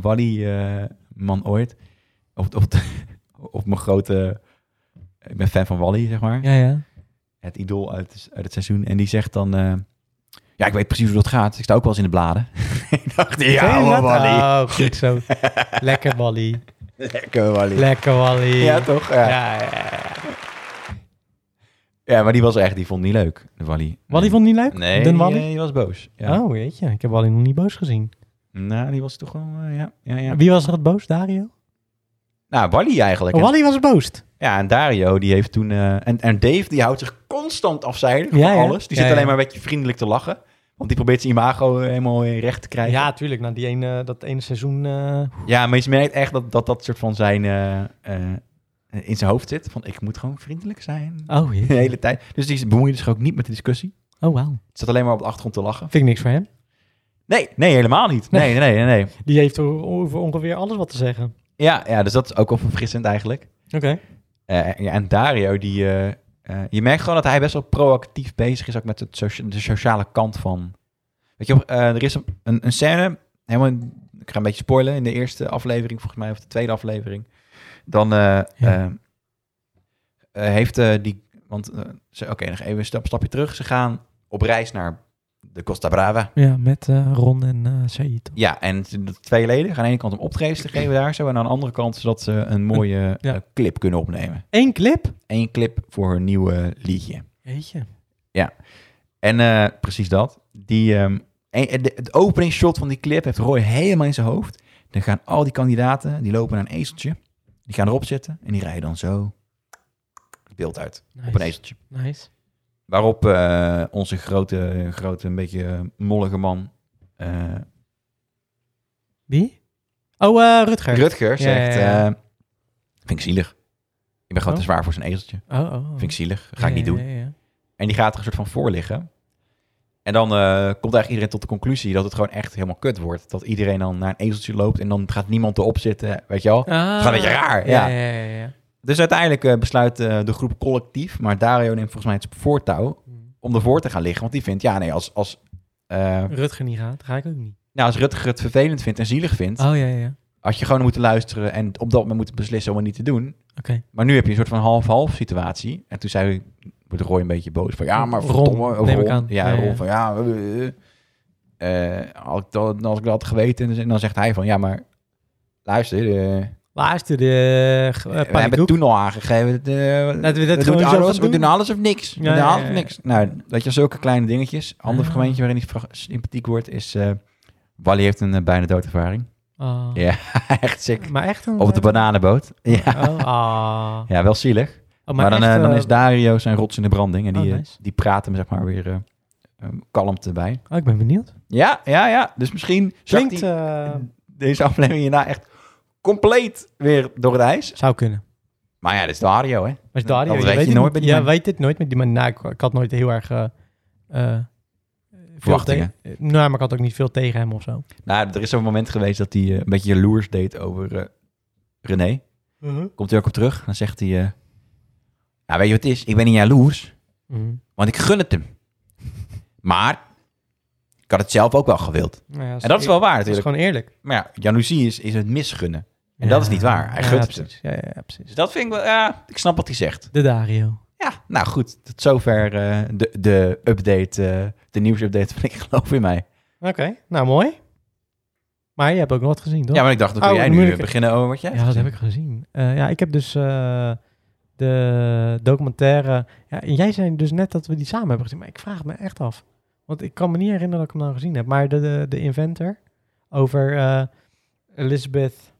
Wally-man ooit. Of, of, of mijn grote... Ik ben fan van Wally, zeg maar.
Ja, ja.
Het idool uit, uit het seizoen. En die zegt dan... eh, ja, ik weet precies hoe dat gaat. Ik sta ook wel eens in de bladen. ik dacht, ja,
Ken je
hoor,
dat?
Wally.
Oh, goed zo. Lekker Wally.
Lekker, Wally.
Lekker Wally.
Ja, toch? Ja. Ja.
Ja, ja, ja. maar
maar die was echt... Die vond het niet leuk, de Wally.
Wally vond het niet leuk?
Nee,
Dun
die,
Wally?
eh, die was boos. Ja.
Oh, weet je. Ik heb Wally nog niet boos gezien.
Nou, die was toch wel, eh, ja. ja, ja.
Wie was er het boos? Dario?
Nou, Wally eigenlijk.
Oh, Wally was boos.
Ja, en Dario, die heeft toen... eh, en, en Dave, die houdt zich constant afzijdig van
Ja, ja.
alles. Die
Ja,
zit
ja.
alleen maar een beetje vriendelijk te lachen. Want die probeert zijn imago eh, helemaal eh, recht te krijgen.
Ja, tuurlijk. Na die ene, dat ene seizoen... eh,
Ja, maar je merkt echt dat dat, dat soort van zijn... eh, eh, in zijn hoofd zit. Van, ik moet gewoon vriendelijk zijn.
Oh,
De
jee.
hele tijd. Dus die bemoeide zich ook niet met de discussie.
Oh, wauw.
Het zat alleen maar op de achtergrond te lachen.
Vind ik niks voor hem.
Nee, nee, helemaal niet. Nee, nee, nee, nee. nee.
Die heeft o- over ongeveer alles wat te zeggen.
Ja, ja, dus dat is ook wel verfrissend eigenlijk.
Oké.
Eh, ja, en Dario, die, eh, eh, je merkt gewoon dat hij best wel proactief bezig is ook met het socia- de sociale kant van. Weet je, op- eh, er is een, een, een scène, helemaal, in- ik ga een beetje spoilen, in de eerste aflevering volgens mij, of de tweede aflevering. Dan eh, eh, eh, heeft eh, die, want, eh, ze- oké, nog even een stap, stapje terug. Ze gaan op reis naar de Costa Brava.
Ja, met eh, Ron en eh Said.
Ja, en t- de twee leden gaan aan de ene kant om optredens te geven daar zo. En aan de andere kant zodat ze een mooie
Ja.
eh, clip kunnen opnemen.
Eén clip?
Eén clip voor hun nieuwe liedje.
Weet je.
En eh, precies dat. Die, ehm, en- en de, het openingsshot van die clip heeft Roy helemaal in zijn hoofd. Dan gaan al die kandidaten, die lopen naar een ezeltje. Die gaan erop zitten en die rijden dan zo het beeld uit
Nice.
op een ezeltje.
Nice.
Waarop eh, onze grote, grote, een beetje mollige man eh,
Wie? Oh, eh, Rutger.
Rutger
Ja,
zegt...
ja, ja.
eh, vind ik zielig. Ik ben gewoon
Oh.
te zwaar voor zijn ezeltje.
oh, oh, oh.
Vind ik zielig. Ga ik
Ja,
niet doen.
ja, ja, ja.
En die gaat er een soort van voor liggen. En dan eh, komt eigenlijk iedereen tot de conclusie dat het gewoon echt helemaal kut wordt. Dat iedereen dan naar een ezeltje loopt en dan gaat niemand erop zitten. Weet je wel?
Ah.
Het gaat een beetje raar.
Ja,
Ja.
ja, ja. ja, ja.
Dus uiteindelijk eh, besluit eh, de groep collectief. Maar Dario neemt volgens mij het voortouw om ervoor te gaan liggen. Want die vindt, ja nee, als, als, eh,
Rutger niet gaat, ga ik ook niet.
nou, als Rutger het vervelend vindt en zielig vindt...
Oh, ja, ja, ja.
had je gewoon moeten luisteren en op dat moment moeten beslissen om het niet te doen.
Oké.
Maar nu heb je een soort van half-half situatie. En toen zei wordt Roy een beetje boos van ja, maar
Ron,
verdomme,
neem
Ron,
ik aan.
Ja,
Ja,
Ron
ja.
van ja, eh, eh, eh, had ik dat, als ik dat had geweten, dus- en dan zegt hij van ja, maar luister, eh,
Luister, de eh,
we hebben het toen al aangegeven. Dat, eh,
dat
we,
gewoon
doen
zo
alles,
gaan
we
doen.
doen alles of niks. we
Ja,
doen
ja,
alles
ja,
of
ja.
niks. Nou, dat je zulke kleine dingetjes. Ander
Ah.
gemeentje waarin hij fra- sympathiek wordt is eh Wally heeft een eh, bijna doodervaring.
Oh.
Ja, echt sick.
Maar echt een...
Op de bananenboot. Ja,
Oh, ah.
ja wel zielig.
Oh,
Maar, dan,
echt,
eh, dan
eh,
is Dario zijn rots in de branding. En die,
Oh,
eh,
nice.
die praat hem zeg maar weer eh, um, kalmte bij.
oh, ik ben benieuwd.
Ja, ja, ja. Dus misschien zakt
Klinkt...
hij
eh,
deze aflevering hierna echt compleet weer door het ijs.
zou kunnen.
Maar ja, dit is Dario, hè?
Maar is Dario,
Dat
je
weet je
het
nooit
niet-
bij die
ja,
man.
weet dit nooit met die man. Nou, ik, ik had nooit heel erg... eh, eh, veel
Verwachtingen.
te- eh, nou, maar ik had ook niet veel tegen hem of zo.
Nou, er is zo'n moment geweest dat hij eh, een beetje jaloers deed over eh, René. Komt hij ook op terug. Dan zegt hij... eh, ja, weet je wat het is? Ik ben niet jaloers,
Mhm.
want ik gun het hem. Maar ik had het zelf ook wel gewild.
Nou ja,
En dat is wel waar
dat is
natuurlijk.
gewoon eerlijk.
Maar ja, jaloezie is, is het misgunnen. En dat is niet waar. Hij gunt het hem.
precies. Ja, ja, ja, precies.
Dus dat vind ik wel... Ja, ik snap wat hij zegt.
De Dario.
Ja, nou goed. Tot zover eh, de, de update, eh, de nieuwsupdate van Ik Geloof in Mij.
Oké, nou mooi. Maar je hebt ook nog wat gezien, toch?
Ja, maar ik dacht, dan kun
Oh,
jij
dan
nu
moet
eh,
ik-
beginnen over wat jij...
Ja, dat heb ik gezien. Eh, ja, ik heb dus eh, de documentaire... Ja, en jij zei dus net dat we die samen hebben gezien, maar ik vraag het me echt af. Want ik kan me niet herinneren dat ik hem nou gezien heb. Maar de, de, de Inventor over eh, Elizabeth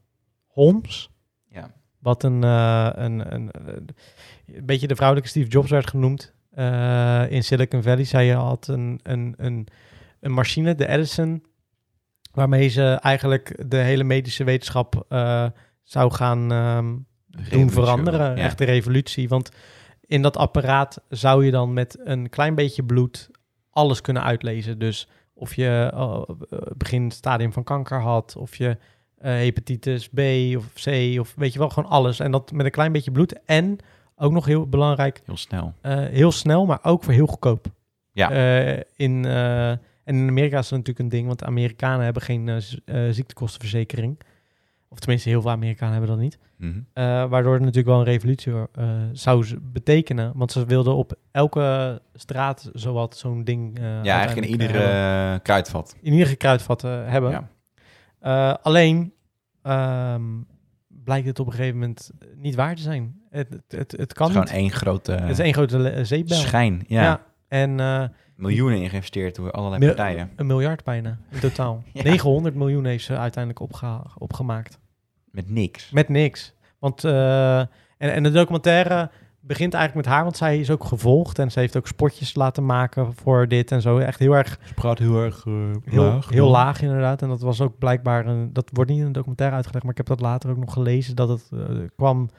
Holmes.
Ja.
Wat een, eh, een, een, een, een beetje de vrouwelijke Steve Jobs werd genoemd. eh, in Silicon Valley. Zij had een, een, een, een machine, de Edison... waarmee ze eigenlijk de hele medische wetenschap eh, zou gaan... ehm, doen
Revolutie,
veranderen.
ja.
Echt de revolutie. Want in dat apparaat zou je dan met een klein beetje bloed alles kunnen uitlezen. Dus of je eh, begin stadium van kanker had, of je eh, hepatitis B of C, of weet je wel, gewoon alles. En dat met een klein beetje bloed. En ook nog heel belangrijk,
Heel snel.
eh, heel snel, maar ook voor heel goedkoop.
Ja.
Eh, in, eh, en in Amerika is dat natuurlijk een ding, want de Amerikanen hebben geen eh, z- eh, ziektekostenverzekering. Of tenminste, heel veel Amerikanen hebben dat niet.
Mhm.
Eh, waardoor het natuurlijk wel een revolutie eh, zou z- betekenen. Want ze wilden op elke straat zowat zo'n ding... eh,
Ja, eigenlijk
uiteindelijk,
in ieder
eh, hebben.
eh, kruidvat.
in iedere kruidvat eh, hebben.
Ja.
Eh, alleen ehm, blijkt het op een gegeven moment niet waar te zijn. Het, het, het, het kan
Het is gewoon
niet.
één grote
Het is één grote le- eh, zeepbel.
schijn. Ja.
En eh,
Miljoenen in geïnvesteerd door allerlei
Mil-
partijen.
een miljard bijna in totaal.
Ja.
900 miljoen heeft ze uiteindelijk opgeha- opgemaakt.
Met niks.
Met niks. Want, eh, en, en de documentaire begint eigenlijk met haar, want zij is ook gevolgd en ze heeft ook spotjes laten maken voor dit en zo. Echt heel erg,
Ze praat heel erg
heel laag, heel laag inderdaad. En dat was ook blijkbaar, een, dat wordt niet in de documentaire uitgelegd, maar ik heb dat later ook nog gelezen, dat het eh, kwam,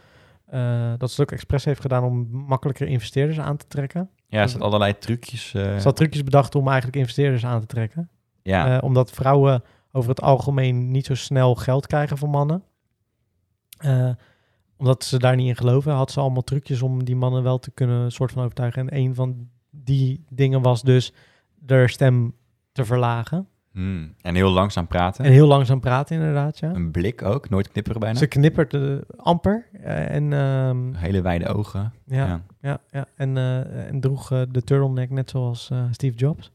eh, dat ze het ook expres heeft gedaan om makkelijker investeerders aan te trekken.
Ja, er zaten allerlei trucjes. eh,
Ze had trucjes bedacht om eigenlijk investeerders aan te trekken.
ja.
Eh, omdat vrouwen over het algemeen niet zo snel geld krijgen van mannen. Eh, omdat ze daar niet in geloven, had ze allemaal trucjes om die mannen wel te kunnen soort van overtuigen. En een van die dingen was dus de stem te verlagen.
Hmm. En heel langzaam praten.
En heel langzaam praten inderdaad, ja.
Een blik ook, nooit knipperen bijna.
Ze knipperde amper eh, en, ehm,
Hele wijde ogen.
ja, ja.
Ja.
Ja, en, eh, en droeg eh, de turtleneck net zoals eh, Steve Jobs.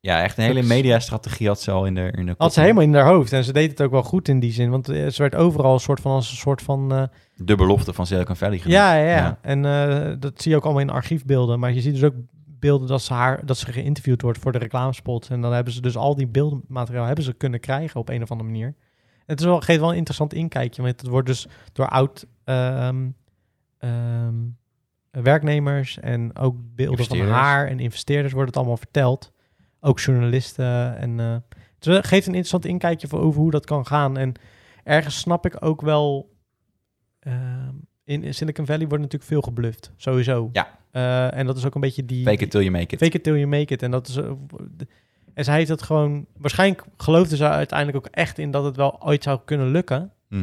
Ja, echt een hele
Dat is-
mediastrategie had ze al in de, in de
Had ze
kop.
helemaal in haar hoofd en ze deed het ook wel goed in die zin. Want eh, ze werd overal een soort van als een soort van... eh,
De belofte van Silicon Valley genoemd.
Ja, ja, ja.
Ja.
En eh, dat zie je ook allemaal in archiefbeelden. Maar je ziet dus ook beelden dat ze, haar, dat ze geïnterviewd wordt voor de reclamespot. En dan hebben ze dus al die beeldmateriaal hebben ze kunnen krijgen op een of andere manier. Het is wel, geeft wel een interessant inkijkje. Want het wordt dus door oud ehm, ehm, werknemers en ook beelden van
Investeerders.
haar en investeerders wordt het allemaal verteld. Ook journalisten. En, eh, dus het geeft een interessant inkijkje voor over hoe dat kan gaan. En ergens snap ik ook wel. ehm, in in Silicon Valley wordt natuurlijk veel gebluft, sowieso.
Ja.
Eh, en dat is ook een beetje die.
Fake it till you make it.
fake it till you make it. En dat is. eh, de- en zij heeft dat gewoon. Waarschijnlijk geloofde ze uiteindelijk ook echt in dat het wel ooit zou kunnen lukken.
Mhm.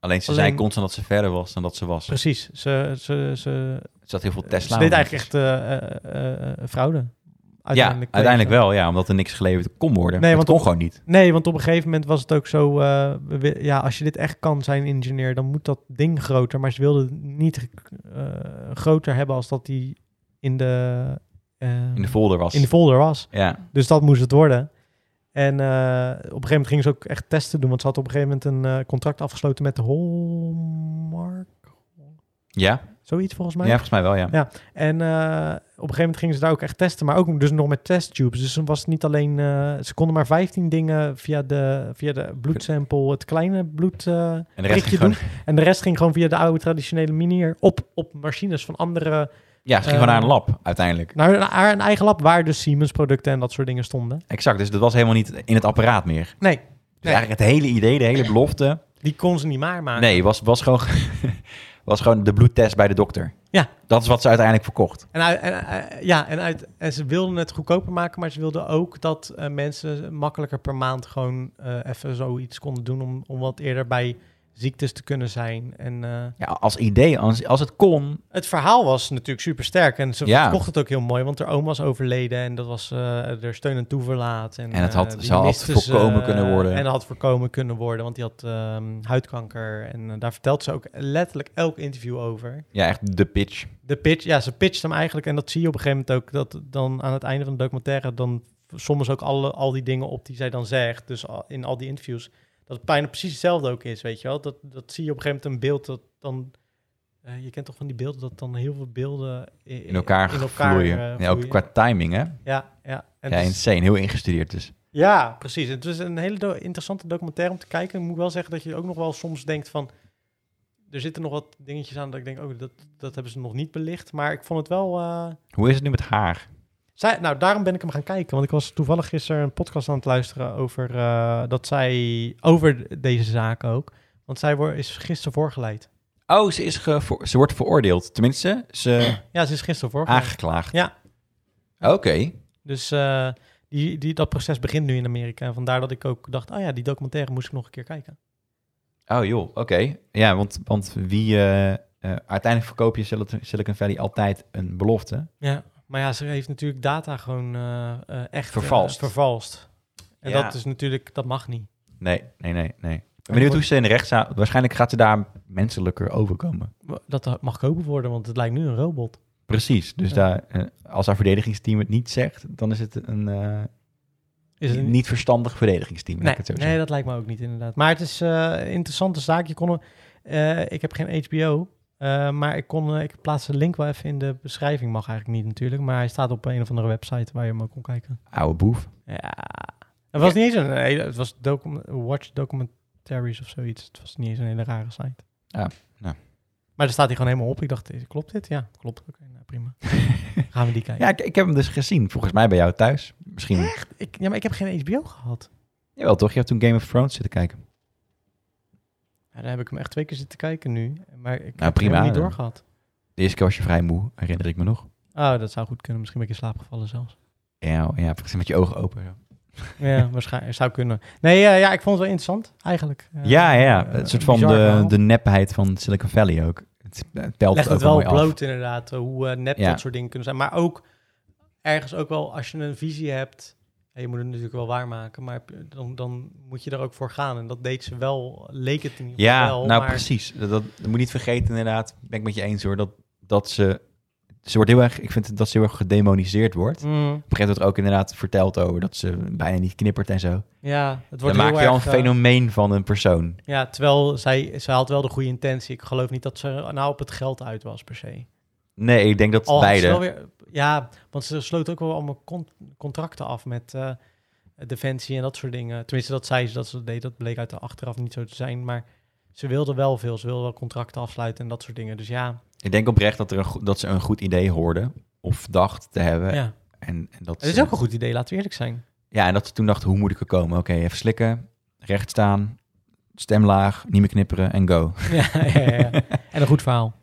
Alleen ze
Alleen-
zei constant dat ze verder was dan dat ze was. Er
Precies. Ze, ze, ze,
zat heel veel
ze
Tesla.
deed eigenlijk echt eh, eh, eh, fraude.
Ja,
kreeg
uiteindelijk
ze-
wel. Ja, omdat er niks geleverd kon
Nee,
worden. Nee, want
want
kon
op-
gewoon niet.
Nee, want op een gegeven moment was het ook zo. eh, we wi- ja, als je dit echt kan zijn, ingenieur, dan moet dat ding groter. Maar ze wilden het niet eh, groter hebben als dat die in de, eh,
In de folder was.
in de folder was.
ja.
Dus dat moest het worden. En eh, op een gegeven moment gingen ze ook echt testen doen. Want ze had op een gegeven moment een eh, contract afgesloten met de Hallmark.
Ja,
Zoiets volgens
Ja,
mij.
volgens mij wel, ja.
Ja. En eh, op een gegeven moment gingen ze daar ook echt testen, maar ook dus nog met testtubes. Dus dan was het niet alleen, eh, ze konden maar 15 dingen via de, via de bloedsample, het kleine bloed. eh,
En de rest
prikje
ging gewoon,
en de rest ging gewoon via de oude traditionele manier op, op machines van andere,
ja, het ging gewoon
Eh,
naar een lab uiteindelijk.
naar een, naar een eigen lab waar dus Siemens producten en dat soort dingen stonden.
Exact, dus dat was helemaal niet in het apparaat meer. Dus
Nee, Nee.
eigenlijk het hele idee, de hele belofte,
die kon ze niet maar maken.
Nee, was, was, gewoon, was gewoon de bloedtest bij de dokter.
Ja.
Dat is wat ze uiteindelijk verkocht.
En, uit- en, eh, ja, en, uit, en ze wilden het goedkoper maken, maar ze wilden ook dat eh, mensen makkelijker per maand gewoon eh, even zoiets konden doen om, om wat eerder bij ziektes te kunnen zijn. En eh,
Ja, als idee, als, als het kon.
het verhaal was natuurlijk super sterk en ze
Ja.
verkocht het ook heel mooi, want haar oom was overleden en dat was eh er steun en toeverlaat. En,
En het
eh,
had-
die
ze had
miste ze,
voorkomen
eh,
kunnen worden.
En had voorkomen kunnen worden, want die had ehm, huidkanker en eh, daar vertelt ze ook letterlijk elk interview over.
Ja, echt de pitch.
De pitch, ja, ze pitcht hem eigenlijk. En dat zie je op een gegeven moment ook. Dat dan aan het einde van de documentaire. dan soms ook alle, al die dingen op die zij dan zegt. Dus al- in al die interviews. Dat het bijna precies hetzelfde ook is, weet je wel. Dat, dat zie je op een gegeven moment een beeld dat dan. eh, je kent toch van die beelden dat dan heel veel beelden i- i-
In elkaar, vloeien.
eh,
ja, ook
vloeien.
qua timing, hè?
Ja, ja. En
ja,
het is-
insane. Heel ingestudeerd dus.
ja, precies. Het is een hele do- interessante documentaire om te kijken. Ik moet wel zeggen dat je ook nog wel soms denkt van... Er zitten nog wat dingetjes aan dat ik denk, oh, dat, dat hebben ze nog niet belicht. Maar ik vond het wel... eh,
Hoe is het nu met haar?
zij, nou, daarom ben ik hem gaan kijken. Want ik was toevallig gisteren een podcast aan het luisteren over eh, dat zij... Over deze zaak ook. Want zij wo- is gisteren voorgeleid.
Oh, ze, is gevo- ze wordt veroordeeld. Tenminste, ze
Ja, ze is gisteren voorgeleid.
aangeklaagd.
Ja.
Oké.
Dus eh, die, die, dat proces begint nu in Amerika. En vandaar dat ik ook dacht, oh ja, die documentaire moest ik nog een keer kijken.
Oh joh, oké. Ja, want, want wie... eh, eh, uiteindelijk verkoop je Sil- Silicon Valley altijd een belofte.
Ja, maar ja, ze heeft natuurlijk data gewoon eh, eh, echt eh,
Vervalst.
vervalst. En
Ja.
dat is natuurlijk, dat mag niet.
Nee, nee, nee, nee. Ik ben benieuwd hoe ze in de rechtszaal... Waarschijnlijk gaat ze daar menselijker overkomen.
Dat mag geopend worden, want het lijkt nu een robot.
Precies. Dus
Ja.
daar, eh, als haar verdedigingsteam het niet zegt, dan is het een eh,
Is het
niet verstandig verdedigingsteam. laat
Nee,
ik het zo
nee, dat lijkt me ook niet inderdaad. Maar het is eh, een interessante zaak. Je kon, hem- eh, ik heb geen HBO, eh, maar ik, kon, eh, ik plaats de link wel even in de beschrijving. Mag eigenlijk niet natuurlijk, maar hij staat op een of andere website waar je hem ook kon kijken.
zeggen. Oude boef.
Ja. Het was niet eens een... nee, het was docu- watch documentaries of zoiets. Het was niet eens een hele rare site.
Ja, ja.
Maar er staat hij gewoon helemaal op. Ik dacht, eh, klopt dit? Ja, klopt. Oké, nou, prima. Gaan we die kijken.
Ja, ik, ik heb hem dus gezien. Volgens mij bij jou thuis. Misschien.
Ik, ja, maar ik heb geen HBO gehad.
Jawel toch? Je hebt toen Game of Thrones zitten kijken.
Ja, daar heb ik hem echt twee keer zitten kijken nu. Maar ik
Nou,
heb
prima,
hem niet
dan.
doorgehad.
De eerste keer was je vrij moe, herinner ik me nog.
Oh, dat zou goed kunnen. Misschien ben ik in slaap gevallen zelfs.
Ja, ja precies met je ogen open. Ja,
Ja, waarschijnlijk. Zou kunnen. Nee, ja, ja, ik vond het wel interessant eigenlijk. Eh,
ja, ja.
eh,
een soort van
bizar
de,
verhaal.
de nepheid van Silicon Valley ook. Het eh, telt
legt
ook
het wel
mooi af.
bloot inderdaad, eh, hoe eh, nep
Ja.
dat soort dingen kunnen zijn. Maar ook ergens ook wel, als je een visie hebt, en je moet het natuurlijk wel waarmaken, maar dan, dan moet je er ook voor gaan. En dat deed ze wel, leek het in ieder geval
Ja,
wel.
nou
maar
precies. Dat, dat, dat moet niet vergeten inderdaad. Ben ik met je eens hoor. Dat, dat ze... Ze wordt heel erg... Ik vind dat ze heel erg gedemoniseerd wordt.
Mm,
Op een gegeven moment wordt er ook inderdaad verteld over dat ze bijna niet knippert en zo.
ja, het
Dan
wordt
maak
heel
je al een
erg, eh,
fenomeen van een persoon.
Ja, terwijl zij, zij had wel de goede intentie. Ik geloof niet dat ze nou op het geld uit was per se.
Nee, ik denk dat
Al had Oh, ze
beide.
wel weer- ja, want ze sloot ook wel allemaal con- contracten af met eh, Defensie en dat soort dingen. Tenminste, dat zei ze dat ze dat deed. Dat bleek uit de achteraf niet zo te zijn. Maar ze wilde wel veel. Ze wilde wel contracten afsluiten en dat soort dingen. Dus ja,
Ik denk oprecht dat, er een, go- dat ze een goed idee hoorden of dacht te hebben.
ja.
En, en dat
het is
ze-
ook een goed idee, laten we eerlijk zijn.
Ja, en dat ze toen dacht, hoe moet ik er komen? Oké, even slikken, recht staan, stem laag, niet meer knipperen en go.
ja, ja, ja. En een goed verhaal.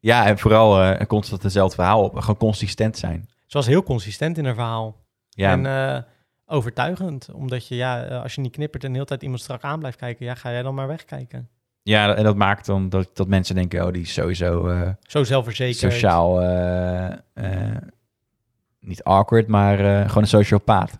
Ja, en vooral eh, constant hetzelfde verhaal, op, gewoon consistent zijn.
Ze was heel consistent in haar verhaal.
Ja,
En eh, overtuigend. Omdat je, ja, eh, als je niet knippert en de hele tijd iemand strak aan blijft kijken, ja, ga jij dan maar wegkijken.
ja, en dat maakt dan dat, dat mensen denken, oh, die is sowieso... eh,
Zo zelfverzekerd.
sociaal, eh, eh, niet awkward, maar eh, gewoon een sociopaat.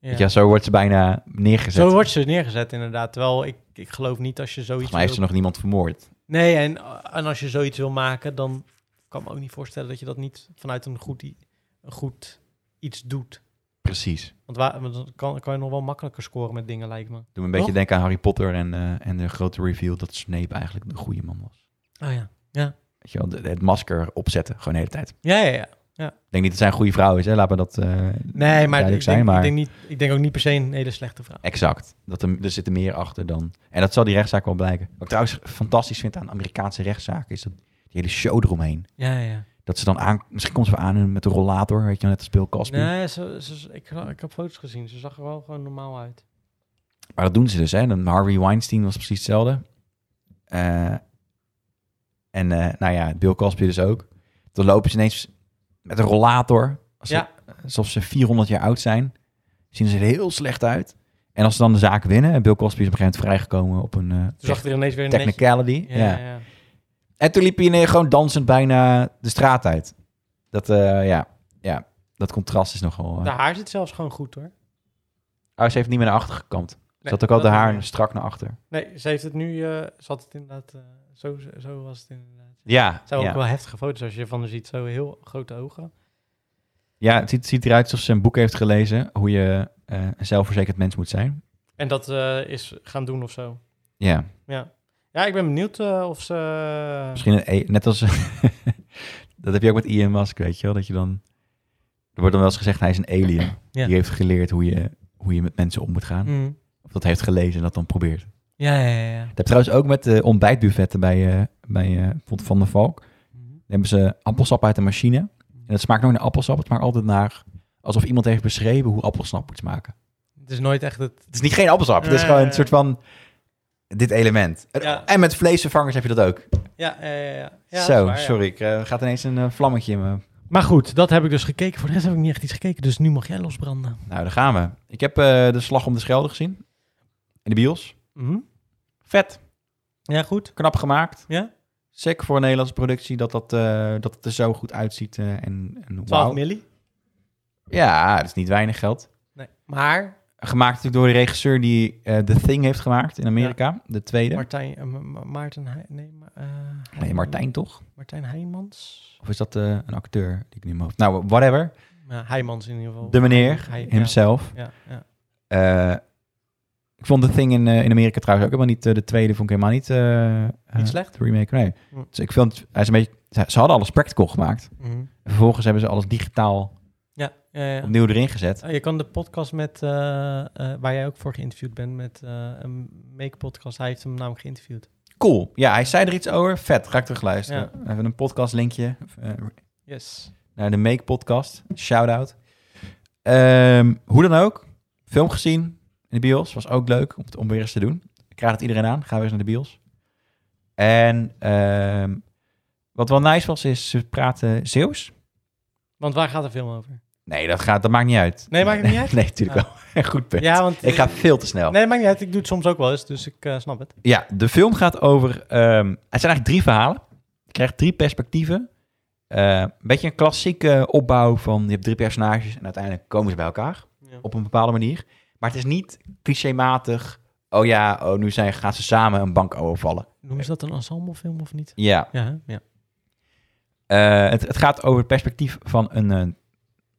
Ja.
Ja.
zo wordt ze bijna neergezet.
Zo wordt ze neergezet, inderdaad. Terwijl ik, ik geloof niet als je zoiets.
Volgens mij heeft ze
wil-
nog niemand vermoord.
Nee, en, en als je zoiets wil maken, dan kan ik me ook niet voorstellen dat je dat niet vanuit een goed, i- een goed iets doet.
Precies.
Want waar, want dan kan, kan je nog wel makkelijker scoren met dingen, lijkt me.
Doe me een beetje
Toch?
denken aan Harry Potter en, eh, en de grote reveal dat Snape eigenlijk de goede man was.
Oh ja. Ja.
Weet Weet je wel, de- het masker opzetten, gewoon de hele tijd.
Ja, ja, ja.
Ik denk niet dat zij een goede vrouw is, hè? laat me dat eh,
Nee, maar, ik,
duidelijk
denk,
zijn.
Ik,
maar
denk niet, ik denk ook niet per se een hele slechte vrouw.
exact, dat er, er zit er meer achter dan. En dat zal die rechtszaak wel blijken. Wat ik trouwens fantastisch vind aan Amerikaanse rechtszaken is dat die hele show eromheen.
Ja, ja.
Dat ze dan aan, misschien komt ze wel aan met een rollator, weet je wel, net als Bill Cosby.
Nee, ze, ze- ik, ik heb foto's gezien. Ze zag er wel gewoon normaal uit.
Maar dat doen ze dus, hè. Dan Harvey Weinstein was precies hetzelfde. Eh, en eh, nou ja, Bill Cosby dus ook. Dan lopen ze ineens met een rollator. Als
Ja.
ze, alsof ze 400 jaar oud zijn. Zien ze er heel slecht uit. En als ze dan de zaak winnen... en Bill Cosby is op een gegeven moment vrijgekomen op een eh,
Ze zag er ineens weer netjes.
technicality. Ja,
Ja, ja. ja.
En toen liep hij ineens gewoon dansend bijna de straat uit. Dat, eh, ja, ja, dat contrast is nogal... eh.
De haar zit zelfs gewoon goed hoor.
Oh, ze heeft niet meer naar achter gekamd.
Nee,
Zat ook al de
dat-
haar strak naar achter.
Nee, ze heeft het nu, eh ze had het inderdaad, eh, zo, zo was het inderdaad.
Ja,
Het zijn
ja.
ook wel heftige foto's als je van haar ziet. Zo heel grote ogen.
Ja, het ziet, ziet eruit alsof ze een boek heeft gelezen hoe je eh, een zelfverzekerd mens moet zijn.
En dat eh, is gaan doen of zo.
Ja,
Ja, ja ik ben benieuwd eh, of ze...
misschien een e- net als... dat heb je ook met Ian Musk, weet je wel, dat je dan... Er wordt dan wel eens gezegd, hij is een alien.
Ja.
Die heeft geleerd hoe je, hoe je met mensen om moet gaan.
Mm.
Of dat heeft gelezen en dat dan probeert.
Ja, ja, ja, ja.
Dat heb je trouwens ook met de ontbijtbuffetten bij, eh, bij eh, bijvoorbeeld Van der Valk. Dan
Mhm.
hebben ze appelsap uit de machine. En het smaakt nooit naar appelsap, het smaakt altijd naar... alsof iemand heeft beschreven hoe appelsap moet smaken.
Het is nooit echt het...
Het is niet geen appelsap. Het is
Nee.
gewoon een soort van dit element. En-
Ja.
En met vleesvervangers heb je dat ook.
Ja, ja, ja. ja. Ja, dat
Zo,
is waar, ja.
sorry. Ik eh, gaat ineens een eh, vlammetje in me.
Maar goed, dat heb ik dus gekeken. Voor de rest heb ik niet echt iets gekeken, dus nu mag jij losbranden.
Nou, daar gaan we. Ik heb eh, de Slag om de Schelde gezien. In de bios. Vet.
Mhm. Ja, goed.
Knap gemaakt.
Ja?
Sick voor een Nederlandse productie dat, dat, eh, dat het er zo goed uitziet. eh, en, en
12
wauw.
milli.
Ja, dat is niet weinig geld.
Nee. Maar
Gemaakt natuurlijk door de regisseur die eh, The Thing heeft gemaakt in Amerika. De tweede.
Martijn, eh, Ma- Ma- Maarten... Heij- Nee, Ma- eh,
nee, Martijn toch?
Martijn Heijmans?
Of is dat eh, een acteur die ik niet meer hoofd... Nou, whatever.
Ja, Heijmans in ieder geval.
De meneer,
Hij- ja.
himself.
Ja, ja.
Eh, ik vond The Thing in, eh, in Amerika trouwens ook helemaal niet... eh, de tweede vond ik helemaal niet... eh, eh,
slecht?
de remake, nee.
Hm.
Dus ik vond... Hij is een beetje, ze, ze hadden alles practical gemaakt. En vervolgens hebben ze alles digitaal
Mhm. Ja, ja, ja.
opnieuw erin gezet.
Oh, je kan de podcast met, eh, eh, waar jij ook voor geïnterviewd bent, met eh, een make-podcast. Hij heeft hem namelijk geïnterviewd.
Cool. Ja, hij zei er iets over. Vet, ga ik terug luisteren. Even een Eh, podcast linkje
Yes.
naar de Make podcast. Shout-out. Ehm, hoe dan ook. Film gezien in de bios. Was ook leuk om, het- om weer eens te doen. Ik raad het iedereen aan. Ga weer eens naar de bios. En ehm, wat wel nice was, is ze praten Zeeuws.
Want waar gaat de film over?
Nee, dat, gaat, dat maakt niet uit.
Nee, maakt het niet uit?
Nee, natuurlijk
Ah.
wel. Goed punt.
Ja, want
Ik ga veel te snel.
Nee, maakt niet uit. Ik doe het soms ook wel eens, dus ik eh, snap het.
Ja, de film gaat over... ehm, het zijn eigenlijk drie verhalen. Je krijgt drie perspectieven. Eh, een beetje een klassieke opbouw van... Je hebt drie personages en uiteindelijk komen ze bij elkaar. op een bepaalde manier. Maar het is niet clichématig. Oh ja, oh, nu zijn, gaan ze samen een bank overvallen.
Noemen ze dat een ensemblefilm of niet?
Ja.
Ja, hè? ja.
eh, het, het gaat over het perspectief van een eh,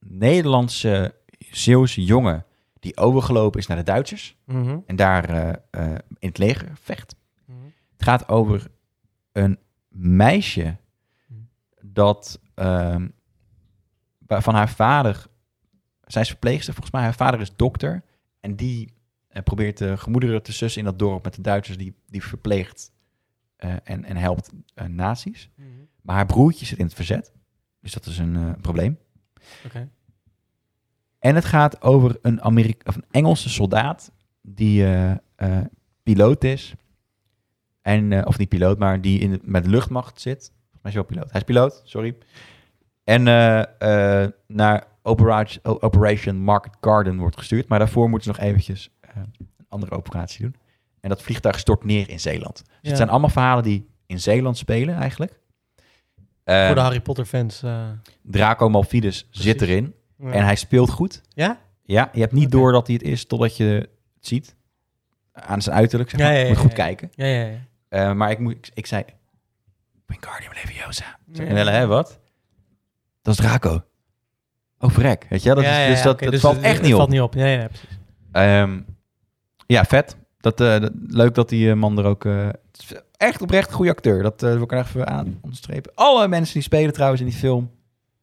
Nederlandse Zeeuwse jongen... die overgelopen is naar de Duitsers
Mhm.
en daar eh, eh, in het leger vecht. Het gaat over een meisje dat ehm, wa- van haar vader, zij is verpleegster volgens mij, haar vader is dokter en die eh, probeert de gemoederen te sussen in dat dorp met de Duitsers die, die verpleegt eh, en, en helpt eh, nazi's.
Mhm.
Maar haar broertje zit in het verzet, dus dat is een eh, probleem.
Oké.
En het gaat over een, Amerika of een Engelse soldaat die eh, eh, piloot is. En, eh, of niet piloot, maar die in de, met de luchtmacht zit. Volgens mij is hij wel piloot. Hij is piloot, sorry. En eh, eh, naar Opera- O- Operation Market Garden wordt gestuurd. Maar daarvoor moeten ze nog eventjes eh, een andere operatie doen. En dat vliegtuig stort neer in Zeeland. Dus
Ja.
het zijn allemaal verhalen die in Zeeland spelen eigenlijk. Eh,
Voor de Harry Potter fans. eh,
Draco Malfides zit erin.
ja.
En hij speelt goed.
Ja?
Ja, je hebt niet
Oké.
door dat hij het is totdat je het ziet. Aan zijn uiterlijk, zeg
Ja,
maar.
ja, ja,
moet goed
ja.
kijken.
Ja, ja, ja.
Eh, maar ik, moet, ik, ik zei... Wingardium Leviosa. En wel, hè, wat? Dat is Draco. Oh, vrek. Weet je wel? Dat
Ja,
is,
ja,
dus
ja,
dat,
oké,
dat
dus
valt
het-
echt
het
niet op.
valt niet op. Ja, ja, precies.
Ehm, ja, vet. Dat, eh, dat- leuk dat die eh, man er ook... eh, het is echt oprecht een goede acteur. Dat eh, wil ik er even aan onderstrepen. Alle mensen die spelen trouwens in die film...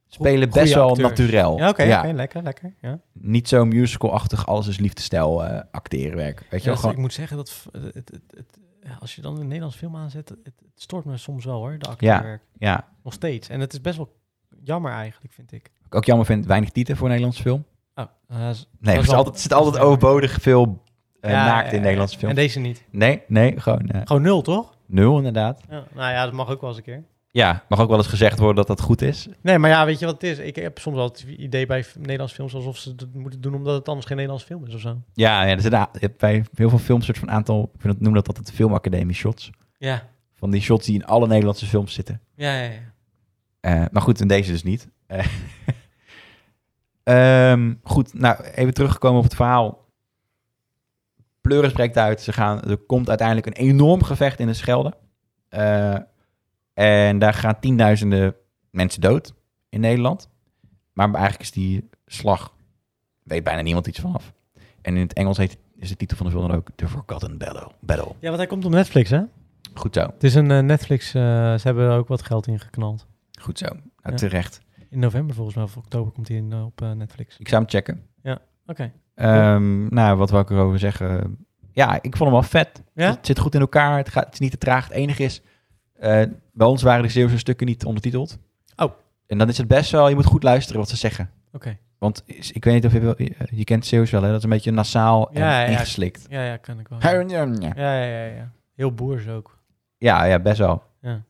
spelen
goeie
best wel
acteurs.
naturel.
Ja, oké,
Oh, ja,
oké, lekker, lekker. Ja.
Niet zo musical-achtig, alles is liefdestijl eh acteerwerk. Weet je
Ja, dat
wel,
is-
gewoon...
dus Ik moet zeggen dat v- het, het, het- als je dan een Nederlands film aanzet, het, het stoort me soms wel hoor, de acteerwerk.
Ja,
Nog steeds. En het is best wel jammer eigenlijk, vind ik.
wat ik ook jammer vind, weinig titel voor een Nederlands film.
Oh, eh, z-
Nee, er
Dat
zit
is wel-
altijd, er zit altijd overbodig veel eh,
ja,
naakt in
eh,
Nederlandse films.
En deze niet.
Nee, nee, gewoon eh,
Gewoon nul, toch?
nul inderdaad.
Ja, nou ja, dat mag ook wel eens een keer.
Ja, mag ook wel eens gezegd worden dat dat goed is.
Nee, maar ja, weet je wat het is? Ik heb soms wel het idee bij Nederlands films alsof ze het moeten doen omdat het anders geen Nederlands film is of zo.
Ja, ja er zit a- je hebt bij heel veel films soort van aantal, ik vind het, noem dat altijd filmacademie shots.
Ja,
Van die shots die in alle Nederlandse films zitten.
ja, ja. ja.
Eh, maar goed, in deze dus niet. Eh, ehm, goed, nou, even teruggekomen op het verhaal. Pleuris breekt uit. Ze gaan, er komt uiteindelijk een enorm gevecht in de Schelde. Eh, en daar gaan tienduizenden mensen dood in Nederland. Maar eigenlijk is die slag, weet bijna niemand iets vanaf. En in het Engels heet, is de titel van de film dan ook The Forgotten Battle. Battle.
Ja, want hij komt op Netflix, hè?
Goed zo,
Het is een eh, Netflix, eh, ze hebben er ook wat geld in geknald.
goed zo. Nou,
Ja.
Terecht.
In november volgens mij, of oktober komt hij in, eh, op eh, Netflix.
Ik zou hem checken.
Oké.
Ehm, nou, wat wil ik erover zeggen? Ja, ik vond hem wel vet.
Ja?
Het zit goed in elkaar. Het, gaat, het is niet te traag. Het enige is, eh, bij ons waren de Zeeuwse stukken niet ondertiteld.
Oh.
En dan is het best wel, je moet goed luisteren wat ze zeggen.
Oké.
Want is- ik weet niet of je wel, je, je kent Zeeuws wel, hè? Dat is een beetje nasaal en
Ja, ja, ja.
ingeslikt.
Ja, ja, kan ik wel.
Ja,
Ja,
ja, ja.
ja, ja. ja. Heel boers ook.
ja, best wel.
Ja.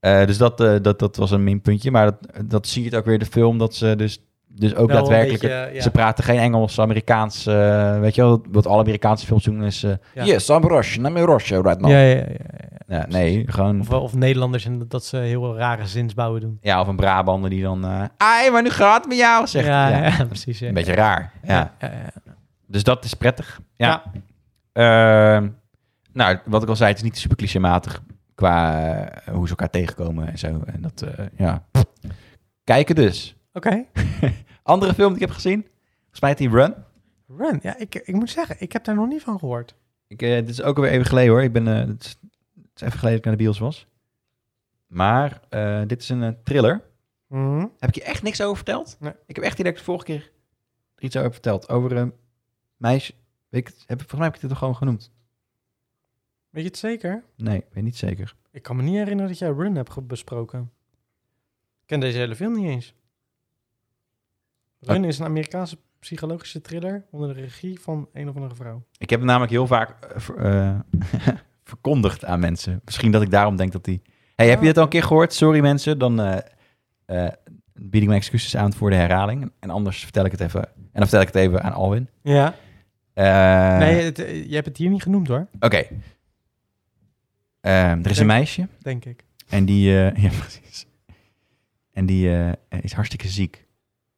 Eh, dus dat, eh, dat, dat was een minpuntje. Maar dat, dat zie je het ook weer in de film, dat ze dus, dus ook
Wel een
daadwerkelijk...
beetje, ja.
Ze praten geen Engels, Amerikaans. eh, weet je wel, wat alle Amerikaanse films doen is... eh,
Ja.
Yes, I'm Russian, I'm Russian right now.
Ja, ja, ja, ja.
Ja, nee, gewoon...
Of, of Nederlanders en dat ze heel rare zinsbouwen doen.
ja, of een Brabander die dan... eh Ai, maar nu gaat het met jou, zegt.
ja,
Ja,
ja, precies. Ja.
Een beetje raar. Ja.
Ja, ja, ja.
Dus dat is prettig. Ja. Ehm, nou, wat ik al zei, het is niet super clichématig qua eh, hoe ze elkaar tegenkomen en zo. En dat, eh, ja. Kijken dus.
Oké.
Andere film die ik heb gezien, volgens mij heet die Run.
Run. Ja, ik, ik moet zeggen, ik heb daar nog niet van gehoord.
Ik, eh, dit is ook alweer even geleden hoor. Ik ben, eh, het, is, het is even geleden dat ik naar de bios was. Maar eh, dit is een eh, thriller. Heb ik je echt niks over verteld?
Nee.
Ik heb echt direct de vorige keer er iets over verteld. Over een meisje. Weet ik, het- heb, volgens mij heb ik dit toch gewoon genoemd.
Weet je het zeker?
Nee, ik weet niet zeker.
Ik kan me niet herinneren dat jij Run hebt ge- besproken. Ik ken deze hele film niet eens. Run is een Amerikaanse psychologische thriller onder de regie van een of andere vrouw.
Ik heb hem namelijk heel vaak eh, ver- eh, verkondigd aan mensen. Misschien dat ik daarom denk dat die... Hey, heb je dit al een keer gehoord? Sorry mensen, dan eh, eh, bied ik mijn excuses aan voor de herhaling. En anders vertel ik het even. En dan vertel ik het even aan Alwin.
Ja.
Eh,
nee, het, eh, je hebt het hier niet genoemd hoor,
Oké. Ehm, er is een
Denk-
meisje
denk ik.
en die, eh, ja, precies. En die eh, is hartstikke ziek.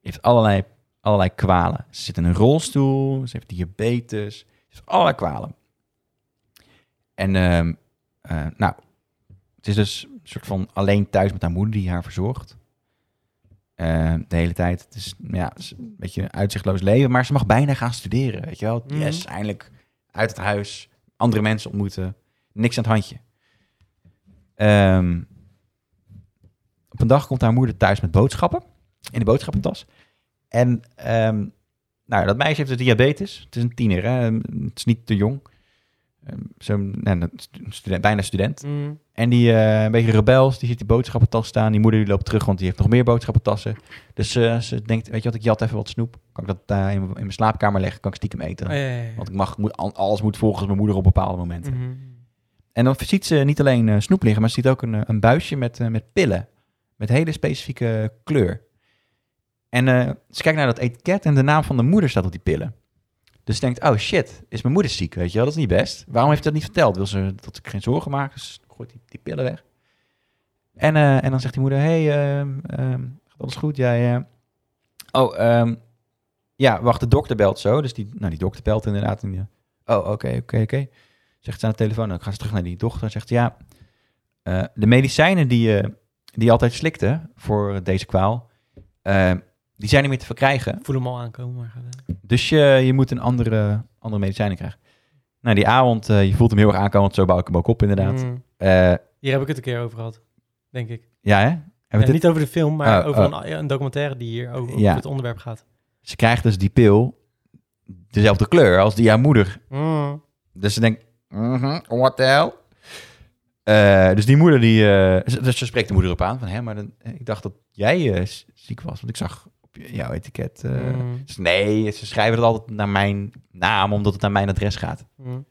Heeft allerlei, allerlei kwalen. Ze zit in een rolstoel, ze heeft diabetes, ze heeft allerlei kwalen. En ehm, eh, nou, het is dus een soort van alleen thuis met haar moeder die haar verzorgt. Eh, de hele tijd. Het is, ja, het is een beetje een uitzichtloos leven, maar ze mag bijna gaan studeren. Weet je wel?
Mhm.
Yes, eindelijk uit het huis, andere mensen ontmoeten, niks aan het handje. Ehm, op een dag komt haar moeder thuis met boodschappen in de boodschappentas. En ehm, nou, dat meisje heeft dus diabetes. Het is een tiener, hè? Ehm, het is niet te jong. Ehm, Zo'n nou, een stu- student, bijna student.
Mm. Oh,
En die eh, een beetje rebels, die ziet die boodschappentas staan. Die moeder die loopt terug, want die heeft nog meer boodschappentassen. Dus eh, ze denkt, weet je wat, ik jat even wat snoep. Kan ik dat daar in, in mijn slaapkamer leggen? Kan ik stiekem eten?
Oh, ja, ja, Mhm. ja.
Want ik mag, ik moet, al- alles moet volgens mijn moeder op bepaalde momenten. En dan ziet ze niet alleen eh, snoep liggen, maar ze ziet ook een, eh, een buisje met, eh, met pillen. Met hele specifieke kleur. En eh, ze kijkt naar dat etiket en de naam van de moeder staat op die pillen. Dus ze denkt, oh shit, is mijn moeder ziek, weet je wel, dat is niet best. Waarom heeft ze dat niet verteld? Wil ze dat ik geen zorgen maak? Dus gooit die, die pillen weg. En, eh, en dan zegt die moeder, hey, ehm, ehm, gaat alles goed? Jij, eh, Oh, ehm, ja, wacht, de dokter belt zo. Dus die, nou, die dokter belt inderdaad. En die, oh, oké, oké, oké. Zegt ze aan de telefoon. "Nou, Dan gaat ze terug naar die dochter en zegt... Ja, eh, de medicijnen die je, die je altijd slikte voor deze kwaal... eh, die zijn niet meer te verkrijgen.
Ik voel hem al aankomen. Maar... gaat, eh.
Dus je, je moet een andere, andere medicijnen krijgen. Nou, die avond, eh, je voelt hem heel erg aankomen, want zo bouw ik hem ook op inderdaad.
Mm.
Eh,
Hier heb ik het een keer over gehad, denk ik.
ja, hè? Hebben we
En
dit-
niet over de film, maar
Oh,
over
oh.
Een, een documentaire die hier over,
Ja.
over het onderwerp gaat.
Ze krijgt dus die pil dezelfde kleur als die haar moeder.
Mm.
Dus ze denkt, mhm, what the hell? Eh, dus die moeder, die, eh, ze- dus ze spreekt de moeder op aan van, hè, maar dan, ik dacht dat jij eh, s- ziek was, want ik zag op j- jouw etiket. eh."
Mm.
Dus nee, ze schrijven het altijd naar mijn naam, omdat het naar mijn adres gaat.
Mm.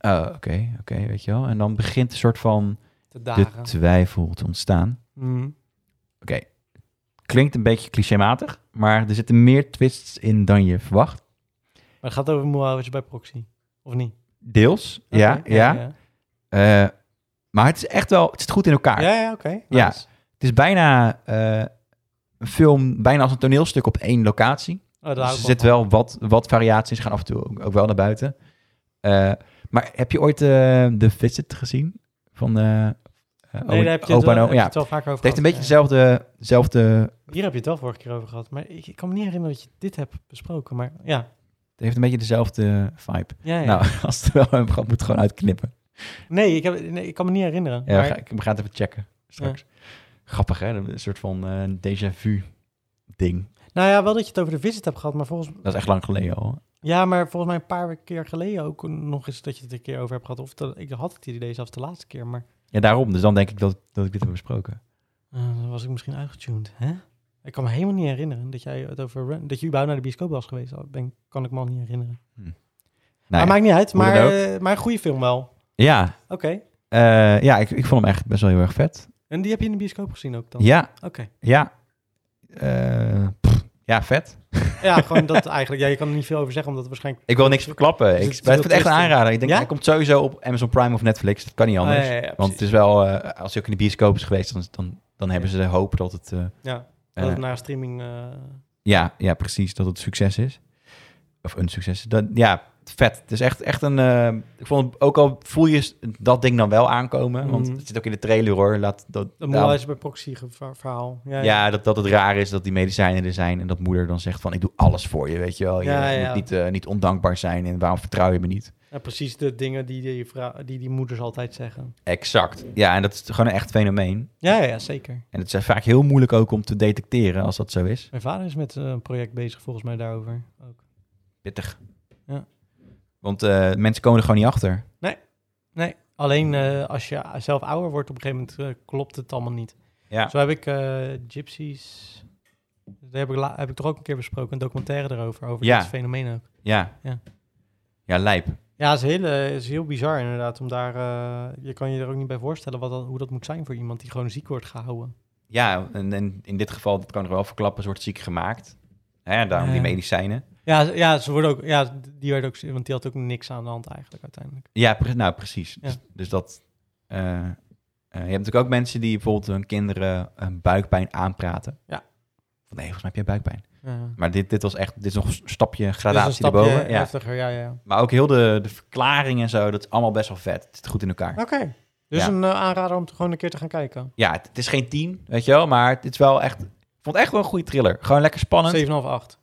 Oh, oké, oké, weet je wel. En dan begint een soort van
Te
de
dagen.
twijfel te ontstaan.
Mm.
Oké. Klinkt een beetje clichématig, maar er zitten meer twists in dan je verwacht.
Maar het gaat over Moawitje bij proxy, of niet?
Deels,
Oké,
ja, ja.
Ja,
Eh, maar het is echt wel, het zit goed in elkaar.
ja, ja, oké.
Ja.
nice.
Het is bijna eh, een film, bijna als een toneelstuk op één locatie.
Oh, daar
Dus
hou
er
ik
zit
van.
wel wat, wat variaties, gaan af en toe ook, ook wel naar buiten. Eh, maar heb je ooit eh The Visit gezien? Van eh
Nee, daar heb je het
opa
wel,
en oma?
heb je
Ja,
het
het
wel vaker over
heeft een
gehad.
beetje dezelfde, dezelfde
Hier heb je het wel vorige keer over gehad, maar ik, ik kan me niet herinneren dat je dit hebt besproken. Maar ja,
het heeft een beetje dezelfde vibe.
ja, ja.
Nou, als het wel een grap moet gewoon uitknippen.
nee, ik heb, nee, ik kan me niet herinneren.
Ja,
maar-
we, gaan, ik- we gaan het even checken straks. Grappig, hè? Een soort van eh déjà vu ding.
nou ja, wel dat je het over de visit hebt gehad, maar volgens,
Dat is echt lang geleden al.
ja, maar volgens mij een paar keer geleden ook nog eens dat je het een keer over hebt gehad. Of dat- ik had het idee zelfs de laatste keer, maar
Ja, daarom. Dus dan denk ik dat, dat ik dit heb besproken.
eh, dan was ik misschien uitgetuned. Hè? Ik kan me helemaal niet herinneren dat jij het over Run- dat je überhaupt naar de bioscoop was geweest. Dat ben, kan ik me al niet herinneren.
Nou,
maar
ja,
maakt niet uit,
hoe dan
maar, eh, maar een goede film wel. Oké.
ja, eh, ja ik, ik vond hem echt best wel heel erg vet.
En die heb je in de bioscoop gezien ook dan?
Ja,
Oké.
ja. Eh, pff, ja, vet.
Ja, gewoon dat eigenlijk. Ja, je kan er niet veel over zeggen, omdat het waarschijnlijk...
Ik wil niks verklappen.
Dus
ik,
het is
maar ik
heel
vind het echt een
twisting.
aanrader. Ik denk,
Ja?
hij komt sowieso op Amazon Prime of Netflix. Dat kan niet anders.
Ah, ja, ja, ja,
Want
precies.
het is wel, eh, als hij ook in de bioscoop is geweest, dan, dan, dan hebben ze de hoop dat het... eh,
Ja,
eh,
dat het na streaming... eh,
Ja, ja, precies. Dat het succes is. Of een succes. Dat, ja, vet. Het is echt, echt een... eh, ik vond het, ook al voel je s- dat ding dan wel aankomen. Want
Mhm.
het zit ook in de trailer hoor. Laat, dat,
een
daarom-
moeilijke bij proxy geva- verhaal. Ja, ja.
Nou. ja, dat, dat het raar is dat die medicijnen er zijn. En dat moeder dan zegt van ik doe alles voor je, weet je wel. Je
Ja, ja.
moet niet, eh, niet ondankbaar zijn. En waarom vertrouw je me niet?
Ja, precies de dingen die die, vrou- die die moeders altijd zeggen.
Exact. Ja, en dat is gewoon een echt fenomeen.
Ja, ja, ja, zeker.
En het is vaak heel moeilijk ook om te detecteren als dat zo is.
Mijn vader is met eh, een project bezig volgens mij daarover. Ook.
Pittig.
Ja.
Want eh, mensen komen er gewoon niet achter.
Nee, alleen eh, als je zelf ouder wordt, op een gegeven moment eh, klopt het allemaal niet.
Ja.
Zo heb ik eh, Gypsies... Daar heb ik, la- heb ik toch ook een keer besproken, een documentaire erover, over
Ja.
dit fenomeen ook.
Ja.
Ja.
Ja, lijp.
Ja, het is heel, eh, is heel bizar inderdaad. Om daar, eh, je kan je er ook niet bij voorstellen wat dat, hoe dat moet zijn voor iemand die gewoon ziek wordt gehouden.
Ja, en, en in dit geval, dat kan ik wel verklappen, wordt ziek gemaakt. Hè, daarom die
Ja.
medicijnen.
Ja, ze- ja, ze worden ook, ja, die werd ook, z- want die had ook niks aan de hand eigenlijk uiteindelijk.
Ja, pre- nou precies.
Ja.
Dus, dus dat... eh, eh, je hebt natuurlijk ook mensen die bijvoorbeeld hun kinderen een buikpijn aanpraten.
Ja.
Van, nee, volgens mij heb jij buikpijn.
Ja.
Maar dit, dit was echt, dit is nog een stapje
Dus
gradatie
een stapje
erboven. Ja.
heftiger, ja, ja. ja.
Maar ook heel de, de verklaring en zo, dat is allemaal best wel vet. Het zit goed in elkaar.
Oké, dus
Ja.
een eh, aanrader om te- gewoon een keer te gaan kijken. 7,5,
Ja, het, het is geen tien, weet je wel, maar het is wel echt... Ik vond het echt wel een goede thriller. Gewoon lekker spannend.
8.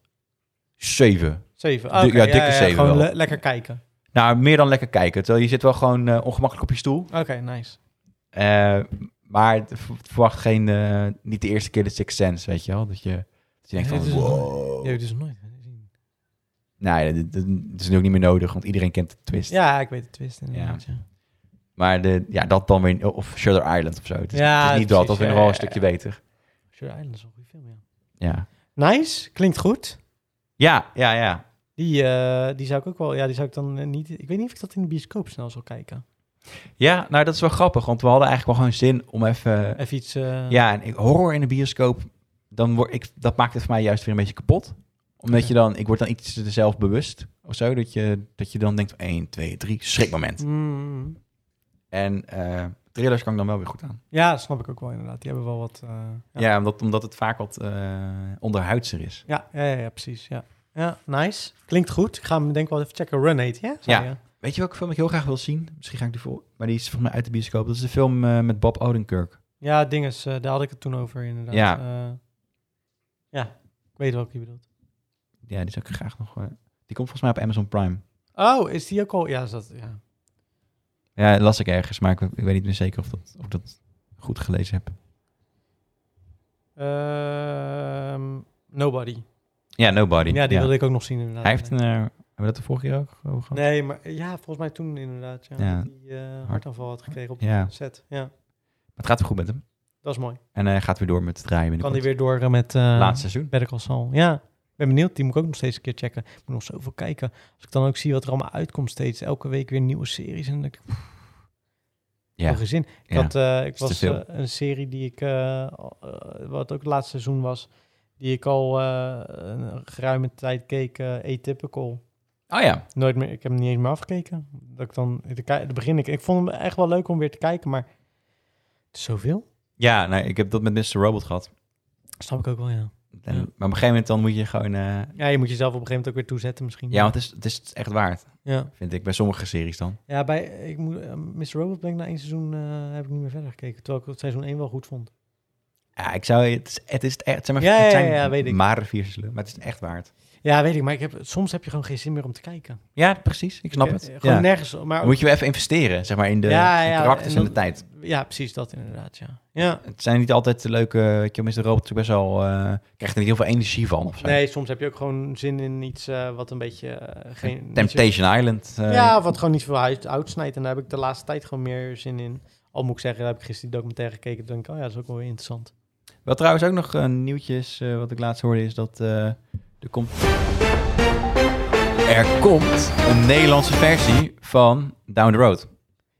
Zeven.
7.
Dik- ja, dikke zeven
Gewoon
wel.
le- lekker kijken.
Nou, meer dan lekker kijken. Terwijl je zit wel gewoon eh, ongemakkelijk op je stoel.
Oké, nice.
Eh, maar het v- verwacht geen, eh, niet de eerste keer de Sixth Sense, weet je wel? Dat je, dat je denkt
Nee,
van,
dit is
wow.
Je hebt dus nooit gezien.
Nee, dat, dat- dat is nu ook niet meer nodig, want iedereen kent de twist.
Ja, ik weet de twist inderdaad. Ja.
Maar de, ja, dat dan weer, of Shutter Island of zo. Het is,
Ja,
het is niet dat, dat
precies,
vind ik
ja,
wel een
ja,
stukje
ja.
beter.
Sure Island is een goede film, ja.
Ja,
Nice, klinkt goed.
ja, ja. ja.
Die, eh, die zou ik ook wel. Ja, die zou ik dan eh, niet. Ik weet niet of ik dat in de bioscoop snel zal kijken.
Ja, nou dat is wel grappig, want we hadden eigenlijk wel gewoon zin om even...
Even iets. eh,
Ja, en ik, horror in de bioscoop, dan word ik, dat maakt het voor mij juist weer een beetje kapot. Omdat
Oké.
je dan, ik word dan iets te zelf bewust of zo. Dat je, dat je dan denkt, 1, 2, 3, schrikmoment.
mm,
En eh thrillers kan ik dan wel weer goed aan.
ja, snap ik ook wel inderdaad. Die hebben wel wat. eh,
Ja, omdat, omdat het vaak wat eh onderhuidser is.
ja. Ja, ja, ja, precies. Ja. ja, nice. Klinkt goed. Ik ga hem denk ik wel even checken. Run heet, ja? Zei
Ja.
je?
Weet je welke film ik heel graag wil zien? Misschien ga ik die voor. Maar die is volgens mij uit de bioscoop. Dat is de film eh, met Bob Odenkirk.
Ja, het ding is, eh, daar had ik het toen over inderdaad.
Ja.
Eh, ja, ik weet welke je bedoelt.
Ja, die zou ik graag nog... eh, die komt volgens mij op Amazon Prime.
Oh, is die ook al? Ja, is dat, ja.
Ja, dat las ik ergens, maar ik, ik weet niet meer zeker of, dat, of ik dat goed gelezen heb.
Ehm, nobody.
Ja, Nobody.
Ja, die
ja.
wilde ik ook nog zien inderdaad.
Hij heeft een... eh, hebben we dat de vorige keer ook over gehad?
Nee, maar ja, volgens mij toen inderdaad. Ja,
Ja.
dat Die eh, hartaanval had gekregen op
Ja.
de set. Ja,
Maar het gaat weer goed met hem.
dat is mooi.
En hij gaat weer door met het draaien
Kan
binnenkort.
die weer door eh, met... eh
Laatste seizoen.
Better Call Saul. Ja, ik ben benieuwd. Die moet ik ook nog steeds een keer checken. Ik moet nog zoveel kijken. Als ik dan ook zie wat er allemaal uitkomt steeds. Elke week weer nieuwe series. En dan denk ik, pff,
Ja.
geen zin. Ik,
Ja.
had, eh, ik
Is te
was
veel.
eh, een serie die ik, eh, al- eh, wat ook het laatste seizoen was, die ik al eh, een geruime tijd keek, eh Atypical.
Oh ja.
Nooit meer, ik heb hem niet eens meer afgekeken. Dat ik dan, ik- dan begin ik, ik vond hem echt wel leuk om weer te kijken, maar het is zoveel.
Ja, nou, ik heb dat met Mr. Robot gehad.
Snap ik ook wel, ja. Ja.
En, Maar op een gegeven moment dan moet je gewoon... eh,
Ja, je moet jezelf op een gegeven moment ook weer toezetten misschien.
ja, want het is, het is echt waard,
ja.
vind ik. Bij sommige series dan.
Ja, bij ik moet, eh, Mr. Robot ben ik na één seizoen eh, heb ik niet meer verder gekeken. Terwijl ik het seizoen 1 wel goed vond.
Ja, ik zou... Het is, het is het echt... het zijn maar,
Ja,
het
ja,
zijn
ja, weet ik.
maar vier seizoenen, maar het is echt waard.
Ja, weet ik. Maar ik heb, soms heb je gewoon geen zin meer om te kijken.
Ja, precies. Ik snap
Eh,
het.
Gewoon
Ja.
nergens. Maar
Dan moet je wel even investeren, zeg maar, in de,
Ja,
in
ja,
karakters en,
en
de tijd.
ja, precies dat inderdaad, ja. ja.
Het zijn niet altijd de leuke... Weet je, Mr. Robot is best wel... eh, krijgt er niet heel veel energie van of zo. Eh,
Nee, soms heb je ook gewoon zin in iets eh, wat een beetje eh, geen... niet zo-
Temptation Island. eh,
ja, of wat gewoon niet veel uit, uitsnijdt. En daar heb ik de laatste tijd gewoon meer zin in. Al moet ik zeggen, daar heb ik gisteren die documentaire gekeken. Toen denk ik, oh ja, dat is ook wel weer interessant.
Wat trouwens ook nog een nieuwtjes eh, wat ik laatst hoorde is dat eh, er komt... Er komt een Nederlandse versie van Down the Road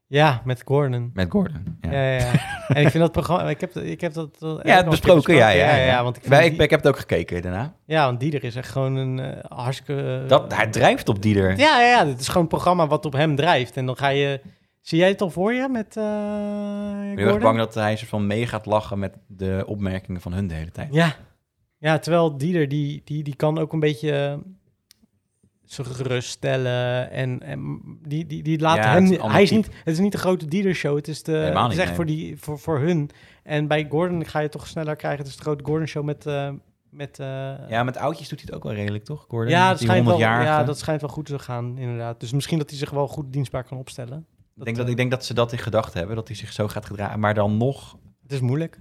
Ja, met Gordon.
met Gordon. Ja,
Ja, ja, ja. en ik vind dat programma... Ik heb, dat- ik heb dat... eh, dat
Ja, het besproken, ja, ja, ja.
want ik vind
Wij,
die-
ik, ik heb het ook gekeken daarna.
Ja, want Dieder is echt gewoon een eh, hartstikke... eh,
Dat, hij drijft op Dieder.
Ja, ja, ja, dit is gewoon een programma wat op hem drijft. En dan ga je... Zie jij het al voor je met eh
Ik ben heel erg
Gordon?
bang dat hij soort van mee gaat lachen met de opmerkingen van hun de hele tijd.
Ja. ja, terwijl Dieder, die, die, die kan ook een beetje eh, ze geruststellen. En, en die, die, die laat
Ja, het
hem...
is een
niet-
ander
Hij is
type.
niet, het is niet de grote Dieder-show. Het is, de,
Helemaal
het is
niet,
echt
nee.
voor, die, voor, voor hun. En bij Gordon ga je het toch sneller krijgen. Het is de grote Gordon-show met... eh, met eh,
Ja, met oudjes doet hij het ook wel redelijk, toch? Gordon,
Ja, dat
die
schijnt, wel,
100-jarige.
ja, dat schijnt wel goed te gaan, inderdaad. Dus misschien dat hij zich wel goed dienstbaar kan opstellen.
ik, denk
eh,
dat, ik denk dat ze dat in gedachten hebben, dat hij zich zo gaat gedragen. Maar dan nog
Het is moeilijk.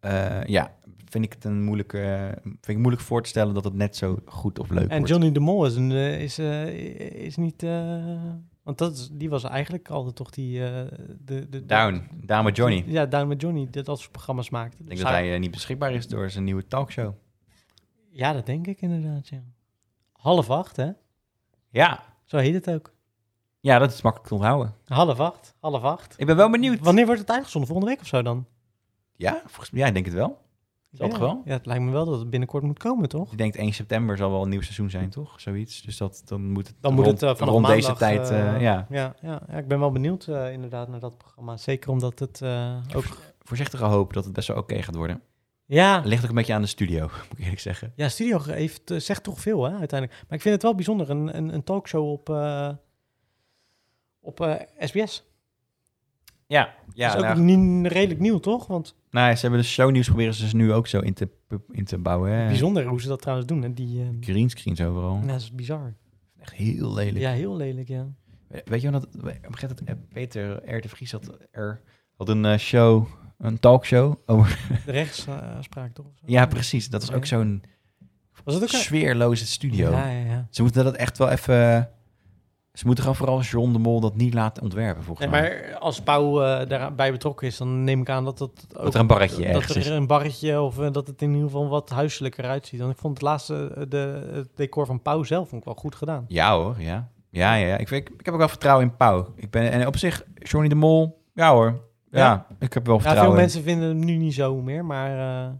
Eh, ja, vind ik het een moeilijke, vind ik moeilijk voor te stellen dat het net zo goed of leuk
En
wordt.
Johnny de Mol is, een, eh, is, eh, is niet... eh, want dat is, die was eigenlijk altijd toch die... eh, de, de,
Down, Down met Johnny. Ik
Ja, Down met Johnny, dat dat soort programma's maakte.
denk
Dus
dat
hij-
hij eh, niet beschikbaar is door zijn nieuwe talkshow.
Ja, dat denk ik inderdaad, ja. Half acht, hè?
Ja,
Zo heet het ook.
ja, dat is makkelijk te onthouden.
Half acht, half acht.
Ik ben wel benieuwd.
Wanneer wordt het uitgezonden? Volgende week of zo dan?
Ja, volgens mij, ja, ik denk het wel. Zal het
Ja.
wel?
Ja, het lijkt me wel dat het binnenkort moet komen, toch?
Ik denk 1 september zal wel een nieuw seizoen zijn, toch? Zoiets. Dus dat, dan moet het
Dan moet
rond,
het eh, vanaf
rond
maandag,
deze tijd,
eh,
eh, ja.
Ja, ja, ja, ik ben wel benieuwd eh, inderdaad naar dat programma. Zeker omdat het eh, ook...
Voorzichtige hoop dat het best wel oké gaat worden.
Ja,
Ligt ook een beetje aan de studio, moet ik eerlijk zeggen.
ja Studio heeft, eh, zegt toch veel hè, uiteindelijk. Maar ik vind het wel bijzonder, een, een, een talkshow op, eh, op eh, SBS.
Ja,
Ja,
ja
dat is ook
nou,
niet redelijk nieuw, toch? Want
nou, ze hebben de shownieuws proberen ze dus nu ook zo in te, in te bouwen. Hè?
bijzonder hoe ze dat trouwens doen. Hè? Die, eh,
Greenscreens overal.
ja, dat is bizar.
Echt heel lelijk.
Ja, heel lelijk, ja.
We- Weet je wel dat op een gegeven moment eh, Peter R. de Vries had, er, had een eh, show, een talkshow over...
De rechtspraak toch? of zo?
Ja, precies. Dat was ook zo'n
Was dat ook een...
sfeerloze studio.
Ja, ja, ja.
Ze moeten dat echt wel even... Ze moeten gewoon vooral John de Mol dat niet laten ontwerpen, volgens
Nee,
mij.
maar als Pauw eh, daarbij betrokken is, dan neem ik aan dat dat ook...
dat er een barretje
dat
ergens
er
is.
een barretje of eh, dat het in ieder geval wat huiselijker uitziet. Want ik vond het laatste eh, de, het decor van Pauw zelf vond ik wel goed gedaan.
Ja hoor, ja. Ja, ja, ja. Ik, vind- ik, ik heb ook wel vertrouwen in Pauw. Ik ben, en op zich, Johnny de Mol, ja hoor. Ja,
Ja.
ik heb wel
Ja, veel
vertrouwen. in.
mensen vinden hem nu niet zo meer, maar eh,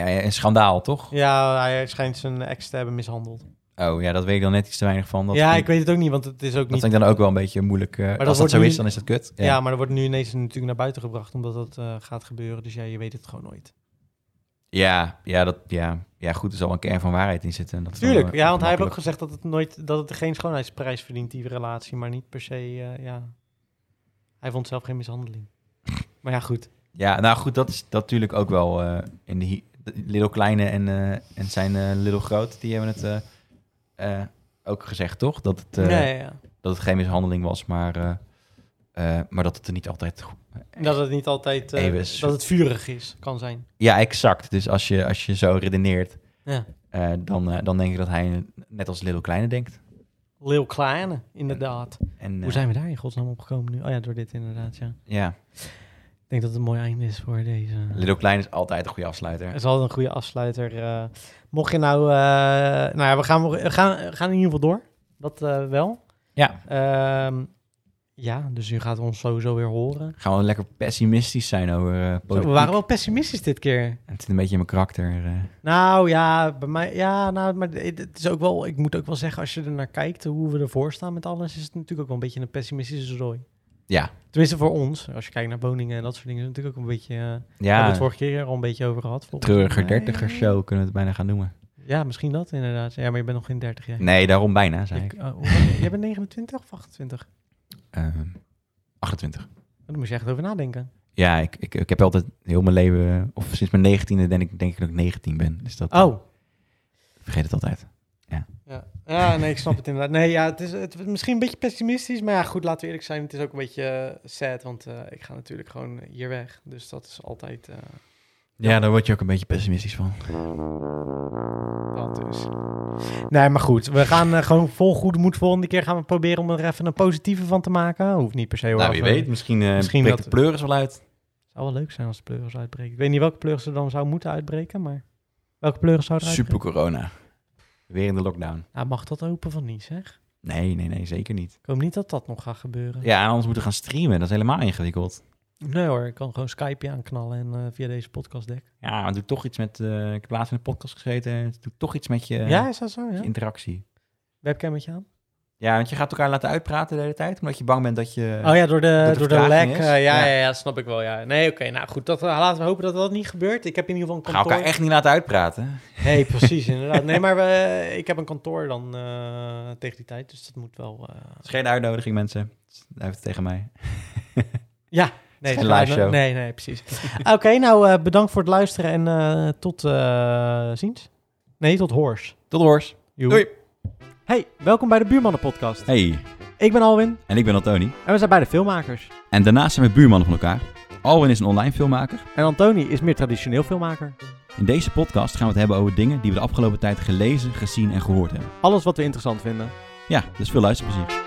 Ja, ja, een schandaal, toch?
ja, hij schijnt zijn ex te hebben mishandeld.
Oh ja, dat weet ik dan net iets te weinig van. Dat
ja,
vind
ik weet het ook niet, want het is ook
dat
niet...
vind ik dan ook wel een beetje moeilijk. eh,
dat
als dat
wordt
zo
nu-
is, dan is dat kut.
ja. maar dat wordt nu ineens natuurlijk naar buiten gebracht, omdat dat eh, gaat gebeuren. Dus ja, je weet het gewoon nooit.
Ja, ja, dat, ja, ja, goed, er zal een kern van waarheid in zitten. en Dat is wel,
Tuurlijk,
eh,
ja, want hij heeft ook
makkelijk.
gezegd dat het, nooit, dat het geen schoonheidsprijs verdient, die relatie. Maar niet per se, eh, ja... Hij vond zelf geen mishandeling. Maar ja, goed.
Ja, nou goed, dat is dat natuurlijk ook wel eh, in de... hi- de Little Kleine en, eh, en zijn eh Little Groot, die hebben het... eh, eh, ook gezegd, toch? Dat het, eh,
ja, ja, ja.
dat het geen mishandeling was, maar, eh, eh, maar dat het er niet altijd goed...
Dat het niet altijd... eh,
Even zo-
dat het vurig is, kan zijn.
Ja, exact. Dus als je, als je zo redeneert,
Ja.
eh, dan, eh, dan denk ik dat hij net als Lil Kleine denkt.
Lil Kleine, inderdaad.
En, eh,
Hoe zijn we daar in godsnaam opgekomen nu? Oh ja, door dit inderdaad, ja.
Ja,
Ik denk dat het een mooi einde is voor deze...
Lil Kleine is altijd een goede afsluiter.
Het is altijd een goede afsluiter. eh. mocht je nou... eh, nou ja, we gaan, we gaan, we gaan in ieder geval door. Dat eh, wel.
Ja,
Ehm, ja, dus u gaat ons sowieso weer horen.
gaan we lekker pessimistisch zijn over eh
Zo,
politiek.
we waren wel pessimistisch dit keer.
Het zit een beetje in mijn karakter. eh.
Nou ja, bij mij, ja nou, maar het het is ook wel, ik moet ook wel zeggen, als je er naar kijkt hoe we ervoor staan met alles, is het natuurlijk ook wel een beetje een pessimistische zooi.
Ja,
Tenminste voor ons, als je kijkt naar woningen en dat soort dingen, is het natuurlijk ook een beetje, eh, we hebben we
ja.
het vorige keer al een beetje over gehad. volgens
Treuriger
mij.
dertiger show kunnen we het bijna gaan noemen.
Ja, misschien dat inderdaad. Ja, maar je bent nog geen 30 jaar. oh,
Nee, daarom bijna, zei ik.
jij bent 29 of 28?
Ehm, 28.
Daar Oh, moet je echt over nadenken.
Ja, ik, ik, ik heb altijd heel mijn leven, eh, of sinds mijn negentiende denk ik, denk ik dat ik 19 ben. Dus dat
Oh,
ik vergeet het altijd.
Ja. ja, nee, ik snap het inderdaad. Nee, ja, het is, het is misschien een beetje pessimistisch, maar ja, goed, laten we eerlijk zijn. Het is ook een beetje eh, sad, want eh, ik ga natuurlijk gewoon hier weg. Dus dat is altijd eh
Ja, daar word je ook een beetje pessimistisch van.
dat dus. Nee, maar goed, we gaan eh, gewoon vol goede moed. Volgende keer gaan we proberen om er even een positieve van te maken. Oh, Hoeft niet per se. hoor.
Nou, wie
Of, eh,
weet, misschien, eh
misschien
breekt
dat-
de pleuris wel uit.
zou wel leuk zijn als de pleuris uitbreken. Ik weet niet welke pleuris er dan zou moeten uitbreken, maar welke pleuris zou er uitbreken?
Super corona. Weer in de lockdown.
Nou, mag dat open van niet, zeg.
Nee, nee, nee, zeker niet.
Ik hoop niet dat dat nog gaat gebeuren.
Ja, en anders moeten we gaan streamen. Dat is helemaal ingewikkeld.
Nee hoor, ik kan gewoon Skype aanknallen en eh, via deze podcastdeck.
Ja, maar het doet toch iets met... eh, ik heb laatst in een podcast gezeten. Het doet toch iets met je,
ja, is dat zo?
je
Ja?
interactie.
Webcammetje aan?
Ja, want je gaat elkaar laten uitpraten de hele tijd, omdat je bang bent dat je...
Oh ja, door de,
dat er
door de lag.
vertraging is.
eh, ja, ja.
Ja.
Ja, snap ik wel. Ja. Nee, oké. nou goed, dat, eh, laten we hopen dat dat niet gebeurt. Ik heb in ieder geval een
Ga
kantoor.
elkaar echt niet laten uitpraten.
Nee, precies, inderdaad. Nee, maar we, ik heb een kantoor dan eh, tegen die tijd. Dus dat moet wel... eh,
Het is geen uitnodiging, mensen. Hij heeft het tegen mij.
Ja. Nee,
geen
zo-
live show.
nee, nee, precies. oké, nou eh, bedankt voor het luisteren en eh, tot eh, ziens. Nee, tot hoors.
Tot hoors.
Joe.
Doei.
Hey, welkom bij de Buurmannen Podcast.
Hey,
Ik ben Alwin
en ik ben Antoni.
en we zijn beide filmmakers.
En daarnaast zijn we buurmannen van elkaar. Alwin is een online filmmaker.
En Antoni is meer traditioneel filmmaker.
In deze podcast gaan we het hebben over dingen die we de afgelopen tijd gelezen, gezien en gehoord hebben.
Alles wat we interessant vinden.
Ja, dus veel luisterplezier.